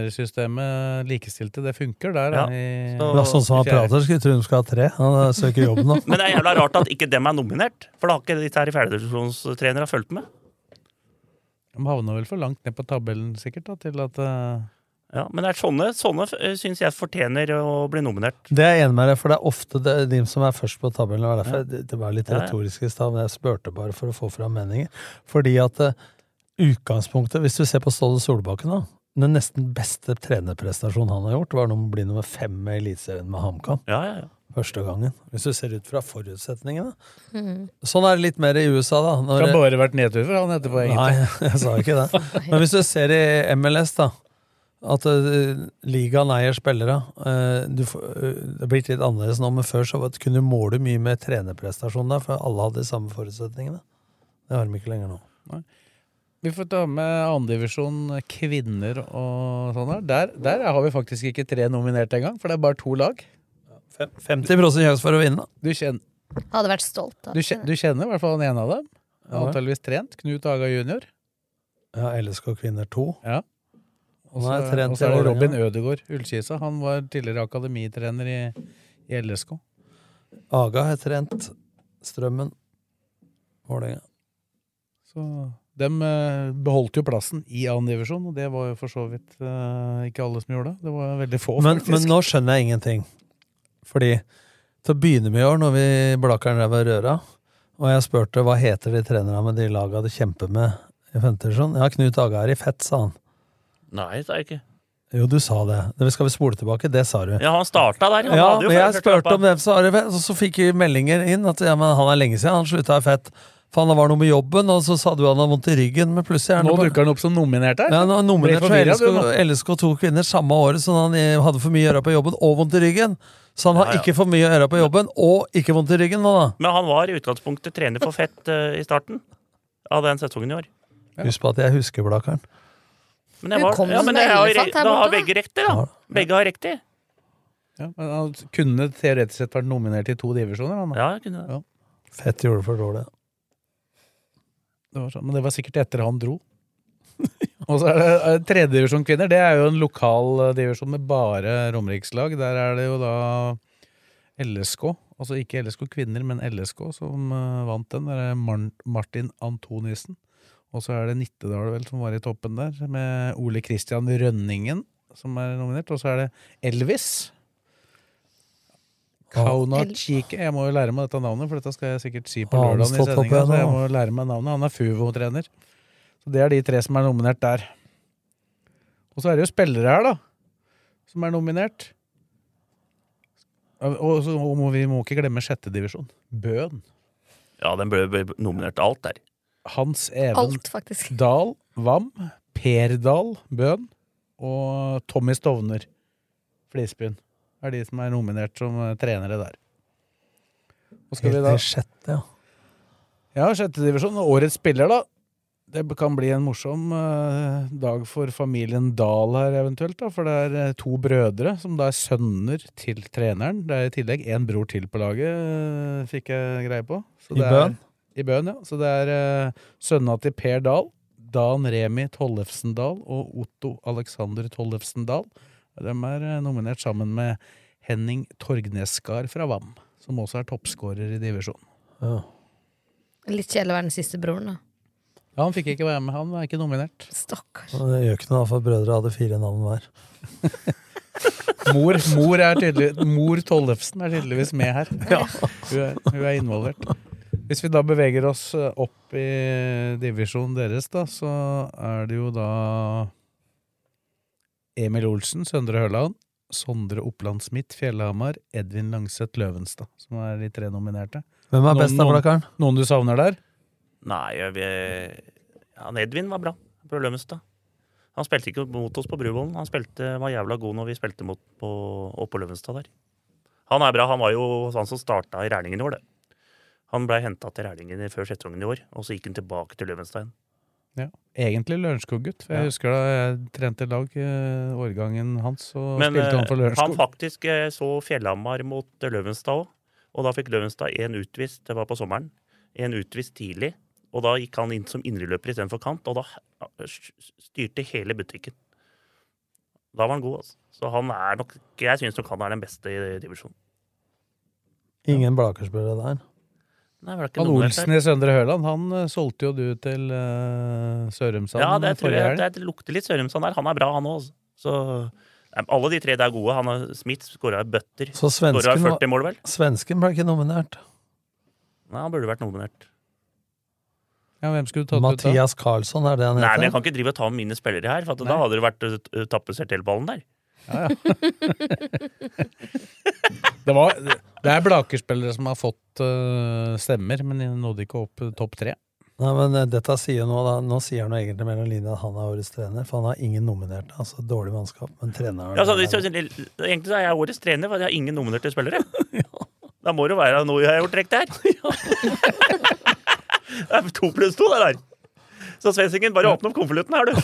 Speaker 3: totrenersystemet likestilte, det funker der? da,
Speaker 2: Ja,
Speaker 3: i-
Speaker 2: så-
Speaker 4: Ja, sånn som han prater, skulle tro de skal ha tre. Han eh, søker jobb nå.
Speaker 2: Men det er jævla rart at ikke dem er nominert, for da har ikke disse her fjerdedivisjonstrenere fulgt med.
Speaker 3: De havna vel for langt ned på tabellen, sikkert, da, til at eh,
Speaker 2: Ja, men det er sånne, sånne syns jeg fortjener å bli nominert.
Speaker 4: Det er jeg enig med deg, for det er ofte det, de som er først på tabellen. og Det, var derfor jeg- det var litt
Speaker 2: Ja, ja.
Speaker 4: retorisk i stad, men jeg spurte bare for å få fram meninger. Fordi at eh, utgangspunktet, hvis du ser på Ståle Solbakken, da den nesten beste trenerprestasjonen han har gjort, var når han ble nummer fem med Eliteserien med HamKam.
Speaker 2: Ja, ja, ja.
Speaker 4: Første gangen. Hvis du ser ut fra forutsetningene. Sånn er det litt mer i USA, da. når-
Speaker 3: Det har bare vært nedtur for han etterpå, egentlig.
Speaker 4: Nei, jeg sa ikke det. Men hvis du ser i MLS, da. At eh, ligaen eier spillere. eh, du får, eh, det har blitt litt annerledes nå, men før så var det- kunne du måle mye med trenerprestasjon der, for alle hadde de samme forutsetningene. Det har de ikke lenger nå.
Speaker 3: Vi får ta med andredivisjon kvinner og sånn her. Der, der har vi faktisk ikke tre nominert engang, for det er bare to lag.
Speaker 4: 50 sjanse for å vinne.
Speaker 3: Du kjenner,
Speaker 5: Hadde vært stolt.
Speaker 3: du kjen- du kjenner i hvert fall den ene av dem.
Speaker 4: Ja.
Speaker 3: Antakeligvis trent. Knut Haga jr.
Speaker 4: Ja, LSK kvinner 2.
Speaker 3: Ja. Og så
Speaker 4: Han er trent
Speaker 3: og så er
Speaker 4: i
Speaker 3: det
Speaker 4: Vålerenga.
Speaker 3: Robin Ødegaard Ullkisa. Han var tidligere akademitrener i, i LSK.
Speaker 4: Aga har trent Strømmen. Vålerenga.
Speaker 3: Så de beholdt jo plassen i andredivisjon, og det var jo for så vidt eh, ikke alle som gjorde det. Det var veldig få,
Speaker 4: Men,
Speaker 3: faktisk.
Speaker 4: men nå skjønner jeg ingenting. Fordi til å begynne med i år, når vi Blakkaren ræva i røra, og jeg spurte hva heter de trenerne med de laga du kjemper med i femte divisjon. Ja, Knut Aga er i fett, sa han.
Speaker 2: Nei, det er ikke
Speaker 4: Jo, du sa det. det. Skal vi spole tilbake? Det sa du.
Speaker 2: Ja, han starta der. Han
Speaker 4: Ja,
Speaker 2: hadde jo
Speaker 4: men jeg
Speaker 2: først- først
Speaker 4: spurte
Speaker 2: kampen.
Speaker 4: om det, så, er det fett. Og så fikk vi meldinger inn at ja, men han er lenge siden, han slutta i fett. Faen, det var noe med jobben, og så sa du han har vondt i ryggen, men plutselig er han
Speaker 3: Nå
Speaker 4: på-
Speaker 3: dukker han opp som nominert her.
Speaker 4: ja, nå er nominert
Speaker 3: Ble
Speaker 4: for
Speaker 3: forvirret,
Speaker 4: LSK,
Speaker 3: du, nå.
Speaker 4: LSK to kvinner samme året, så han eh, hadde for mye å gjøre på jobben og vondt i ryggen. Så han har
Speaker 2: Ja, ja.
Speaker 4: ikke for mye å gjøre på jobben og ikke vondt i ryggen nå, da.
Speaker 2: Men han var i utgangspunktet trener for Fett eh, i starten av den sesongen i år.
Speaker 4: Husk på at jeg husker Blakeren.
Speaker 2: Men jeg
Speaker 5: Du
Speaker 2: var,
Speaker 5: kom
Speaker 2: ja,
Speaker 5: som
Speaker 2: men
Speaker 5: en
Speaker 2: jeg har,
Speaker 5: elefant her
Speaker 2: da har
Speaker 5: borte, da.
Speaker 2: begge riktig, da. Begge har riktig.
Speaker 3: Ja, men han kunne teoretisk sett vært nominert i to divisjoner, han. da.
Speaker 2: Ja, jeg kunne det.
Speaker 4: Fett gjorde det for dårlig.
Speaker 3: Det var sånn, men det var sikkert etter han dro. Og så er det eh, tredjedivisjon kvinner. Det er jo en lokal eh, divisjon med bare romerikslag. Der er det jo da LSK, altså ikke LSK kvinner, men LSK, som eh, vant den. Der er Mar Martin Antonissen. Og så er det Nittedal vel som var i toppen der, med Ole Kristian Rønningen som er nominert. Og så er det Elvis. Kaunachike. Jeg må jo lære meg dette navnet, for dette skal jeg sikkert si på
Speaker 4: Har han
Speaker 3: lørdag. i
Speaker 4: stått opp
Speaker 3: sendingen,
Speaker 4: igjen
Speaker 3: så jeg
Speaker 4: nå?
Speaker 3: må lære meg navnet. Han er FUVO-trener. Så Det er de tre som er nominert der. Og så er det jo spillere her, da, som er nominert. Og så må vi må ikke glemme sjettedivisjon. Bøhn.
Speaker 2: Ja, den ble, ble nominert til alt der.
Speaker 3: Hans Even
Speaker 5: Alt, faktisk.
Speaker 3: Dahl Vam. Per Dahl Bøhn. Og Tommy Stovner Flisbyen. Er de som er nominert som eh, trenere der. Og skal vi
Speaker 4: Helt
Speaker 3: da
Speaker 4: i sjette, ja.
Speaker 3: Ja, sjettedivisjon. Årets spiller, da. Det kan bli en morsom eh, dag for familien Dahl her, eventuelt. da, For det er eh, to brødre som da er sønner til treneren. Det er i tillegg én bror til på laget, eh, fikk jeg greie på. Så
Speaker 4: I
Speaker 3: det er-
Speaker 4: Bøen?
Speaker 3: I Bøen, ja. Så det er eh, sønna til Per Dahl, Dan Remi Tollefsen Dahl og Otto Alexander Tollefsen Dahl. De er eh, nominert sammen med Henning Torgnesgard fra Vam, som også er toppskårer i divisjonen.
Speaker 4: ja.
Speaker 5: Litt kjedelig å være den siste broren, da.
Speaker 3: Ja, han fikk ikke være med. Han er ikke nominert.
Speaker 5: Stakkars.
Speaker 4: Men Det gjør ikke noe, for brødre hadde fire navn hver.
Speaker 3: Mor, mor, er tydelig, mor Tollefsen er tydeligvis med her. Hun, er, hun er involvert. Hvis vi da beveger oss eh, opp i divisjonen deres, da, så er det jo da Emil Olsen, Søndre Hørland, Sondre Oppland Smith, Fjellhamar, Edvin Langseth Løvenstad, som er de tre nominerte.
Speaker 4: Hvem er
Speaker 3: Noen-
Speaker 4: best av
Speaker 3: noen-
Speaker 4: Blakeren?
Speaker 3: Noen du savner der?
Speaker 2: Nei, jeg, jeg, han Edvin var bra på Lømstad. Han spilte ikke mot oss på Bruvollen. Han spilte, var jævla god når vi spilte mot på, oppå Løvenstad der. Han er bra. Han var jo han som starta i Rælingen i år, det. Han blei henta til Rælingen i- før sesongen i år, og så gikk han tilbake til Løvenstad igjen.
Speaker 3: Ja. Egentlig Lørenskog-gutt. for Jeg husker da jeg trente lag eh, årgangen hans, og
Speaker 2: Men
Speaker 3: spilte han for
Speaker 2: eh, han
Speaker 3: Lørenskog.
Speaker 2: faktisk eh, så Fjellhamar mot eh, Løvenstad òg, og da fikk Løvenstad én utvist, det var på sommeren, én utvist tidlig, og da gikk han inn som indreløper istedenfor kant, og da eh, styrte hele butikken. Da var han god, altså. Så han er nok Jeg syns nok han er den beste i divisjonen.
Speaker 4: Ingen Blaker-spillere der.
Speaker 2: Nei, var det ikke
Speaker 3: Han
Speaker 2: nominert
Speaker 3: Olsen
Speaker 2: der?
Speaker 3: i Søndre Høland, han eh, solgte jo du til uh, Sørumsand
Speaker 2: Ja, det tror
Speaker 3: forrige
Speaker 2: jeg
Speaker 3: helg.
Speaker 2: det lukter litt Sørumsand der. Han er bra, han òg. Så Nei, alle de tre der er gode. Han er Smith skåra bøtter.
Speaker 4: Så
Speaker 2: Skåra
Speaker 4: svensken, var-
Speaker 2: 40 mål, vel?
Speaker 4: svensken ble ikke nominert.
Speaker 2: Nei, han burde vært nominert.
Speaker 3: Ja, hvem skulle du tatt ut da?
Speaker 4: Mathias Karlsson er det han
Speaker 2: Nei, men jeg
Speaker 4: heter.
Speaker 2: kan ikke drive og ta med mine spillere her, for at da
Speaker 3: Nei.
Speaker 2: hadde det vært uh, t- tappesert hele ballen der.
Speaker 3: Det, var, det er Blaker-spillere som har fått eh, stemmer, men de nådde ikke opp eh, topp tre.
Speaker 4: Nei, men eh, dette sier nå, da, nå sier han jo egentlig mellom linjene at han er årets trener, for han har ingen nominerte. Altså dårlig mannskap, men treneren
Speaker 2: Ja, så, Altså, hvis- hvis- egentlig så er jeg årets trener, for jeg har ingen nominerte spillere. Da må det være noe jeg har gjort riktig her. det er to pluss to, det der. Så Svensingen, bare åpne opp konvolutten her, du.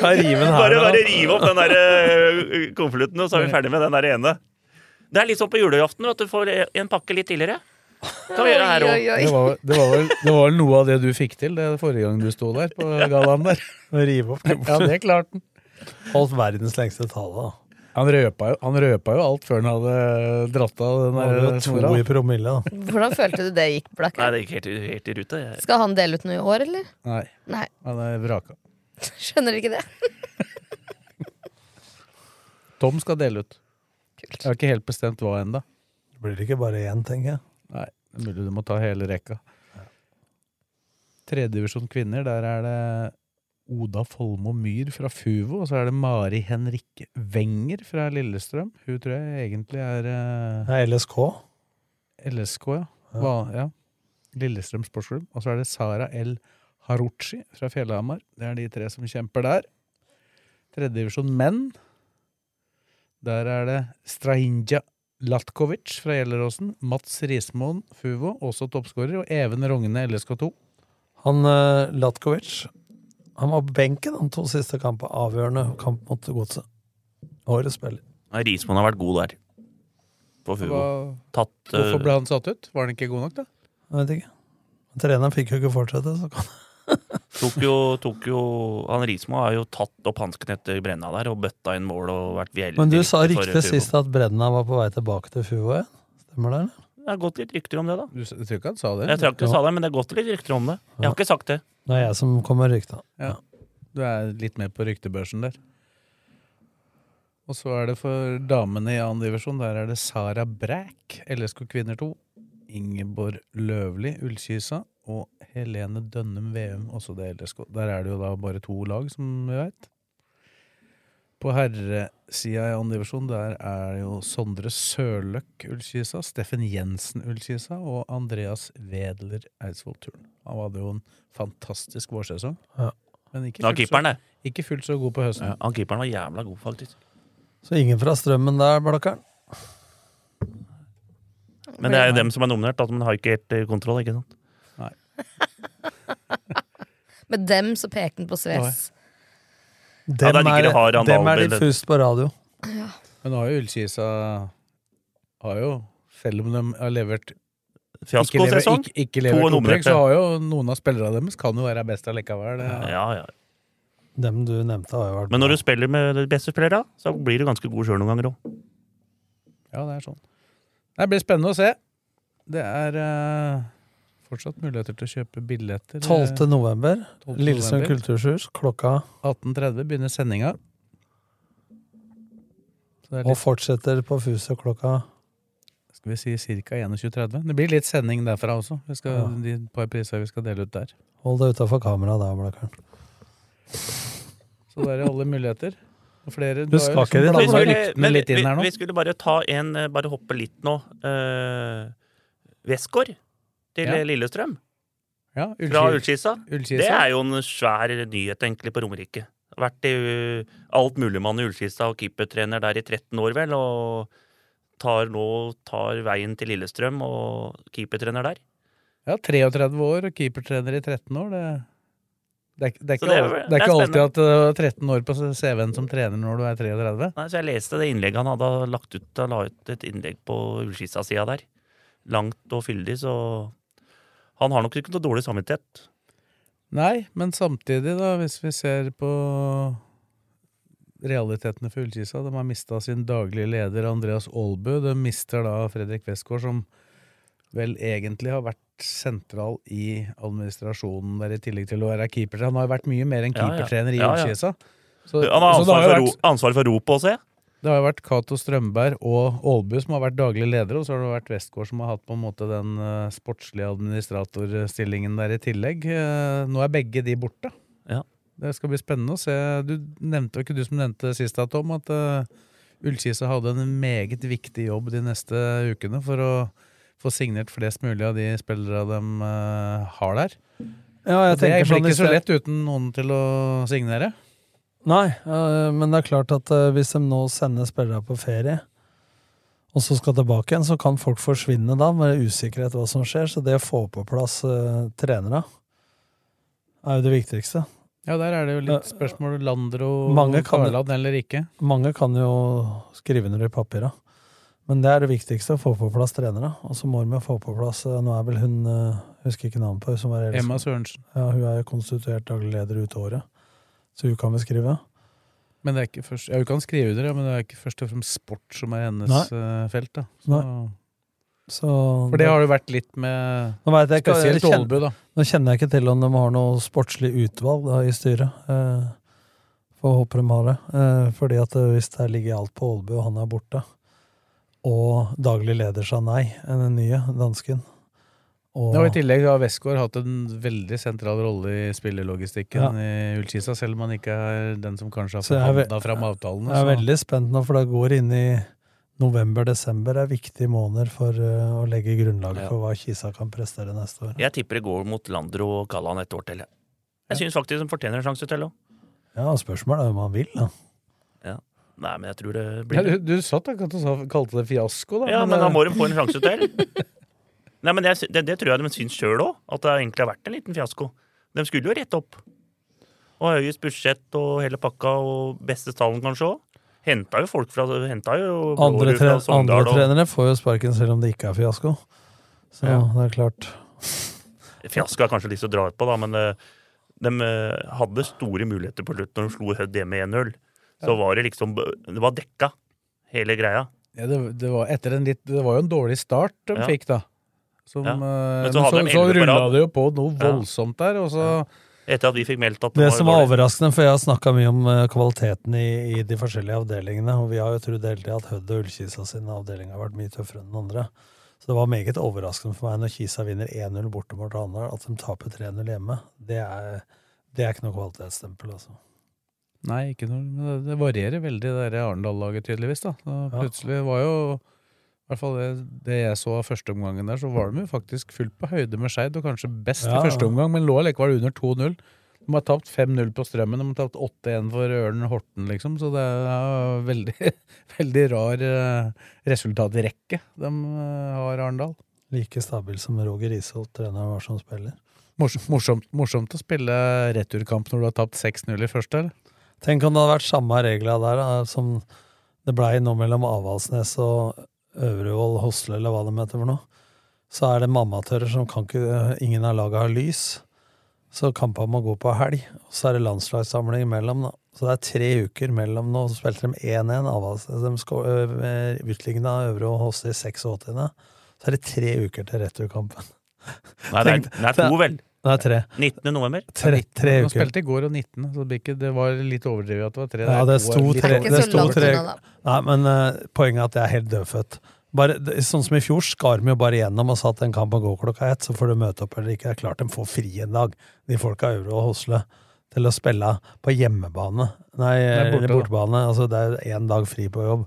Speaker 4: Kan rive den her,
Speaker 2: Bare, bare
Speaker 4: da.
Speaker 2: rive opp den der uh, konvolutten, og så er vi ferdig med den der ene. Det er litt sånn på julejaften, vet du. Får en pakke litt tidligere. Kan vi gjøre her òg.
Speaker 3: Det var, det, var vel, det var vel noe av det du fikk til det forrige gang du sto der på gallaen der.
Speaker 4: Og rive opp
Speaker 3: Ja, det klarte han.
Speaker 4: Holdt verdens lengste tale, da.
Speaker 3: Han røpa, jo, han røpa jo alt før han hadde dratt av den
Speaker 4: Han hadde
Speaker 3: der
Speaker 4: jo to
Speaker 3: snora.
Speaker 4: i promille, da.
Speaker 5: Hvordan følte du det gikk,
Speaker 2: Nei,
Speaker 5: Blakker?
Speaker 2: det gikk helt, i- helt i rute. Jeg-
Speaker 5: Skal han dele ut noe i år, eller?
Speaker 3: Nei,
Speaker 5: Nei,
Speaker 3: han er vraka.
Speaker 5: skjønner ikke det.
Speaker 3: Tom skal dele ut. Jeg har ikke helt bestemt hva ennå.
Speaker 4: Det blir ikke bare én, tenker jeg.
Speaker 3: Nei, Det er Mulig du må ta hele rekka. Tredjedivisjon kvinner, der er det Oda Folmo Myhr fra Fuvo, og så er det Mari Henrikke Wenger fra Lillestrøm. Hun tror jeg egentlig er eh,
Speaker 4: Det er LSK.
Speaker 3: LSK, ja. Hva, ja. Lillestrøm sportsklubb. Og så er det Sara L. Haruchi fra Fjellhamar. Det er de tre som kjemper der. Tredjedivisjon menn. Der er det Strahinja Latkovic fra Gjelleråsen. Mats Rismoen Fuvo, også toppskårer. Og Even Rogne LSK2.
Speaker 4: Han eh, Latkovic Han var på benken de to siste kampene. Avgjørende kamp mot Godset. Årets spiller.
Speaker 2: Nei, Rismoen har vært god der. På Fugo.
Speaker 3: Hva,
Speaker 2: Tatt, eh,
Speaker 3: hvorfor ble han satt ut? Var han ikke god nok, da?
Speaker 4: Jeg vet ikke. Treneren fikk jo ikke fortsette, så kan
Speaker 2: tok, jo, tok jo Han Rismo har jo tatt opp hansken etter brenna der og bøtta inn mål og vært veldig
Speaker 4: Men du sa
Speaker 2: viktig for
Speaker 4: riktig
Speaker 2: Fugo.
Speaker 4: sist at Brenna var på vei tilbake til Fuvo igjen. Stemmer det, eller?
Speaker 2: Det har gått litt rykter om det, da.
Speaker 3: Du s- jeg tror ikke han sa det?
Speaker 2: Jeg tror ikke du sa det, men det har gått litt rykter om det. Jeg har ikke sagt det.
Speaker 4: Det er jeg som kommer med rykta.
Speaker 3: Ja. Du er litt med på ryktebørsen der. Og så er det for damene i annen divisjon. Der er det Sara Bræk, LSK Kvinner 2. Ingeborg Løvli, Ullkysa. Og Helene Dønnum Veum, også det LSK. Der er det jo da bare to lag, som vi veit. På herresida i annen divisjon der er det jo Sondre Sørløk Ullkysa, Steffen Jensen Ullkysa og Andreas Wedler Eidsvoll Turn. Han hadde jo en fantastisk vårsesong.
Speaker 4: Ja.
Speaker 3: Men ikke
Speaker 2: Det var
Speaker 3: fullt så-
Speaker 2: keeperen, det.
Speaker 3: ikke fullt så god på høsten.
Speaker 2: Han keeperen var jævla god, faktisk.
Speaker 4: Så ingen fra Strømmen der, Blakkaren?
Speaker 2: Men det er jo dem som er nominert, da, men har ikke helt eh, kontroll, ikke sant?
Speaker 5: Med dem så peker han på Sves.
Speaker 2: der ligger det hard
Speaker 4: dem
Speaker 2: han
Speaker 4: er
Speaker 2: Valbell.
Speaker 4: diffust på radio.
Speaker 3: Men nå har jo Ullkisa har jo, selv om de har levert ikke, lever,
Speaker 2: Fiaskosesong?
Speaker 3: ikke, ikke
Speaker 2: To
Speaker 3: levert
Speaker 2: nominerte.
Speaker 3: opprykk, så har jo noen av spillerne deres kan jo være best allikevel. Ja.
Speaker 2: Ja, ja.
Speaker 4: Dem du nevnte, har jo vært
Speaker 2: Men når du spiller med de beste spillerne, så blir du ganske god sjøl noen ganger òg.
Speaker 3: ja, det er sånn. Det blir spennende å se. Det er eh, fortsatt muligheter til å kjøpe billetter.
Speaker 4: 12. november,
Speaker 3: 12.
Speaker 4: Lillesund
Speaker 3: november.
Speaker 4: kulturhus, klokka,
Speaker 3: 18.30 begynner sendinga. Så det er
Speaker 4: og
Speaker 3: litt,
Speaker 4: fortsetter på Fuset klokka
Speaker 3: skal vi si ca. 21.30. Det blir litt sending derfra også. Vi skal,
Speaker 4: Ja.
Speaker 3: De par priser vi skal dele ut der.
Speaker 4: Hold deg utafor kameraet da, Blakkaren.
Speaker 3: Så det er alle muligheter. Og flere,
Speaker 4: Du skal ikke dit.
Speaker 2: Vi,
Speaker 4: Blanda
Speaker 2: skulle-
Speaker 3: ryktene
Speaker 2: men
Speaker 3: litt
Speaker 2: vi,
Speaker 3: inn her nå.
Speaker 2: vi skulle bare ta en eh, Bare hoppe litt nå. Uh, Westgård til
Speaker 3: Ja.
Speaker 2: eh, Lillestrøm.
Speaker 3: Ja,
Speaker 2: Fra
Speaker 3: Ullskis-
Speaker 2: Ullskisa. Det
Speaker 3: Ullskisa.
Speaker 2: er jo en svær nyhet, egentlig, på Romerike. Vært i uh, altmuligmann i Ullskisa og keepertrener der i 13 år, vel, og tar nå tar veien til Lillestrøm og keepertrener der.
Speaker 3: Ja, 33 år og keepertrener i 13 år. Det, det, er, ikke- det, er,
Speaker 2: Så
Speaker 3: ikke,
Speaker 2: det er-
Speaker 3: al- det, er,
Speaker 2: det er
Speaker 3: ikke alltid at uh, 13 år på CV-en som trener når du er 33.
Speaker 2: Nei, så jeg leste det innlegget han hadde lagt ut. Han la ut et innlegg på Ullskissa-sida der. Langt og fyldig, så han har nok ikke noe dårlig samvittighet.
Speaker 3: Nei, men samtidig, da, hvis vi ser på realitetene for Ullkisa De har mista sin daglige leder Andreas Aalbø. De mister da Fredrik Westgård, som vel egentlig har vært sentral i administrasjonen der, i tillegg til å være keeper. Han har jo vært mye mer enn
Speaker 2: Ja, ja.
Speaker 3: keepertrener i
Speaker 2: Ja, ja.
Speaker 3: Ullkisa. Så,
Speaker 2: Han har
Speaker 3: så det
Speaker 2: ansvar
Speaker 3: har jo
Speaker 2: for,
Speaker 3: vært
Speaker 2: ro, ansvar for ropet også, jeg.
Speaker 3: Det har jo vært Cato Strømberg og Aalbu som har vært daglige ledere, og så har det vært Westgård som har hatt på en måte den eh, sportslige administratorstillingen der i tillegg. Eh, nå er begge de borte.
Speaker 2: Ja.
Speaker 3: Det skal bli spennende å se. Du nevnte jo ikke du som nevnte det sist, da, Tom, at uh, Ullkisa hadde en meget viktig jobb de neste ukene for å få signert flest mulig av de spillere de eh, har der.
Speaker 4: Ja, jeg
Speaker 3: det
Speaker 4: tenker
Speaker 3: blir
Speaker 4: sånn
Speaker 3: ikke så
Speaker 4: i sted-
Speaker 3: lett uten noen til å signere.
Speaker 4: Nei, øh, men det er klart at øh, hvis de nå sender spillere på ferie, og så skal tilbake igjen, så kan folk forsvinne da, med usikkerhet hva som skjer. Så det å få på plass øh, trenere er jo det viktigste.
Speaker 3: Ja, der er det jo litt spørsmål Landro og
Speaker 4: Mange kan-
Speaker 3: Karland eller ikke.
Speaker 4: Mange kan jo skrive under i papira, men det er det viktigste, å få på plass trenere. Og så må de jo få på plass øh, Nå er vel hun øh, Husker ikke navnet på hun som var eldst.
Speaker 3: Emma Sørensen.
Speaker 4: Ja, hun er jo konstituert daglig leder ut året, så hun kan vel skrive.
Speaker 3: Men det er ikke først, ja, Hun kan skrive under, ja, men det er ikke først og fremst sport som er hennes eh, felt. da. Så,
Speaker 4: Så
Speaker 3: for det har det jo vært litt med
Speaker 4: Nå vet jeg ikke, jeg
Speaker 3: spesielt
Speaker 4: kjenner-
Speaker 3: Aalbu, da.
Speaker 4: Nå kjenner jeg ikke til om de har noe sportslig utvalg da, i styret. Eh, Får håpe de har det. Eh, fordi at eh, hvis det ligger alt på Aalbu, og han er borte, og daglig leder sa nei, den nye eh, dansken, Og,
Speaker 3: Ja, og I tillegg har Westgård hatt en veldig sentral rolle i spillerlogistikken
Speaker 4: Ja.
Speaker 3: i Ullkisa, selv om han ikke er den som kanskje har
Speaker 4: Så jeg er ve-
Speaker 3: forhandla fram avtalene.
Speaker 4: jeg er
Speaker 3: så-
Speaker 4: veldig spent nå, for det går inn i november-desember. er viktige måneder for eh, å legge grunnlaget
Speaker 3: Ja.
Speaker 4: for hva Kisa kan prestere neste år.
Speaker 2: Jeg tipper det går mot Landro og Kallan et år til. jeg. Jeg syns faktisk de fortjener en sjanse til òg.
Speaker 4: Ja, og Spørsmålet er om han vil. Da.
Speaker 2: Nei, men jeg tror det
Speaker 3: ja,
Speaker 2: blir
Speaker 3: du, du satt akkurat og sa- kalte det fiasko, da.
Speaker 2: Ja, men da
Speaker 3: eh,
Speaker 2: må de få en sjanse til. Nei, men jeg, sy- det, det tror jeg de syns sjøl òg, at det egentlig har vært en liten fiasko. De skulle jo rette opp. Og høyest budsjett og hele pakka, og beste stallen kanskje òg. Henta jo folk fra Henta jo
Speaker 4: Andre, tre,
Speaker 2: Blårud fra
Speaker 4: andre
Speaker 2: Sogndal og
Speaker 4: trenere får jo sparken selv om det ikke er fiasko. Så
Speaker 2: Ja.
Speaker 4: det er klart.
Speaker 2: Fiasko er kanskje litt å dra ut på, da, men eh, de eh, hadde store muligheter på slutt når de slo Hødd hjemme 1-0. Så var det liksom Det var dekka, hele greia.
Speaker 3: Ja, det, det, var etter en litt, det var jo en dårlig start de
Speaker 2: Ja.
Speaker 3: fikk, da. Som,
Speaker 2: Ja.
Speaker 3: eh,
Speaker 2: Men
Speaker 3: Men
Speaker 2: så
Speaker 3: så, så,
Speaker 2: hadde de elleve på
Speaker 3: rulla
Speaker 2: rad.
Speaker 3: det jo på noe
Speaker 2: Ja.
Speaker 3: voldsomt der, og så
Speaker 2: Etter at vi fikk meldt at
Speaker 4: Det
Speaker 2: var
Speaker 4: som var
Speaker 2: dårlig.
Speaker 4: overraskende, for jeg har snakka mye om eh, kvaliteten i, i de forskjellige avdelingene, og vi har jo trodd hele tida at Hødd og Ullkisa sin avdeling har vært mye tøffere enn den andre. Så det var meget overraskende for meg når Kisa vinner 1-0 borte mot Arendal, at de taper 3-0 hjemme. Det er, det er ikke noe kvalitetsstempel, altså.
Speaker 3: Nei, ikke noe, men det, det varierer veldig, det der Arendal-laget, tydeligvis. da. Så
Speaker 4: Ja.
Speaker 3: Plutselig var jo i hvert fall det, det jeg så av første omgangen der, så var de jo faktisk fullt på høyde med Skeid, og kanskje best
Speaker 4: Ja,
Speaker 3: i
Speaker 4: ja.
Speaker 3: første omgang, men lå allikevel under 2-0. De har tapt 5-0 på Strømmen, de har tapt 8-1 for Ørnen Horten, liksom, så det er veldig, veldig rar eh, resultatrekke de eh, har, Arendal.
Speaker 4: Like stabil som Roger Isholt, treneren var som spiller.
Speaker 3: Mors- Morsomt, morsomt å spille returkamp når du har tapt 6-0 i første, eller?
Speaker 4: Tenk om det hadde vært samme regla der da, som det blei nå mellom Avaldsnes og Øvrevoll Hosle, eller hva de heter for noe. Så er det mammatører som kan ikke eh, Ingen av laga har lys. Så kampene må gå på helg. Og så er det landslagssamling imellom, da. Så det er tre uker mellom nå. Så spilte de 1-1. Avaldsnes de sko- ø- utligna Øvre og Hosle i 86. Så er det tre uker til returkampen.
Speaker 2: Nei, det er, det er to, vel.
Speaker 4: Det er tre.
Speaker 2: 19. november.
Speaker 4: Tre, tre
Speaker 3: De
Speaker 4: uker.
Speaker 3: spilte i går og 19, så det, blir ikke, det var litt overdrevet at det var tre.
Speaker 4: Ja, det sto
Speaker 3: to er litt
Speaker 4: tre-
Speaker 5: Det er ikke
Speaker 4: det
Speaker 5: så
Speaker 4: sto
Speaker 5: langt
Speaker 4: tre-
Speaker 5: unna, da.
Speaker 4: Nei, men eh, poenget er at jeg er helt dødfødt. Bare, det, sånn som i fjor, skar de jo bare gjennom og sa at en kamp må gå klokka ett, så får du møte opp eller ikke. Det er klart de får fri en dag, de folka i Euro og Hosle, til å spille på hjemmebane. Nei,
Speaker 3: Nei, borte,
Speaker 4: eller
Speaker 3: da.
Speaker 4: bortebane. Altså, det er én dag fri på jobb.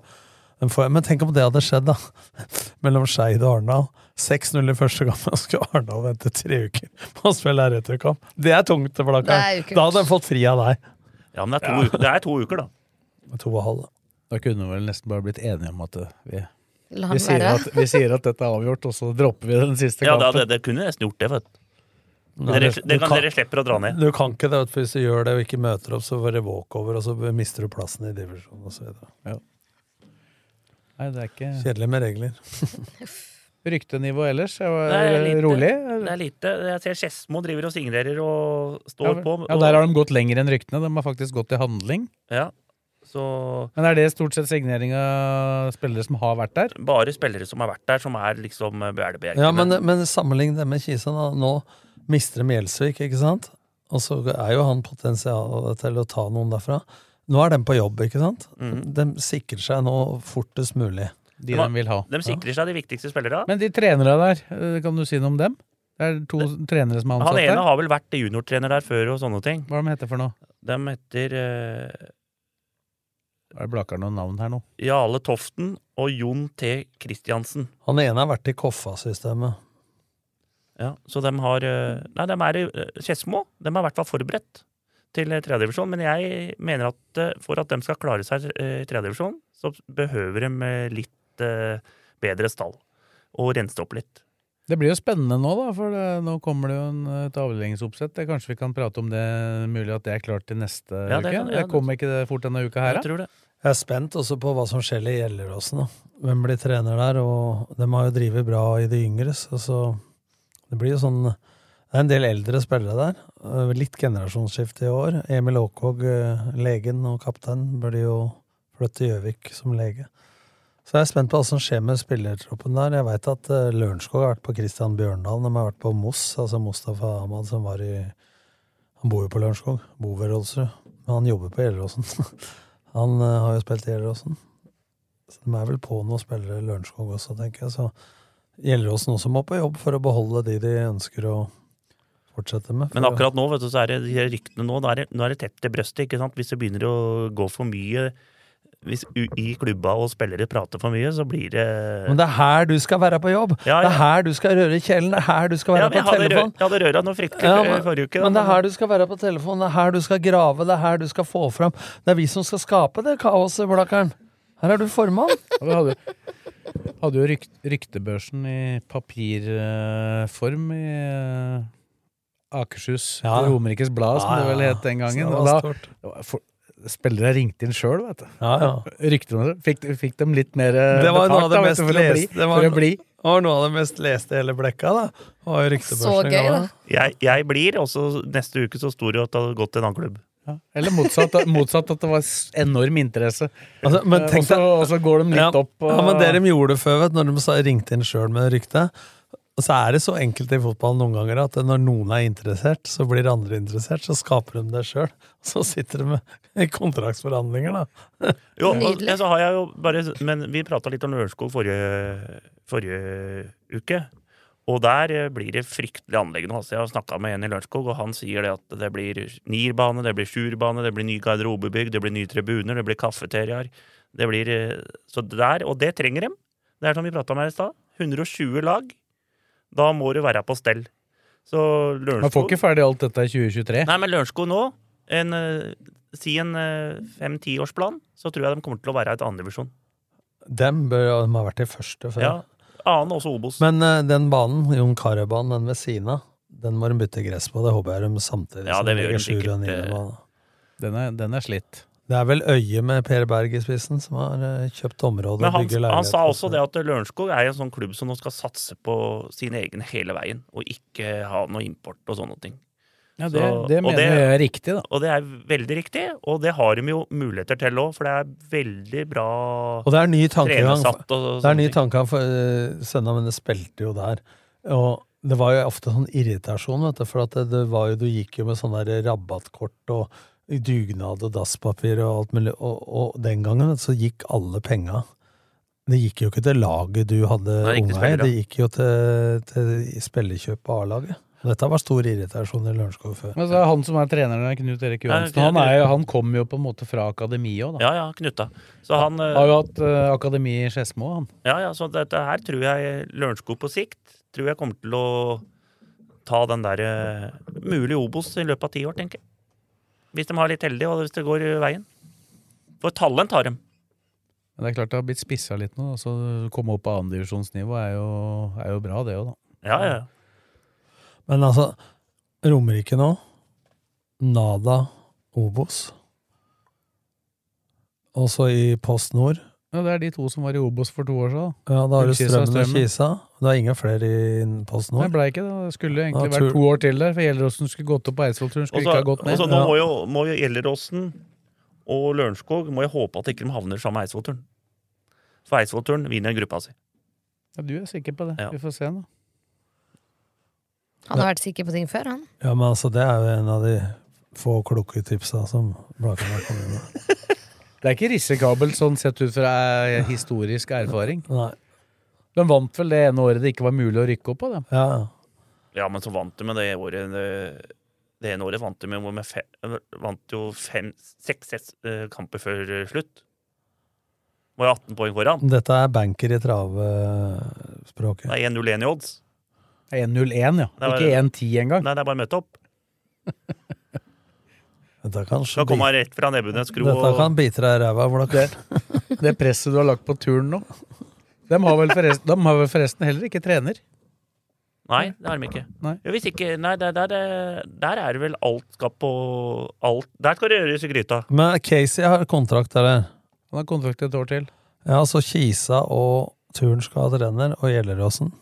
Speaker 4: Men, får, men tenk om det hadde skjedd, da. Mellom Skeid og Arendal. 6-0 i første kamp, og så skulle Arendal vente tre uker på å spille returkamp. Det er tungt, Blakkaren.
Speaker 5: Det er jo ikke
Speaker 4: Da hadde de fått fri av deg.
Speaker 2: Ja, men det er to, uker, det er to uker, da.
Speaker 4: To og halv.
Speaker 3: Da kunne vi vel nesten bare blitt enige om at eh, vi,
Speaker 5: La
Speaker 3: vi,
Speaker 5: han
Speaker 3: sier
Speaker 5: være.
Speaker 3: at, vi sier at dette er avgjort, og så dropper vi den siste
Speaker 2: Ja, da,
Speaker 3: kampen.
Speaker 2: det, det kunne nesten gjort det, vet du.
Speaker 4: Nei,
Speaker 2: Dere,
Speaker 4: du-
Speaker 2: det
Speaker 4: du
Speaker 2: kan,
Speaker 4: kan-
Speaker 2: dere slipper å dra ned.
Speaker 4: Du kan ikke det, vet du, for hvis du gjør det og ikke møter opp, så får det walkover, og så mister du plassen i divisjonen osv.
Speaker 3: Nei, det er Mm. ikke
Speaker 4: Kjedelig med regler.
Speaker 3: ryktenivå ellers. Jeg var
Speaker 2: Nei, lite.
Speaker 3: rolig.
Speaker 2: Det er lite. Jeg ser Skedsmo driver og signerer og
Speaker 3: Ja,
Speaker 2: står på.
Speaker 3: ja, der har de gått lenger enn ryktene. De har faktisk gått til handling.
Speaker 2: Ja, så
Speaker 3: Men er det stort sett signering av spillere som har vært der?
Speaker 2: bare spillere som har vært der, som er liksom eh, bjelkebjelkene.
Speaker 4: Ja, men, men sammenlign det med Kisa. da. Nå mister de Gjelsvik, ikke sant? Og så er jo han potensial til å ta noen derfra. Nå er de på jobb, ikke sant?
Speaker 2: Mm.
Speaker 4: De sikrer seg nå fortest mulig.
Speaker 3: De
Speaker 2: Ja.
Speaker 3: de vil ha.
Speaker 2: De sikrer seg de viktigste spillerne.
Speaker 3: Men de trenere der, eh, kan du si noe om dem? Det er to trenere som er
Speaker 2: Han
Speaker 3: ansatt
Speaker 2: ene
Speaker 3: der.
Speaker 2: har vel vært juniortrener der før og sånne ting.
Speaker 3: Hva er de heter for noe?
Speaker 2: De heter eh,
Speaker 3: Er det Blaker noen navn her nå?
Speaker 2: Jale Toften og Jon T. Christiansen.
Speaker 4: Han ene har vært i Koffa-systemet.
Speaker 2: Ja, så de har eh, Nei, de er i eh, Skedsmo. De er i hvert fall forberedt til eh, tredjedivisjon. Men jeg mener at eh, for at de skal klare seg eh, i tredjedivisjon, så behøver de eh, litt eh, bedre stall. Og rense opp litt.
Speaker 3: Det blir jo spennende nå, da, for det, nå kommer det jo en, et avdelingsoppsett. Det- Kanskje vi kan prate om det, mulig at det er klart til neste
Speaker 2: Ja,
Speaker 3: uke?
Speaker 2: det kan- ja,
Speaker 3: det kommer ikke det fort denne uka her,
Speaker 2: Jeg
Speaker 3: da?
Speaker 2: tror det.
Speaker 4: Jeg er spent også på hva som skjer i Gjelleråsen. da. Hvem blir trener der? og De har jo drevet bra i de yngre. Så så det blir jo sånn Det er en del eldre spillere der. Eh, Litt generasjonsskifte i år. Emil Aakvåg, eh, legen og kaptein, burde jo flytte til Gjøvik som lege. Så jeg er spent på hva som skjer med spillertroppen der. Jeg veit at eh, Lørenskog har vært på Christian Bjørndal. De har vært på Moss, altså Mustafa Ahmad, som var i Han bor jo på Lørenskog. Bor ved Rolsrud. Men han jobber på Gjelleråsen. Han eh, har jo spilt i Gjelleråsen. Så de er vel på noen spillere i Lørenskog også, tenker jeg. Så Gjelleråsen også må på jobb for å beholde de de ønsker å fortsette med.
Speaker 2: Men akkurat nå vet du, så er det de her ryktene nå, da er det, nå er det tett til brøstet. ikke sant? Hvis det begynner å gå for mye hvis u- i klubba og spillere prater for mye, så blir det
Speaker 4: Men det er her du skal være på jobb!
Speaker 2: Ja,
Speaker 4: Det er
Speaker 2: ja.
Speaker 4: her du skal røre kjelen! Det er her du skal
Speaker 2: Ja,
Speaker 4: være
Speaker 2: men jeg
Speaker 4: på
Speaker 2: hadde, rø
Speaker 4: telefon!
Speaker 2: jeg hadde røra noe fryktelig
Speaker 4: Ja,
Speaker 2: eh, forrige uke. da,
Speaker 4: Men det er her du skal være på telefon, det er her du skal grave, det er her du skal få fram. Det er vi som skal skape det kaoset, Blakkaren. Her er du formann.
Speaker 3: Ja, Vi hadde, hadde jo rykt, ryktebørsen i papirform i eh, Akershus
Speaker 4: Ja.
Speaker 3: Romerikes Blad, som
Speaker 4: Ja,
Speaker 3: det vel
Speaker 4: ja.
Speaker 3: het den gangen.
Speaker 4: Så det
Speaker 3: Og
Speaker 4: var
Speaker 3: da,
Speaker 4: stort.
Speaker 3: det var for, spillere ringte inn sjøl, vet du.
Speaker 4: Ja, ja.
Speaker 3: Ryktene fikk, fikk dem litt mer eh,
Speaker 4: Det var noe av det
Speaker 3: da, vet
Speaker 4: mest
Speaker 3: du, for å bli-
Speaker 4: leste- det var
Speaker 3: For å bli.
Speaker 4: Det var noe av det mest leste i hele blekka, da. Det var jo
Speaker 5: Så
Speaker 4: ryktebørsen i
Speaker 5: gøy,
Speaker 4: gamle
Speaker 5: da.
Speaker 4: dager.
Speaker 2: Jeg, jeg blir, og så neste uke så sto det jo at det hadde gått til en annen klubb.
Speaker 3: Ja. Eller motsatt, at- motsatt, at det var s- enorm interesse.
Speaker 4: Altså, men
Speaker 3: Eh,
Speaker 4: tenk
Speaker 3: og så-
Speaker 4: deg
Speaker 3: og så går de litt
Speaker 4: ja,
Speaker 3: opp. Og,
Speaker 4: ja, men det de gjorde før, vet, du, når de sa- ringte inn sjøl med rykte og så er det så enkelt i fotballen noen ganger at når noen er interessert, så blir andre interessert, så skaper de det sjøl. Så sitter de med i kontraktsforhandlinger, da.
Speaker 2: Jo, og,
Speaker 5: Nydelig.
Speaker 2: ja, så har jeg jo bare, men vi prata litt om Lørenskog forrige, forrige uke. Og der eh, blir det fryktelig anlegg nå. Altså, jeg har snakka med en i Lørenskog, og han sier det at det blir nierbane, det blir sjurbane, det blir ny garderobebygg, det blir nye tribuner, det blir kafeteriaer. Det blir eh, Så der, og det trenger dem. Det er som vi prata om her i stad. 120 lag. Da må du være på stell. Så
Speaker 3: Man får
Speaker 2: Lørenskog
Speaker 3: ikke ferdig alt dette i 2023.
Speaker 2: Nei, men Lørenskog nå en, eh, Si en eh, fem-tiårsplan, så tror jeg de kommer til å være i et andredivisjon.
Speaker 4: Dem bør jo de ha vært de første før.
Speaker 2: Ja. Annen også Obos.
Speaker 4: Men eh, den banen, Jon Carew-banen, den ved siden av, den må de bytte gress på. Det håper jeg de samtidig
Speaker 2: Ja,
Speaker 4: som
Speaker 2: det
Speaker 4: de
Speaker 2: gjør
Speaker 4: legger
Speaker 2: de sikkert,
Speaker 4: Sjur og
Speaker 2: eh.
Speaker 4: Niedermann.
Speaker 3: Den er, den er slitt.
Speaker 4: Det er vel Øye med Per Berg i spissen som har eh, kjøpt området
Speaker 2: Men
Speaker 4: og
Speaker 2: han,
Speaker 4: bygger leiligheter.
Speaker 2: han sa også det at Lørenskog er en sånn klubb som nå skal satse på sine egne hele veien, og ikke ha noe import og sånne ting.
Speaker 3: Ja, det,
Speaker 2: Så-
Speaker 3: det
Speaker 2: og
Speaker 3: mener
Speaker 2: det-
Speaker 3: jeg er riktig, da.
Speaker 2: Og det er veldig riktig, og det har de jo muligheter til òg, for det er veldig bra
Speaker 4: Og det er ny tankegang.
Speaker 2: trenersatt og
Speaker 4: Det er
Speaker 2: sånne
Speaker 4: ny
Speaker 2: ting.
Speaker 4: tankegang, for eh, søndag mine spilte jo der. Og det var jo ofte sånn irritasjon, vet du, for at det, det var jo, du gikk jo med sånn der rabattkort og dugnad og dasspapir og alt mulig, og, og den gangen vet du, så gikk alle penga. Det gikk jo ikke til laget du hadde
Speaker 2: Nei, ikke
Speaker 4: unga
Speaker 2: til
Speaker 4: i,
Speaker 2: spillere.
Speaker 4: det gikk jo til, til spillekjøp av A-laget. Dette var stor irritasjon i Lørenskog før.
Speaker 3: Men så er han som er treneren der, Knut Erik Johansen,
Speaker 2: Ja,
Speaker 3: han,
Speaker 2: Knut
Speaker 3: er
Speaker 2: Erik.
Speaker 3: jo- han kom jo på en måte fra akademiet òg, da.
Speaker 2: Ja, ja, Knutta. Så han eh,
Speaker 3: Har jo hatt eh, akademi i Skedsmo, han.
Speaker 2: Ja, ja, så dette her tror jeg Lørenskog på sikt tror jeg kommer til å ta den der eh, mulig Obos i løpet av ti år, tenker jeg. Hvis de har litt heldige, og hvis det går eh, veien. For talent har de.
Speaker 3: Men det er klart det har blitt spissa litt nå, da, så å komme opp på andredivisjonsnivå er, jo- er jo bra, det òg, da.
Speaker 2: Ja, ja.
Speaker 4: Men altså, Romerike nå Nada Obos. Og så i Post Nord.
Speaker 3: Ja, det er de to som var i Obos for to år siden. da.
Speaker 4: Ja, da har du
Speaker 3: Ullkisa,
Speaker 4: Strømmen og
Speaker 3: Strømmen.
Speaker 4: Kisa. Det er ingen flere i Post
Speaker 3: Nei,
Speaker 4: Nord.
Speaker 3: blei ikke det. Det skulle egentlig vært
Speaker 4: Ja, tror-
Speaker 3: to år til der, for Gjelleråsen skulle gått opp på Eidsvollturen.
Speaker 2: Og
Speaker 3: Skulle
Speaker 2: så
Speaker 3: ikke ha gått
Speaker 2: og
Speaker 3: ned.
Speaker 2: så nå
Speaker 4: Ja.
Speaker 2: må jo, må jo Gjelleråsen og Lørenskog må jeg håpe at ikke de havner sammen med Eidsvollturen. For Eidsvollturen vinner gruppa si.
Speaker 3: Ja, du er sikker på det.
Speaker 2: Ja.
Speaker 3: Vi får se, da.
Speaker 5: Han har vært sikker på ting før, han.
Speaker 4: Ja, men altså, det er jo en av de få kloke tipsa som Blakan har kommet med.
Speaker 3: Det er ikke risikabelt sånn sett ut fra eh, historisk erfaring.
Speaker 4: Nei.
Speaker 3: De vant vel det ene året det ikke var mulig å rykke opp på, da.
Speaker 4: Ja,
Speaker 2: Ja, men så vant de med det året Det, det ene året vant de med, med fe, vant jo fem, seks, seks eh, kamper før eh, slutt. Var jo 18 poeng foran.
Speaker 4: Dette er banker i travespråket.
Speaker 2: Det er 1-0-1 i odds.
Speaker 3: 1-0-1, ja.
Speaker 2: Det var-
Speaker 3: Ikke 1-10 engang.
Speaker 2: Nei, det er bare å møte opp.
Speaker 4: Dette kan,
Speaker 2: Da kommer han rett fra Nebbenes kro.
Speaker 4: dette
Speaker 2: og-
Speaker 4: kan bite deg i ræva, Blakan.
Speaker 3: Det presset du har lagt på turen nå. De har vel forresten, dem har vel forresten heller ikke trener.
Speaker 2: Nei, det har de ikke.
Speaker 3: Nei.
Speaker 2: Ja, hvis ikke nei, der, der, eh, der er det vel alt skal på alt. Der skal det gjøres i gryta.
Speaker 4: Men Casey har kontrakt, eller?
Speaker 3: Han har kontrakt et år til.
Speaker 4: Ja, så Kisa og Turen skal ha trener, og Gjelleråsen.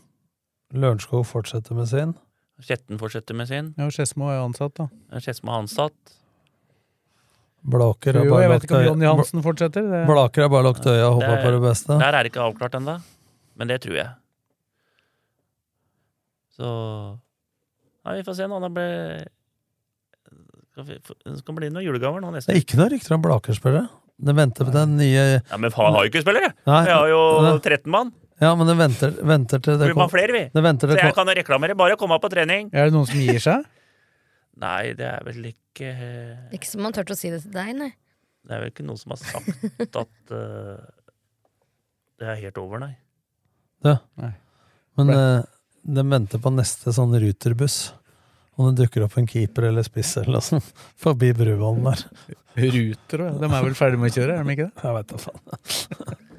Speaker 4: Lørenskog fortsetter med sin.
Speaker 2: Skjetten fortsetter med sin.
Speaker 3: Ja, Skedsmo er jo ansatt, da.
Speaker 2: Skedsmo er ansatt.
Speaker 4: Blaker har
Speaker 3: Jo,
Speaker 4: bare eh,
Speaker 3: jeg vet
Speaker 4: lagt
Speaker 3: ikke om
Speaker 4: øya
Speaker 3: Jonny Hansen fortsetter. Det.
Speaker 4: Bl- Blaker har bare lagt øya og håpa
Speaker 2: Det-
Speaker 4: på det beste.
Speaker 2: Der er det ikke avklart ennå, men det tror jeg. Så Nei, vi får se nå. Det blir skal vi- Det skal bli noen julegaver nå
Speaker 4: Det
Speaker 2: neste
Speaker 4: er ikke noe rykter om Blaker-spillere. Det venter på den nye
Speaker 2: Ja, Men faen, jeg har jo ikke spillere!
Speaker 4: Nei,
Speaker 2: Jeg har jo 13 mann.
Speaker 4: Ja, men det venter, venter til det
Speaker 2: Blir man flere, vi?
Speaker 4: Det venter
Speaker 2: Så
Speaker 4: til det
Speaker 2: jeg
Speaker 4: kom-
Speaker 2: kan reklamere. Bare komme på trening.
Speaker 3: Er det noen som gir seg?
Speaker 2: Nei, det er vel ikke eh,
Speaker 5: Ikke som man turte å si det til deg, nei.
Speaker 2: Det er vel ikke noen som har sagt at eh, det er helt over, nei.
Speaker 4: Men eh, den venter på neste sånn ruterbuss. Om det dukker opp en keeper eller spiss eller noe sånt forbi Bruvollen der.
Speaker 3: Ruter og De er vel ferdig med å kjøre, er de ikke det?
Speaker 4: Jeg vet da faen.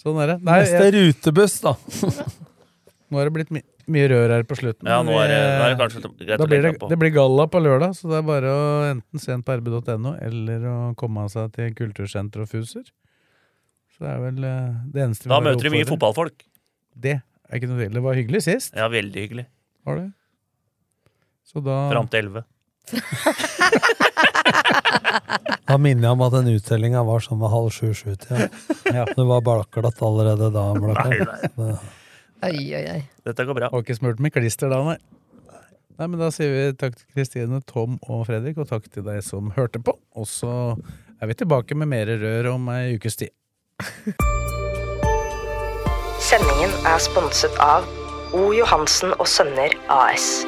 Speaker 3: Sånn er det. Nei,
Speaker 4: neste
Speaker 3: jeg,
Speaker 4: rutebuss, da!
Speaker 3: nå er det blitt my mye rør her på slutten.
Speaker 2: Ja, nå er det, nå er det
Speaker 3: Vi-
Speaker 2: kanskje greit
Speaker 3: da
Speaker 2: å
Speaker 3: blir
Speaker 2: legge
Speaker 3: det,
Speaker 2: av på.
Speaker 3: det blir galla på lørdag, så det er bare å enten se den på rb.no eller å komme seg til kultursenter og fuser. Så det er vel eh, det eneste vi
Speaker 2: Da
Speaker 3: har å
Speaker 2: møter vi mye
Speaker 3: oppfordre.
Speaker 2: fotballfolk.
Speaker 3: Det er ikke noe tvil. Det var hyggelig sist,
Speaker 2: Ja, veldig hyggelig.
Speaker 3: var det? Så da
Speaker 2: Fram til 11.
Speaker 4: Da minner jeg om at den uttellinga var sånn ved halv sju-sju-tida.
Speaker 3: Ja.
Speaker 4: Det var balklatt allerede da.
Speaker 2: Nei,
Speaker 4: Blakkar.
Speaker 2: nei.
Speaker 4: Det-
Speaker 5: Oi, oi, oi.
Speaker 2: Dette går bra.
Speaker 3: Var ikke smurt med klister da, nei. Nei, men Da sier vi takk til Kristine, Tom og Fredrik, og takk til deg som hørte på. Og så er vi tilbake med mer rør om ei ukes tid.
Speaker 1: Sendingen er sponset av O. Johansen og Sønner AS.